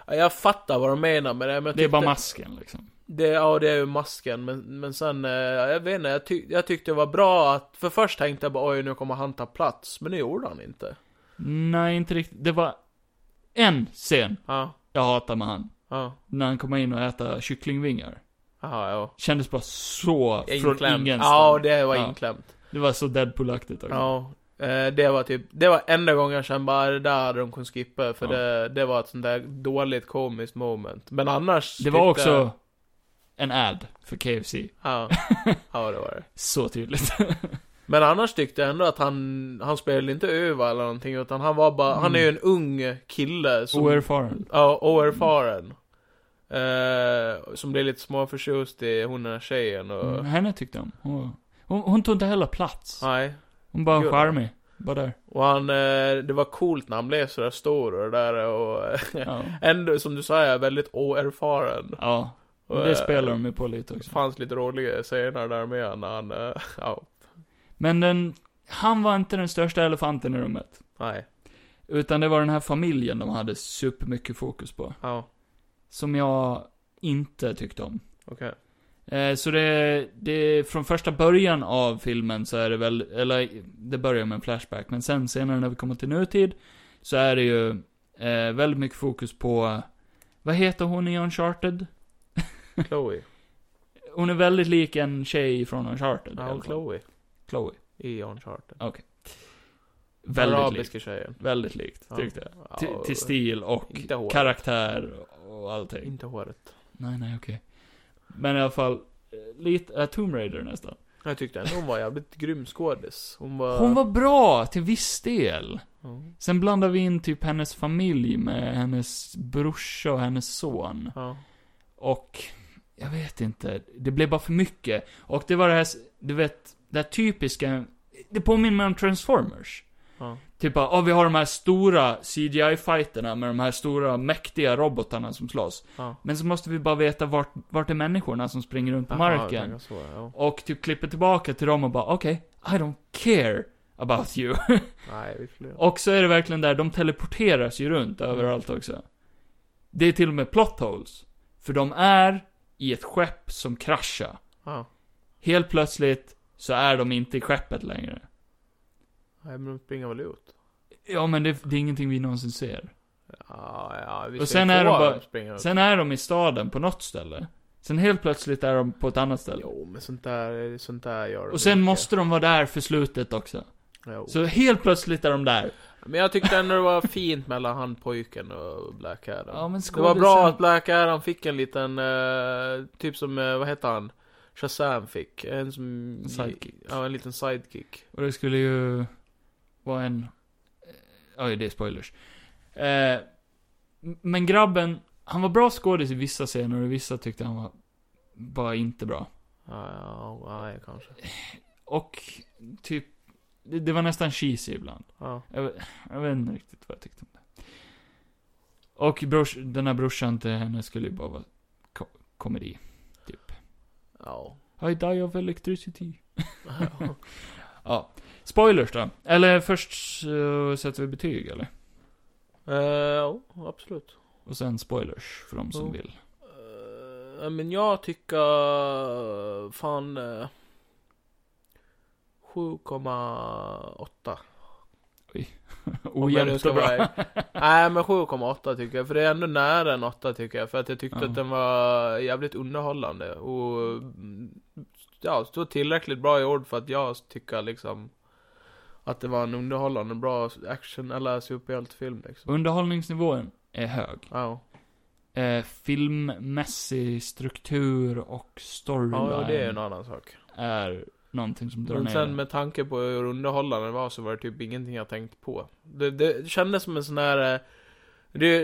Speaker 3: Ja, jag fattar vad de menar med det, men jag
Speaker 2: Det är bara
Speaker 3: tyckte-
Speaker 2: masken liksom.
Speaker 3: Det, ja, det är ju masken, men, men sen, eh, jag vet inte, jag, tyck, jag tyckte det var bra att, för först tänkte jag bara oj, nu kommer han ta plats, men det gjorde han inte.
Speaker 2: Nej, inte riktigt. Det var en scen
Speaker 3: Ja,
Speaker 2: jag hatar med han.
Speaker 3: ja,
Speaker 2: När han kommer in och äter kycklingvingar.
Speaker 3: ja, ja.
Speaker 2: Kändes bara så från
Speaker 3: Inklämt.
Speaker 2: ingenstans.
Speaker 3: Ja, det var
Speaker 2: Ja.
Speaker 3: inklämt.
Speaker 2: Det var så Deadpool-aktigt också.
Speaker 3: Ja. Eh, Det var typ, det var enda gången jag kände bara det där hade de kunnat skippa för
Speaker 2: Ja.
Speaker 3: det, det var ett sånt där dåligt komiskt moment. Men annars
Speaker 2: Det var
Speaker 3: tyckte-
Speaker 2: också en ad för KFC.
Speaker 3: Ja, ja det var det.
Speaker 2: Så tydligt.
Speaker 3: Men annars tyckte jag ändå att han, han spelade inte över eller någonting utan han var bara, han
Speaker 2: Mm.
Speaker 3: är ju en ung kille som,
Speaker 2: Oerfaren.
Speaker 3: ja, oerfaren. Eh, som blir lite småförtjust i hon den här tjejen och,
Speaker 2: Mm, henne tyckte de. Hon, var- hon, hon tog inte heller plats.
Speaker 3: nej.
Speaker 2: Hon bara
Speaker 3: Gud.
Speaker 2: charmig. Bara där.
Speaker 3: Och han, eh, det var coolt när han blev sådär stor och det där och
Speaker 2: Ja.
Speaker 3: ändå som du säger väldigt oerfaren.
Speaker 2: ja.
Speaker 3: Och,
Speaker 2: Det
Speaker 3: eh,
Speaker 2: spelar de ju på lite
Speaker 3: Det
Speaker 2: också.
Speaker 3: fanns lite roliga scener där med när han, eh, ja.
Speaker 2: Men den Han var inte den största elefanten i rummet.
Speaker 3: Nej.
Speaker 2: Utan det var den här familjen de hade supermycket fokus på.
Speaker 3: Ja.
Speaker 2: Som jag inte tyckte om.
Speaker 3: Okej.
Speaker 2: Eh, så det, det, från första början av filmen så är det väl, eller det börjar med en flashback, men sen senare när vi kommer till nutid, så är det ju eh, väldigt mycket fokus på, vad heter hon i Uncharted?
Speaker 3: Chloe.
Speaker 2: Hon är väldigt lik en tjej från Uncharted. i alla
Speaker 3: Ja,
Speaker 2: fall.
Speaker 3: Chloe.
Speaker 2: Chloe.
Speaker 3: I Uncharted.
Speaker 2: Väldigt likt.
Speaker 3: Arabiska tjejen.
Speaker 2: Väldigt likt,
Speaker 3: Ja.
Speaker 2: tyckte jag.
Speaker 3: Ja, eh,
Speaker 2: Till- Till stil och
Speaker 3: Inte håret.
Speaker 2: karaktär och allting.
Speaker 3: Inte håret.
Speaker 2: Nej, nej, okej. Men i alla fall, eh, lite, äh, Tomb Raider nästan.
Speaker 3: Jag tyckte ändå hon var jävligt grym skådis. Hon var...
Speaker 2: Hon var bra till viss del.
Speaker 3: Ja.
Speaker 2: Sen blandar vi in typ hennes familj med hennes brorsa och hennes son.
Speaker 3: Ja.
Speaker 2: Och, jag vet inte. Det blev bara för mycket. Och det var det här, s- du vet, det här typiska. Det påminner mig om Transformers.
Speaker 3: Ja.
Speaker 2: Typ bara, ah, vi har de här stora CGI-fighterna med de här stora mäktiga robotarna som slåss.
Speaker 3: Ja.
Speaker 2: Men så måste vi bara veta vart, vart är människorna som springer runt på
Speaker 3: Jaha, jag
Speaker 2: marken.
Speaker 3: tänker så, ja.
Speaker 2: Och typ klipper tillbaka till dem och bara, okej, I don't care about you.
Speaker 3: Nej, vi flyr.
Speaker 2: och så är det verkligen där, de teleporteras ju runt överallt också. Det är till och med plot holes. För de är i ett skepp som kraschar.
Speaker 3: Ja.
Speaker 2: Helt plötsligt så är de inte i skeppet längre.
Speaker 3: Nej, men de springer väl ut?
Speaker 2: Ja, men det, det är ingenting vi någonsin ser.
Speaker 3: Ja, ja. Vi
Speaker 2: Och
Speaker 3: ser
Speaker 2: sen
Speaker 3: ju
Speaker 2: är
Speaker 3: två
Speaker 2: de
Speaker 3: av
Speaker 2: bara-
Speaker 3: dem springer ut.
Speaker 2: Sen är de i staden på något ställe. Sen helt plötsligt är de på ett annat ställe.
Speaker 3: Jo, men sånt där, sånt där gör de
Speaker 2: Och sen
Speaker 3: inte.
Speaker 2: måste de vara där för slutet också.
Speaker 3: Jo.
Speaker 2: Så helt plötsligt är de där.
Speaker 3: Men jag tyckte ändå det var fint mellan han pojken och Black Adam.
Speaker 2: Ja, men
Speaker 3: det var
Speaker 2: skådisen-
Speaker 3: bra att Black Adam fick en liten, eh, typ som, eh, vad hette han? Shazam fick. En som...
Speaker 2: Sidekick.
Speaker 3: Ja, en liten sidekick.
Speaker 2: Och det skulle ju vara en... eh, Oj, det är spoilers. Eh, men grabben, han var bra skådis i vissa scener och i vissa tyckte han var bara inte bra.
Speaker 3: Ja, ja, ja, nej, kanske.
Speaker 2: Och typ, det, det var nästan cheesy ibland.
Speaker 3: Ja.
Speaker 2: Jag, vet- jag vet inte riktigt vad jag tyckte om det. Och brors, den här brorsan till henne skulle ju bara vara ko komedi.
Speaker 3: Ja.
Speaker 2: I die of electricity. Ja. Spoilers då. Eller först eh, sätter vi betyg eller?
Speaker 3: Eh, Ja, absolut.
Speaker 2: Och sen spoilers för de som
Speaker 3: Ja.
Speaker 2: vill.
Speaker 3: Eh, men jag tycker fan eh, 7,8.
Speaker 2: Oh,
Speaker 3: Om jag nu ska vara- Nej men 7,8 tycker jag, för det är ändå nära en 8 tycker jag, för att jag tyckte
Speaker 2: Ja.
Speaker 3: att den var jävligt underhållande och mm, ja, så tillräckligt bra i ord för att jag tycker liksom att det var en underhållande bra action eller superhjältefilm liksom.
Speaker 2: Underhållningsnivån är hög.
Speaker 3: Ja,
Speaker 2: Eh, filmmässig struktur och storyline
Speaker 3: ja det är ju en annan sak.
Speaker 2: är någonting som drar
Speaker 3: Men
Speaker 2: ner
Speaker 3: sen
Speaker 2: det.
Speaker 3: med tanke på hur underhållande det var så var det typ ingenting jag tänkt på. Det, det kändes som en sån här... eh, Det,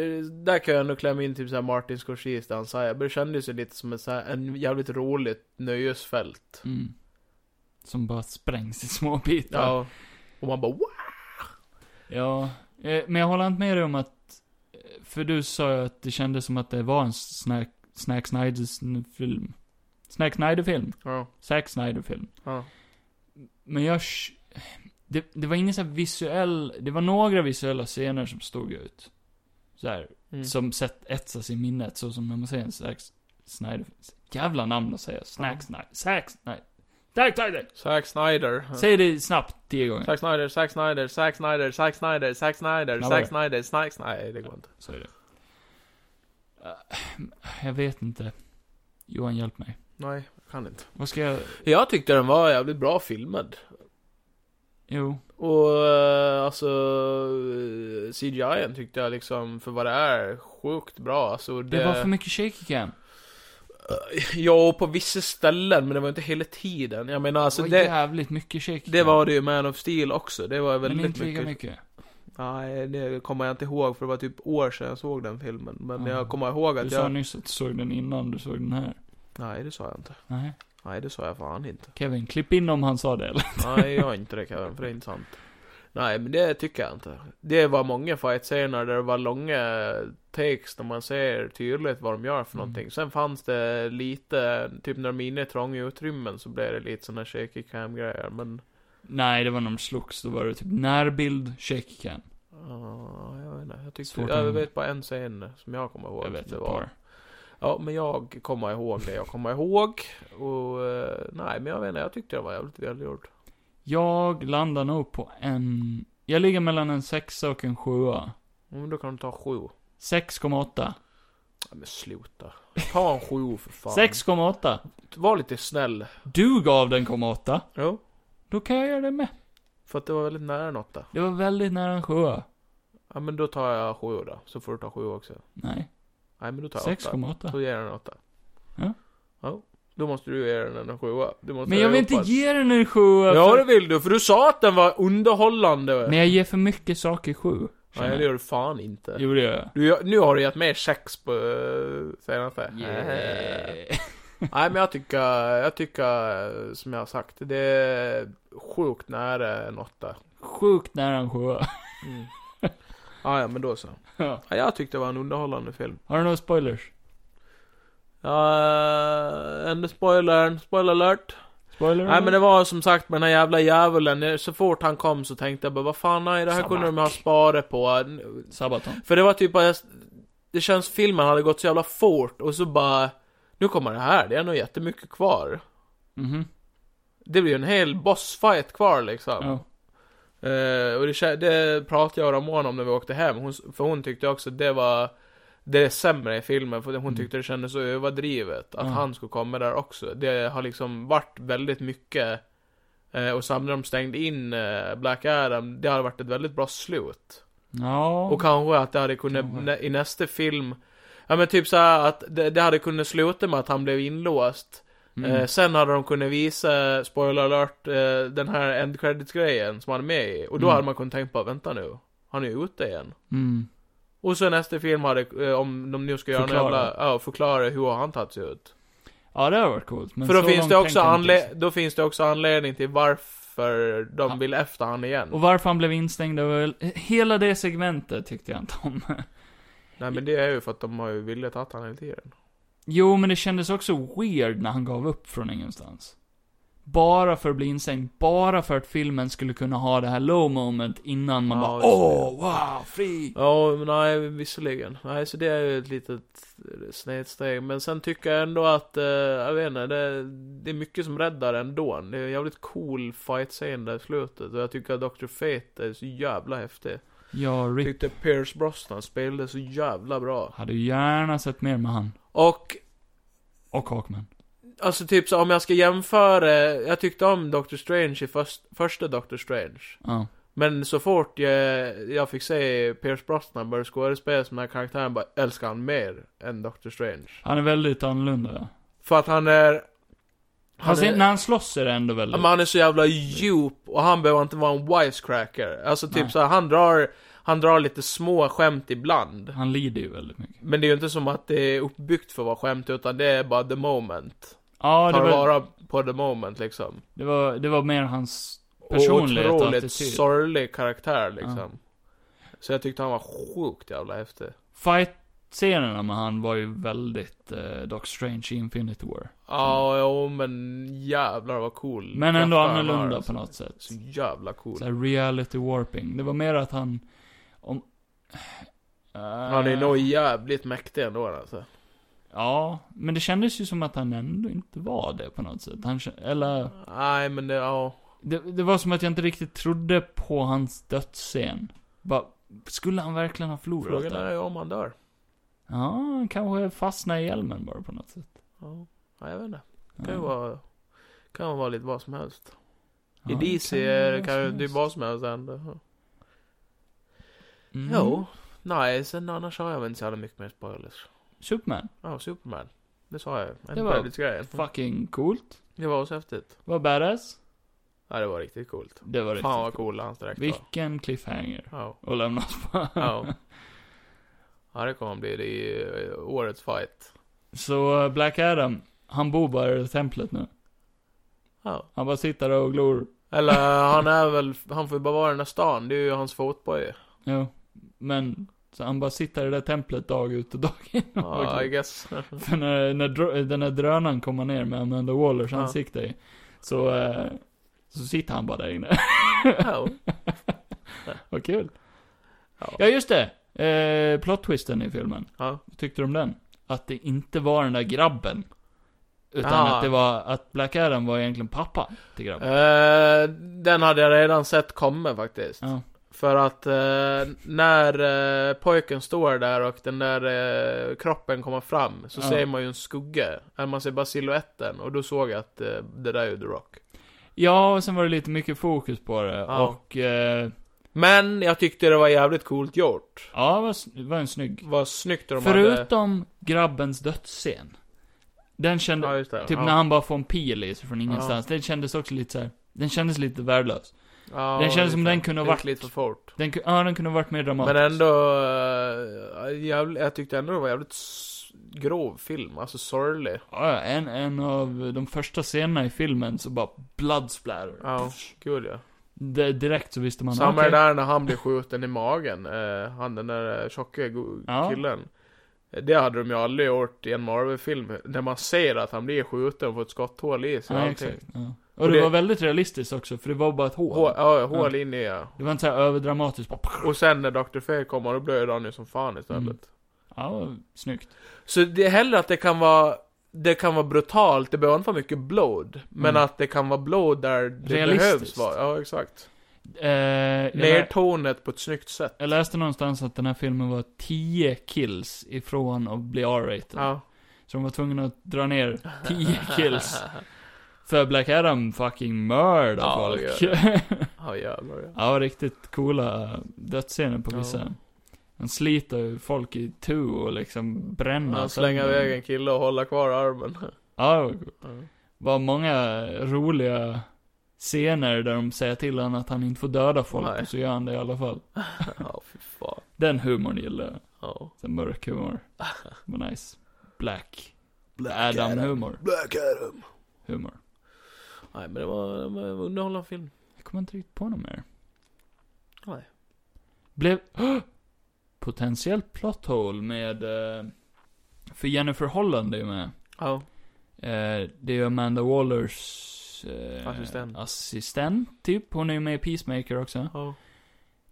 Speaker 3: där kan jag ändå klämma in typ såhär Martin Scorsese där han säger, men det kändes ju lite som en, så här, en jävligt roligt nöjesfält.
Speaker 2: Mm. Som bara sprängs i små bitar.
Speaker 3: Ja. Och man bara wow!
Speaker 2: Ja, eh, men jag håller inte med dig om att... eh, För du sa ju att det kändes som att det var en Snack, Snack Snyder-film. Snack Snyder-film.
Speaker 3: Ja,
Speaker 2: Zack Snyder-film.
Speaker 3: ja,
Speaker 2: Men jag... sh- Det, det var ingen så här visuell... Det var några visuella scener som stod ut. Så här,
Speaker 3: mm.
Speaker 2: Som sett, etsas i minnet, så som när man ser en Zack Snyder... Jävla namn att säga. Snack Snyder. Zack Snyder. Zack Snyder!
Speaker 3: Zack Snyder.
Speaker 2: Säg det snabbt tio gånger.
Speaker 3: Zack Snyder, Zack Snyder, Zack Snyder, Zack Snyder, Zack Snyder,
Speaker 2: Snabbare.
Speaker 3: Zack Snyder, Zack Snyder. Nej, det går inte.
Speaker 2: Så är det. Eh, Jag vet inte. Johan, hjälp mig.
Speaker 3: Nej, jag kan inte.
Speaker 2: Vad ska jag...
Speaker 3: Jag tyckte den var jävligt bra filmad.
Speaker 2: Jo.
Speaker 3: Och eh, alltså eh, CGI tyckte jag liksom, för vad det är, sjukt bra. Alltså det... Eh,
Speaker 2: Det, var för mycket shaky cam.
Speaker 3: Ja, och på vissa ställen, men det var inte hela tiden. Jag menar alltså
Speaker 2: det var
Speaker 3: det,
Speaker 2: jävligt mycket shaky
Speaker 3: det var det ju Man of Steel också. Det var
Speaker 2: Men
Speaker 3: väldigt
Speaker 2: inte lika
Speaker 3: mycket.
Speaker 2: mycket.
Speaker 3: Nej, det kommer jag inte ihåg för det var typ år sedan jag såg den filmen. Men
Speaker 2: Ja.
Speaker 3: jag kommer ihåg
Speaker 2: Du
Speaker 3: att
Speaker 2: sa
Speaker 3: jag...
Speaker 2: nyss att du såg den innan du såg den här.
Speaker 3: Nej, det sa jag inte.
Speaker 2: Nej.
Speaker 3: Nej, det sa jag fan inte.
Speaker 2: Kevin, klipp in om han sa det eller?
Speaker 3: Nej, jag har inte det Kevin, för det är inte sant. Nej, men det tycker jag inte. Det var många fight-scener där det var långa takes där man ser tydligt vad de gör för
Speaker 2: Mm.
Speaker 3: någonting. Sen fanns det lite, typ när de är inne i trånga utrymmen så blev det lite såna shaky cam-grejer, men
Speaker 2: Nej, det var när de slogs. Då var det typ närbild, check cam.
Speaker 3: Ja, ah, jag vet inte. Jag, tyckte,
Speaker 2: Svårt att
Speaker 3: jag
Speaker 2: hänga.
Speaker 3: vet bara en scen som jag kommer ihåg.
Speaker 2: Jag vet
Speaker 3: det
Speaker 2: ett
Speaker 3: var.
Speaker 2: par.
Speaker 3: Ja, men jag kommer ihåg det jag kommer ihåg. Och eh, nej, men jag vet inte. Jag tyckte det var jävligt välgjort.
Speaker 2: Jag landar nog på en... Jag ligger mellan en sexa och en sjua.
Speaker 3: Men då kan du ta sju.
Speaker 2: 6,8.
Speaker 3: Ja, men sluta. Ta en sju för fan.
Speaker 2: 6,8.
Speaker 3: Var lite snäll.
Speaker 2: Du gav den 0,8.
Speaker 3: Jo.
Speaker 2: Då kan jag göra det med.
Speaker 3: För att det var väldigt nära en åtta.
Speaker 2: Det var väldigt nära en sjua.
Speaker 3: Ja, men då tar jag sju då. Så får du ta sju också.
Speaker 2: Nej,
Speaker 3: Nej, men då tar jag åtta.
Speaker 2: 6,8.
Speaker 3: Då ger jag den en åtta.
Speaker 2: Ja.
Speaker 3: Ja. Då måste du ge den en sjua. Du måste
Speaker 2: Men jag vill inte
Speaker 3: hoppas.
Speaker 2: ge den en sjua.
Speaker 3: Ja,
Speaker 2: för-
Speaker 3: det vill du. För du sa att den var underhållande.
Speaker 2: Men jag ger för mycket saker sju. känner
Speaker 3: Nej,
Speaker 2: jag.
Speaker 3: det gör du fan inte.
Speaker 2: Jo, det gör jag.
Speaker 3: Du, nu har du gett mer sex på eh, senaste.
Speaker 2: Yeah.
Speaker 3: Nej men jag tycker, jag tycker eh, som jag har sagt, det är sjukt nära en åtta.
Speaker 2: Sjukt nära en sjua.
Speaker 3: Mm. ah, ja men då så.
Speaker 2: Ja.
Speaker 3: Ja, jag tyckte det var en underhållande film.
Speaker 2: Har du några spoilers?
Speaker 3: Ja, eh, enda spoilern, spoiler alert.
Speaker 2: Spoiler?
Speaker 3: Nej men det var som sagt med den här jävla djävulen, eh, så fort han kom så tänkte jag bara vad fan nej det här kunde de ha sparat på.
Speaker 2: Sabaton.
Speaker 3: För det var typ bara, det känns filmen hade gått så jävla fort och så bara, nu kommer det här, det är nog jättemycket kvar.
Speaker 2: Mhm.
Speaker 3: Det blir ju en hel bossfight kvar liksom.
Speaker 2: Ja.
Speaker 3: Eh, och det, kä- det pratade jag och Ramona om när vi åkte hem, hon, s- för hon tyckte också att det var det är sämre i filmen, för hon tyckte det kändes så överdrivet att
Speaker 2: Mm.
Speaker 3: han skulle komma där också. Det har liksom varit väldigt mycket, eh, och sen när de stängde in eh, Black Adam, det hade varit ett väldigt bra slut.
Speaker 2: Ja.
Speaker 3: Och kanske att det hade kunnat,
Speaker 2: Kanske.
Speaker 3: nä- i nästa film, ja men typ så här att det, det hade kunnat sluta med att han blev inlåst.
Speaker 2: Mm.
Speaker 3: Eh, sen hade de kunnat visa, spoiler alert, eh, den här end credits-grejen som han är med i. Och då
Speaker 2: Mm.
Speaker 3: hade man kunnat tänka på, vänta nu, han är ju ute igen.
Speaker 2: Mm.
Speaker 3: Och så nästa film hade, eh, om de nu ska göra en
Speaker 2: Förklara.
Speaker 3: jävla, ja, förklara hur har han tagit sig ut.
Speaker 2: Ja, det har varit coolt. Men
Speaker 3: För då
Speaker 2: så
Speaker 3: finns,
Speaker 2: långt
Speaker 3: det också
Speaker 2: tänker jag inte. liksom.
Speaker 3: anle- då finns det också anledning till varför de
Speaker 2: Ja.
Speaker 3: vill efter han igen.
Speaker 2: Och varför han blev instängd över väl... Hela det segmentet tyckte jag inte om.
Speaker 3: Nej men det är ju för att de har ju velat att han hela tiden.
Speaker 2: Jo, men det kändes också weird när han gav upp från ingenstans. Bara för att bli instängd, bara för att filmen skulle kunna ha det här low moment innan man
Speaker 3: Ja,
Speaker 2: bara
Speaker 3: just det.
Speaker 2: åh, wow, fri.
Speaker 3: Ja, men nej, visserligen. Nej, så det är ju ett litet snedsteg. Men sen tycker jag ändå att, eh, jag vet inte, det, det är mycket som räddar ändå. Det är en jävligt cool fight-scen där i slutet. Och jag tycker att Dr. Fate är så jävla häftig.
Speaker 2: Ja,
Speaker 3: Jag
Speaker 2: Rick
Speaker 3: tyckte Pierce Brosnan spelade så jävla bra.
Speaker 2: hade ju gärna sett mer med han.
Speaker 3: Och,
Speaker 2: Och Hawkman.
Speaker 3: alltså typ så om jag ska jämföra, jag tyckte om Dr. Strange i först, första Dr. Strange.
Speaker 2: Ja.
Speaker 3: Men så fort jag, jag fick se Pierce Brosnan börja skådespela som den här karaktären, bara älskar han mer än Dr. Strange.
Speaker 2: Han är väldigt annorlunda. ja.
Speaker 3: För att han är... Han
Speaker 2: Fast
Speaker 3: är,
Speaker 2: när han slåss är det ändå
Speaker 3: ja,
Speaker 2: väldigt...
Speaker 3: men han är så jävla djup och han behöver inte vara en wisecracker. Alltså typ
Speaker 2: Nej.
Speaker 3: så här, han drar, han drar lite små skämt ibland.
Speaker 2: Han lider ju väldigt mycket.
Speaker 3: Men det är ju inte som att det är uppbyggt för att vara skämt utan det är bara the moment.
Speaker 2: Ja, det
Speaker 3: Tar
Speaker 2: var,
Speaker 3: vara på the moment liksom.
Speaker 2: det var, det var mer hans
Speaker 3: Och
Speaker 2: personlighet och
Speaker 3: otroligt
Speaker 2: attityd.
Speaker 3: sorglig karaktär liksom. Så jag tyckte han var sjukt jävla häftig.
Speaker 2: Fight-scenerna med han var ju väldigt eh, Doc Strange i Infinity War.
Speaker 3: Ja, jo men jävlar vad cool.
Speaker 2: Mm. Men ändå
Speaker 3: karaktär han har,
Speaker 2: annorlunda
Speaker 3: alltså.
Speaker 2: på något sätt.
Speaker 3: Så jävla cool.
Speaker 2: Såhär reality warping. Det var mer att han... Om... Eh,
Speaker 3: Han är nog jävligt mäktig ändå alltså.
Speaker 2: Ja, men det kändes ju som att han ändå inte var det på något sätt. Han, kä- eller...
Speaker 3: Nej men det, ja.
Speaker 2: Det, det var som att jag inte riktigt trodde på hans dödsscen. Bara, skulle han verkligen ha förlorat
Speaker 3: Frågan
Speaker 2: där?
Speaker 3: är ju om han dör.
Speaker 2: Ja, han kanske fastnade i hjälmen bara på något sätt.
Speaker 3: Ja, Ja, jag vet inte.
Speaker 2: Ja.
Speaker 3: Kan ju vara, kan ju vara lite vad som helst.
Speaker 2: Ja,
Speaker 3: I
Speaker 2: det
Speaker 3: DC
Speaker 2: vara
Speaker 3: kan ju
Speaker 2: som
Speaker 3: det är
Speaker 2: helst.
Speaker 3: vad som helst hända. Ja.
Speaker 2: Mm.
Speaker 3: Jo. Nej, sen annars har jag väl inte så jävla mycket mer spoilers.
Speaker 2: Superman.
Speaker 3: Ja, Superman. Det sa jag ju.
Speaker 2: Det
Speaker 3: Det
Speaker 2: var-
Speaker 3: var grejen.
Speaker 2: Fucking coolt.
Speaker 3: Det var så häftigt.
Speaker 2: Vad badass.
Speaker 3: Ja, det var riktigt coolt.
Speaker 2: Det var riktigt
Speaker 3: Fan vad
Speaker 2: coolt.
Speaker 3: coola hans direkt var.
Speaker 2: Vilken cliffhanger.
Speaker 3: Ja.
Speaker 2: Och lämna oss på.
Speaker 3: Ja. ja, det kommer bli det i eh, årets fight.
Speaker 2: Så eh, Black Adam, han bor bara i templet nu.
Speaker 3: Ja.
Speaker 2: Han bara sitter där och glor.
Speaker 3: Eller han är väl, han får ju bara vara i den här stan. Det är ju hans fotboja.
Speaker 2: Jo. Men, så han bara sitter i det där templet dag ut och dag in. och
Speaker 3: Ja, I
Speaker 2: glor.
Speaker 3: guess.
Speaker 2: För när, när dro- den där drönaren kommer ner med Amanda Wallers
Speaker 3: Ja.
Speaker 2: ansikte i, så, eh, Så sitter han bara där inne.
Speaker 3: Ja.
Speaker 2: Vad kul.
Speaker 3: Ja.
Speaker 2: Ja, just det. Eh, plot-twisten i filmen.
Speaker 3: Ja.
Speaker 2: Vad tyckte du om den? Att det inte var den där grabben. Utan
Speaker 3: Ah.
Speaker 2: att det var, att Black Adam var egentligen pappa till grabben.
Speaker 3: Eh, den hade jag redan sett komma faktiskt.
Speaker 2: Ja.
Speaker 3: För att eh, när eh, pojken står där och den där eh, kroppen kommer fram så
Speaker 2: Ja.
Speaker 3: ser man ju en skugga. Eller man ser bara siluetten och då såg jag att eh, det där är ju The Rock.
Speaker 2: ja, och sen var det lite mycket fokus på det.
Speaker 3: Ja.
Speaker 2: Och, eh,
Speaker 3: Men jag tyckte det var jävligt coolt gjort.
Speaker 2: ja, det var, s- det var en snygg.
Speaker 3: Vad snyggt de hade...
Speaker 2: Förutom grabbens dödsscen. Den kände,
Speaker 3: Ah, Ja, Ah. just det.
Speaker 2: typ
Speaker 3: ja.
Speaker 2: när han bara får en pil i sig från ingenstans. Den kändes också lite så här. den kändes lite värdelös.
Speaker 3: Ja,
Speaker 2: den känns
Speaker 3: lite.
Speaker 2: som den kunde ha
Speaker 3: Gick
Speaker 2: varit-
Speaker 3: lite för fort.
Speaker 2: Den, ku- ja, den kunde ha varit mer dramatisk.
Speaker 3: Men ändå, eh, jävl- jag tyckte ändå det var jävligt s- grov film, alltså sorglig.
Speaker 2: Ja, ja, en, en av de första scenerna i filmen så bara blood splatter.
Speaker 3: Ja, gud ja.
Speaker 2: Det- direkt så visste man.
Speaker 3: Samma
Speaker 2: okej.
Speaker 3: där när han blev skjuten i magen, eh, han den där eh, tjocka go-
Speaker 2: Ja.
Speaker 3: killen. Eh, Det hade de ju aldrig gjort i en Marvel-film, där man ser att han blir skjuten och får ett skotthål i sig och
Speaker 2: Ja,
Speaker 3: allting.
Speaker 2: exakt. Ja. Och,
Speaker 3: Och
Speaker 2: det,
Speaker 3: det-
Speaker 2: var väldigt realistiskt också, för det var bara ett hål.
Speaker 3: Hål, ja, hål in i ja.
Speaker 2: Det var inte så här överdramatiskt. Bara...
Speaker 3: Och sen när Dr. Fate kommer, då blöder han ju som fan istället.
Speaker 2: Mm. Ja, det var snyggt.
Speaker 3: Så det är hellre att det kan vara det kan vara brutalt, det behöver inte vara mycket blod. Men
Speaker 2: Mm.
Speaker 3: att det kan vara blod där det
Speaker 2: Realistiskt.
Speaker 3: behövs vara. Ja, exakt.
Speaker 2: Eh, jag, lä-
Speaker 3: Nertonet på ett snyggt sätt.
Speaker 2: jag läste någonstans att den här filmen var 10 kills ifrån att bli R-rated.
Speaker 3: Ja.
Speaker 2: Så de var tvungna att dra ner 10 kills. För Black Adam fucking mördar
Speaker 3: Ja,
Speaker 2: folk.
Speaker 3: det Ja, jävlar ja.
Speaker 2: Ja, riktigt coola dödsscener på
Speaker 3: Ja.
Speaker 2: vissa. Han sliter ju folk i tu och liksom bränner.
Speaker 3: Han slänger
Speaker 2: sönder.
Speaker 3: iväg en kille och håller kvar armen.
Speaker 2: Ja, det var coolt.
Speaker 3: Ja.
Speaker 2: var många roliga scener där de säger till honom att han inte får döda folk,
Speaker 3: Nej.
Speaker 2: och så gör han det i alla fall.
Speaker 3: Ja, fy fan.
Speaker 2: Den humorn gillar jag.
Speaker 3: Ja.
Speaker 2: Så mörk humor. Var nice. Black. Adam-humor.
Speaker 3: Black Adam.
Speaker 2: Humor.
Speaker 3: Nej, men det var, det var en underhållande film.
Speaker 2: Jag kommer inte riktigt på något mer.
Speaker 3: Nej.
Speaker 2: Blev... Potentiellt plot hole med... eh, För Jennifer Holland är ju med.
Speaker 3: Ja.
Speaker 2: Eh, det är ju Amanda Wallers eh,
Speaker 3: Assistent.
Speaker 2: assistent, typ. Hon är ju med i Peacemaker också.
Speaker 3: Ja.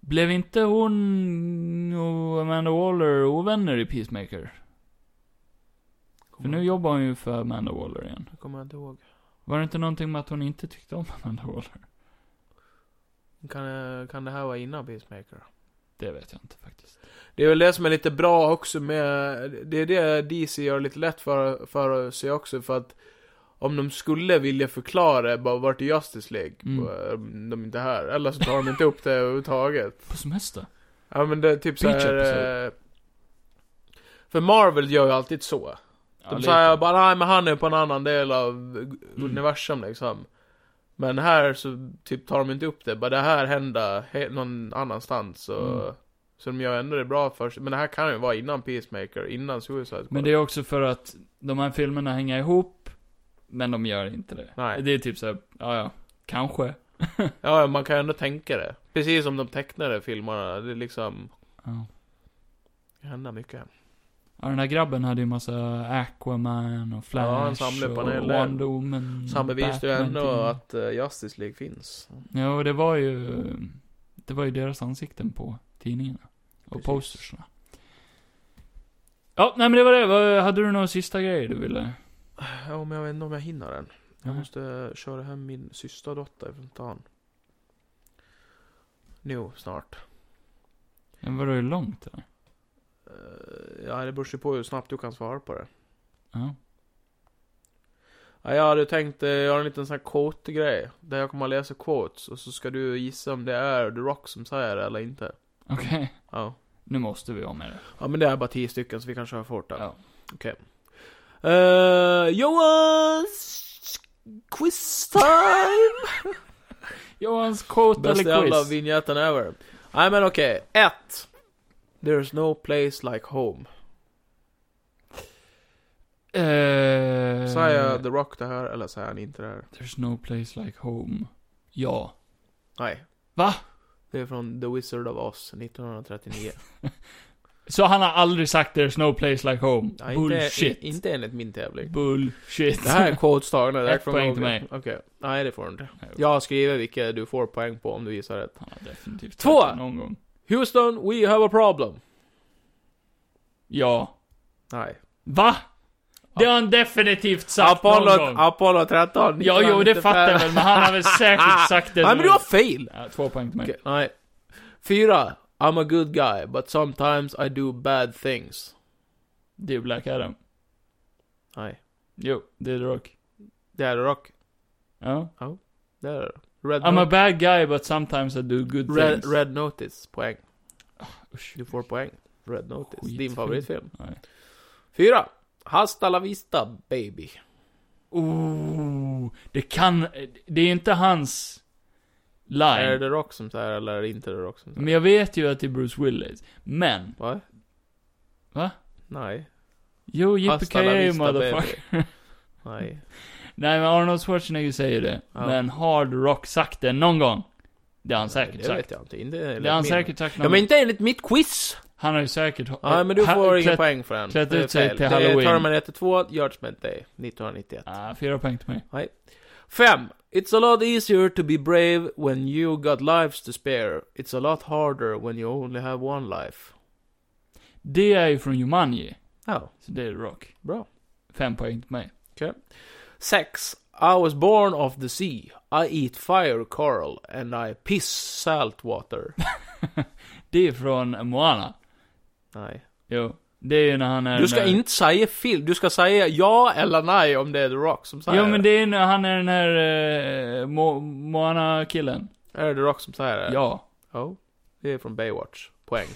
Speaker 2: Blev inte hon och Amanda Waller ovänner i Peacemaker? För
Speaker 3: Mm.
Speaker 2: nu jobbar hon ju för Amanda Waller igen.
Speaker 3: Jag kommer inte ihåg.
Speaker 2: Var det inte någonting med att hon inte tyckte om Amanda Waller?
Speaker 3: Kan, eh, kan det här vara innan Peacemaker?
Speaker 2: Det vet jag inte faktiskt.
Speaker 3: Det är väl det som är lite bra också med, det är det DC gör lite lätt för, för sig också för att om de skulle vilja förklara bara vart är Justice League,
Speaker 2: Mm.
Speaker 3: och, um, de är inte här, eller så tar de inte upp det överhuvudtaget.
Speaker 2: På semester?
Speaker 3: Ja men det är typ
Speaker 2: Preach
Speaker 3: såhär... Eh, för Marvel gör ju alltid så.
Speaker 2: Ja,
Speaker 3: De säger
Speaker 2: lite.
Speaker 3: bara nej men han är på en annan del av universum liksom. Men här så typ tar de inte upp det, bara det här hända he- någon annanstans och
Speaker 2: Mm.
Speaker 3: Så de gör ändå det bra för sig. Men det här kan ju vara innan Peacemaker, innan Suicide Squad.
Speaker 2: Men det är också för att de här filmerna hänger ihop, men de gör inte det.
Speaker 3: Nej.
Speaker 2: Det är typ såhär, ja ja, kanske.
Speaker 3: Ja, ja, man kan ju ändå tänka det. Precis som de tecknade filmerna, det är liksom,
Speaker 2: Ja.
Speaker 3: det händer mycket.
Speaker 2: Ja, den där grabben hade ju massa Aquaman och Flash
Speaker 3: Ja, han samlade
Speaker 2: och
Speaker 3: paneler.
Speaker 2: Wonder Woman.
Speaker 3: Så han bevisade ju ändå
Speaker 2: Batman-ting.
Speaker 3: att eh, Justice League finns.
Speaker 2: Ja, och det var ju... Det var ju deras ansikten på tidningarna. Och
Speaker 3: Precis.
Speaker 2: postersna. Ja, nej men det var det. Vad- Hade du några sista grejer du ville?
Speaker 3: Ja, men jag vet inte om jag hinner den. Jag
Speaker 2: Nej.
Speaker 3: måste eh, köra hem min systerdotter från stan. Nu, snart.
Speaker 2: Men var det ju långt eller?
Speaker 3: Eh, Ja, det beror ju på hur snabbt du kan svara på det.
Speaker 2: Ja.
Speaker 3: Ja, jag hade tänkt eh, göra en liten sån här quote-grej. Där jag kommer att läsa quotes och så ska du gissa om det är The Rock som säger det eller inte.
Speaker 2: Okej.
Speaker 3: Ja.
Speaker 2: Nu måste vi ha med det.
Speaker 3: Ja men det är bara tio stycken så vi kan köra fort där.
Speaker 2: Ja.
Speaker 3: Eh, Johans quiz time!
Speaker 2: Johans quote eller
Speaker 3: Bästa jävla
Speaker 2: quiz?
Speaker 3: vinjetten ever. Nej men okej, ett. There's no place like home.
Speaker 2: Eh,
Speaker 3: Säger The Rock det här eller säger han inte det här?
Speaker 2: There's no place like home. Ja.
Speaker 3: Nej.
Speaker 2: Va?
Speaker 3: Det är från The Wizard of Oz 1939.
Speaker 2: Så han har aldrig sagt 'There's no place like home'?
Speaker 3: Ja, inte,
Speaker 2: Bullshit.
Speaker 3: i- inte enligt min tävling.
Speaker 2: Bullshit.
Speaker 3: Det här är quotes tagna direkt
Speaker 2: Ett
Speaker 3: från
Speaker 2: poäng
Speaker 3: någon.
Speaker 2: till mig.
Speaker 3: Okej. Nej, det får du inte. Jag har skrivit vilka du får poäng på om du gissar rätt.
Speaker 2: Han har definitivt
Speaker 3: Två.
Speaker 2: sagt det någon gång.
Speaker 3: Houston, we have a problem.
Speaker 2: Ja.
Speaker 3: Nej.
Speaker 2: Va? Det har han definitivt sagt någon
Speaker 3: Apollo,
Speaker 2: gång.
Speaker 3: Apollo 13.
Speaker 2: Ja, jo, det
Speaker 3: 1995.
Speaker 2: fattar jag väl, men han har väl säkert sagt det.
Speaker 3: Nej, men du har fel!
Speaker 2: ja, två poäng till mig.
Speaker 3: Okej, nej. Fyra. I'm a good guy, but sometimes I do bad things.
Speaker 2: Det är Black Adam.
Speaker 3: Nej.
Speaker 2: Jo, det är The Rock.
Speaker 3: Det är Rock.
Speaker 2: Ja.
Speaker 3: Det är det. Red,
Speaker 2: I'm a
Speaker 3: Not-
Speaker 2: bad guy but sometimes I do good
Speaker 3: Red,
Speaker 2: things.
Speaker 3: Red Notice. Poäng.
Speaker 2: Usch.
Speaker 3: Du får poäng. Red Notice. Din
Speaker 2: Skitfilm.
Speaker 3: favoritfilm.
Speaker 2: Nej.
Speaker 3: Fyra. Hasta la vista, baby.
Speaker 2: Oh, det kan... Det är inte hans
Speaker 3: Är det
Speaker 2: line.
Speaker 3: The Rock som säger eller är det inte The Rock som säger?
Speaker 2: Men jag vet ju att det är Bruce Willis. Men,
Speaker 3: Va?
Speaker 2: Va?
Speaker 3: Nej.
Speaker 2: jo,
Speaker 3: Hasta la
Speaker 2: yippee
Speaker 3: vista,
Speaker 2: motherfucker.
Speaker 3: baby. Nej.
Speaker 2: Nej men Arnold Schwarzenegger säger det.
Speaker 3: Ja.
Speaker 2: Men har The Rock sagt det någon gång? Det har han
Speaker 3: Nej,
Speaker 2: säkert
Speaker 3: det
Speaker 2: sagt.
Speaker 3: vet jag inte. Inte enligt
Speaker 2: Det har han
Speaker 3: min.
Speaker 2: säkert sagt någon
Speaker 3: Ja, men
Speaker 2: gång.
Speaker 3: inte enligt mitt quiz!
Speaker 2: Han har ju säkert...
Speaker 3: Nej, men du
Speaker 2: ha-
Speaker 3: får inga
Speaker 2: klätt-
Speaker 3: poäng för den.
Speaker 2: klätt
Speaker 3: Det är
Speaker 2: ut sig
Speaker 3: fel.
Speaker 2: till Halloween.
Speaker 3: Det är Terminator 2, Judgment Day, 1991.
Speaker 2: Ah, fyra poäng till mig.
Speaker 3: Fem. It's a lot easier to be brave when you got lives to spare. It's a lot harder when you only have one life.
Speaker 2: Det är ju från Jumanji.
Speaker 3: Ja,
Speaker 2: Så det är The Rock.
Speaker 3: bra.
Speaker 2: Fem poäng till mig.
Speaker 3: Sex. I was born of the sea. I eat fire coral and I piss salt water.
Speaker 2: Det är från Moana.
Speaker 3: nej.
Speaker 2: Jo. Det är ju när han är...
Speaker 3: Du ska
Speaker 2: den här-
Speaker 3: inte säga fel. Du ska säga ja eller nej om det är The Rock som säger
Speaker 2: Jo men
Speaker 3: det.
Speaker 2: det är när han är den här eh, Mo- Moana-killen.
Speaker 3: Är det The Rock som säger det?
Speaker 2: Ja.
Speaker 3: Ja. Det är från Baywatch. Poäng.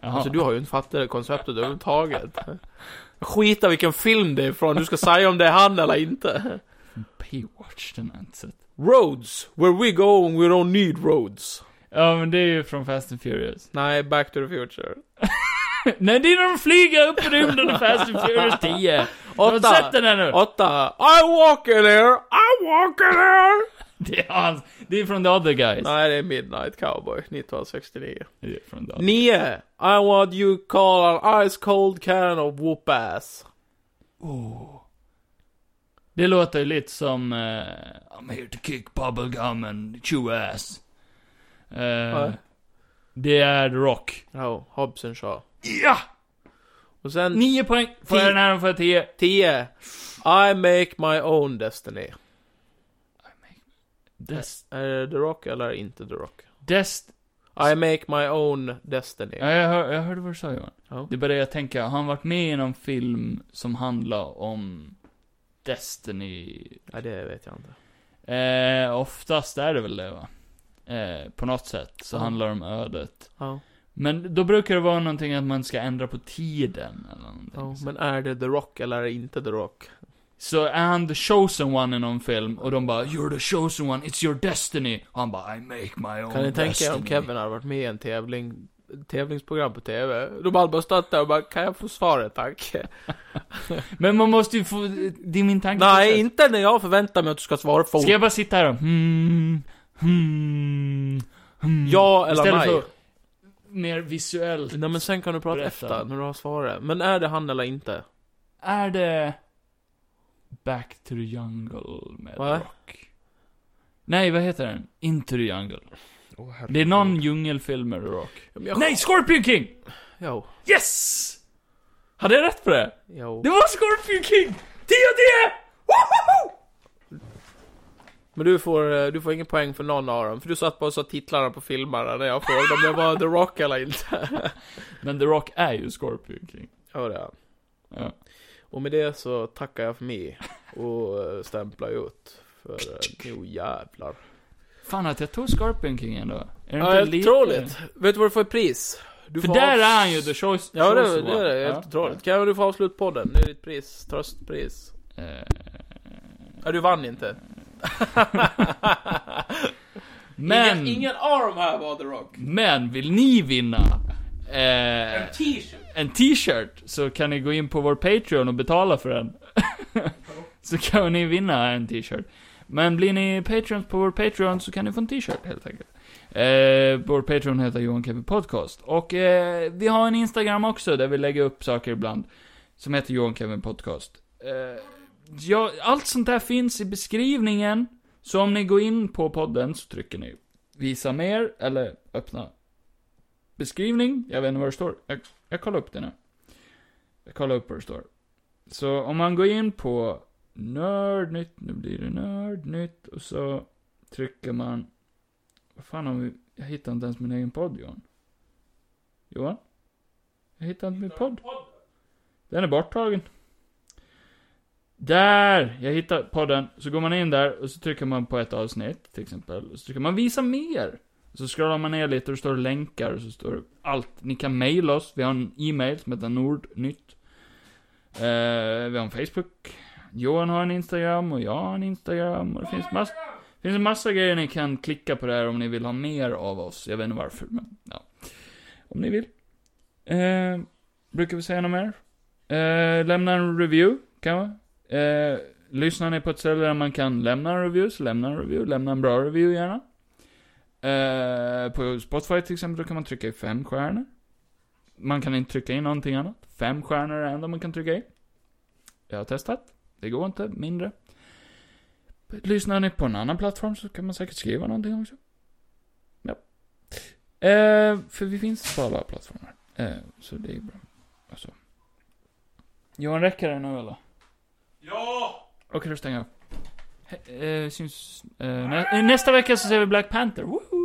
Speaker 2: Jaha.
Speaker 3: Alltså du har ju inte fattat det konceptet överhuvudtaget. Skita vilken film det är ifrån, du ska säga om det är han eller inte.
Speaker 2: Baywatch, den har jag inte sett.
Speaker 3: Roads, where we go and we don't need roads.
Speaker 2: Ja men det är ju från Fast and Furious.
Speaker 3: Nej, Back to the Future.
Speaker 2: Nej det är när de flyger upp i rymden i Fast and Furious 10. Har du
Speaker 3: Åtta.
Speaker 2: sett den ännu?
Speaker 3: Åtta. I walk in here, I walk in here.
Speaker 2: Det är, hans, det är från The Other Guys.
Speaker 3: Nej, det är Midnight Cowboy, 1969.
Speaker 2: Det är från The Other
Speaker 3: Nio. I want you call an ice cold can of whoop ass.
Speaker 2: Det låter ju lite som... eh, I'm here to kick bubblegum and chew ass. Eh, det är The Rock.
Speaker 3: Ja, Hobbs and Shaw.
Speaker 2: Ja!
Speaker 3: Och sen
Speaker 2: Nio poäng. Får jag
Speaker 3: Tio.
Speaker 2: den här och får jag tio?
Speaker 3: tio. I make my own destiny.
Speaker 2: Dest...
Speaker 3: Är det The Rock eller inte The Rock?
Speaker 2: Dest...
Speaker 3: I make my own destiny.
Speaker 2: Ja, jag, hör, jag hörde vad du sa Johan.
Speaker 3: Ja.
Speaker 2: Det började jag tänka, har han varit med i någon film som handlar om Destiny?
Speaker 3: Nej, det vet jag inte.
Speaker 2: Eh, oftast är det väl det va? Eh, på något sätt så
Speaker 3: Ja.
Speaker 2: handlar det om ödet.
Speaker 3: Ja,
Speaker 2: Men då brukar det vara någonting att man ska ändra på tiden eller någonting.
Speaker 3: ja.
Speaker 2: så.
Speaker 3: Men är det The Rock eller är det inte The Rock?
Speaker 2: så är han the chosen one i någon film och de bara 'You're the chosen one, it's your destiny' och han bara 'I make my own
Speaker 3: Kan ni tänka er
Speaker 2: destiny'
Speaker 3: om Kevin hade varit med i en tävling, tävlingsprogram på TV? De hade bara stått där och bara, kan jag få svaret tack?
Speaker 2: Men man måste ju få, det är min tanke.
Speaker 3: Nej, inte när jag förväntar mig att du ska svara fort.
Speaker 2: Ska jag bara sitta här och hmm, hmm, hmm.
Speaker 3: Ja eller
Speaker 2: Istället
Speaker 3: nej?
Speaker 2: för mer visuellt.
Speaker 3: Nej men sen kan du prata
Speaker 2: Berätta.
Speaker 3: efter, när du har svaret. Men är det han eller inte?
Speaker 2: Är det Back to the Jungle med
Speaker 3: Va?
Speaker 2: Rock? Nej, vad heter den? Into the Jungle. det är någon djungelfilm med The Rock.
Speaker 3: Ja, men jag-
Speaker 2: Nej, Scorpion King!
Speaker 3: Jo.
Speaker 2: Yes! Hade jag rätt på det?
Speaker 3: Jo.
Speaker 2: Det var Scorpion King! 10 10! Wohoho!
Speaker 3: Men du får, eh, du får ingen poäng för någon av dem, för du satt bara och sa titlarna på filmerna när jag frågade om det var The Rock eller inte.
Speaker 2: Men The Rock är ju Scorpion King.
Speaker 3: Ja, det är han.
Speaker 2: Ja.
Speaker 3: Och med det så tackar jag för mig och eh, stämplar ut. För eh, nu jävlar.
Speaker 2: Fan att jag tog Scorpion King ändå. Är det
Speaker 3: Ja,
Speaker 2: lite-
Speaker 3: otroligt. Vet du vad du får i pris? Du
Speaker 2: För
Speaker 3: får
Speaker 2: där
Speaker 3: avs-
Speaker 2: är han ju the choice.
Speaker 3: Ja, det,
Speaker 2: chosen
Speaker 3: det är
Speaker 2: one.
Speaker 3: det. Helt otroligt. Kan du få avsluta podden? Det är ditt pris. Tröstpris.
Speaker 2: Eh,
Speaker 3: Ja, du vann inte.
Speaker 2: Men,
Speaker 3: Ingen, ingen arm här var The Rock.
Speaker 2: men vill ni vinna eh,
Speaker 3: T-shirt.
Speaker 2: en t-shirt så kan ni gå in på vår Patreon och betala för den. så kan ni vinna en t-shirt. Men blir ni patreons på vår Patreon så kan ni få en t-shirt helt enkelt. Eh, vår Patreon heter Johan Kevin Podcast. Och eh, vi har en Instagram också där vi lägger upp saker ibland. Som heter Johan Kevin Podcast. Eh, ja, allt sånt där finns i beskrivningen. Så om ni går in på podden så trycker ni visa mer eller öppna beskrivning. Jag vet inte vad det står. Jag, jag kollar upp det nu. Jag kollar upp vad det står. Så om man går in på Nördnytt, nu blir det Nördnytt och så trycker man... Vad fan har vi... Jag hittar inte ens min egen podd, Johan. Johan? Jag hittar inte min podd. Den är borttagen. Där! Jag hittar podden. Så går man in där och så trycker man på ett avsnitt, till exempel. Och så trycker man visa mer. Så scrollar man ner lite och det står länkar och så står det allt. Ni kan mejla oss. Vi har en e-mail som heter nordnytt. Eh, vi har en Facebook. Johan har en Instagram och jag har en Instagram. Och det finns, mass- finns en massa grejer ni kan klicka på där om ni vill ha mer av oss. Jag vet inte varför, men ja. Om ni vill. Eh, brukar vi säga något mer? Eh, lämna en review, kan man. Eh, lyssnar ni på ett ställe där man kan lämna en review, så lämna en review. Lämna en bra review gärna. Eh, på Spotify till exempel, då kan man trycka i fem stjärnor. Man kan inte trycka i någonting annat. Fem stjärnor är det enda man kan trycka i. Jag har testat. Det går inte mindre. Lyssnar ni på en annan plattform så kan man säkert skriva någonting också. Ja. Eh, för vi finns på alla plattformar. Eh, så det är bra. Alltså. Johan, räcker det nu eller? eh, Okej, då stänger jag. He- eh, syns, eh, nä- eh, nästa vecka så ser vi Black Panther. Woho!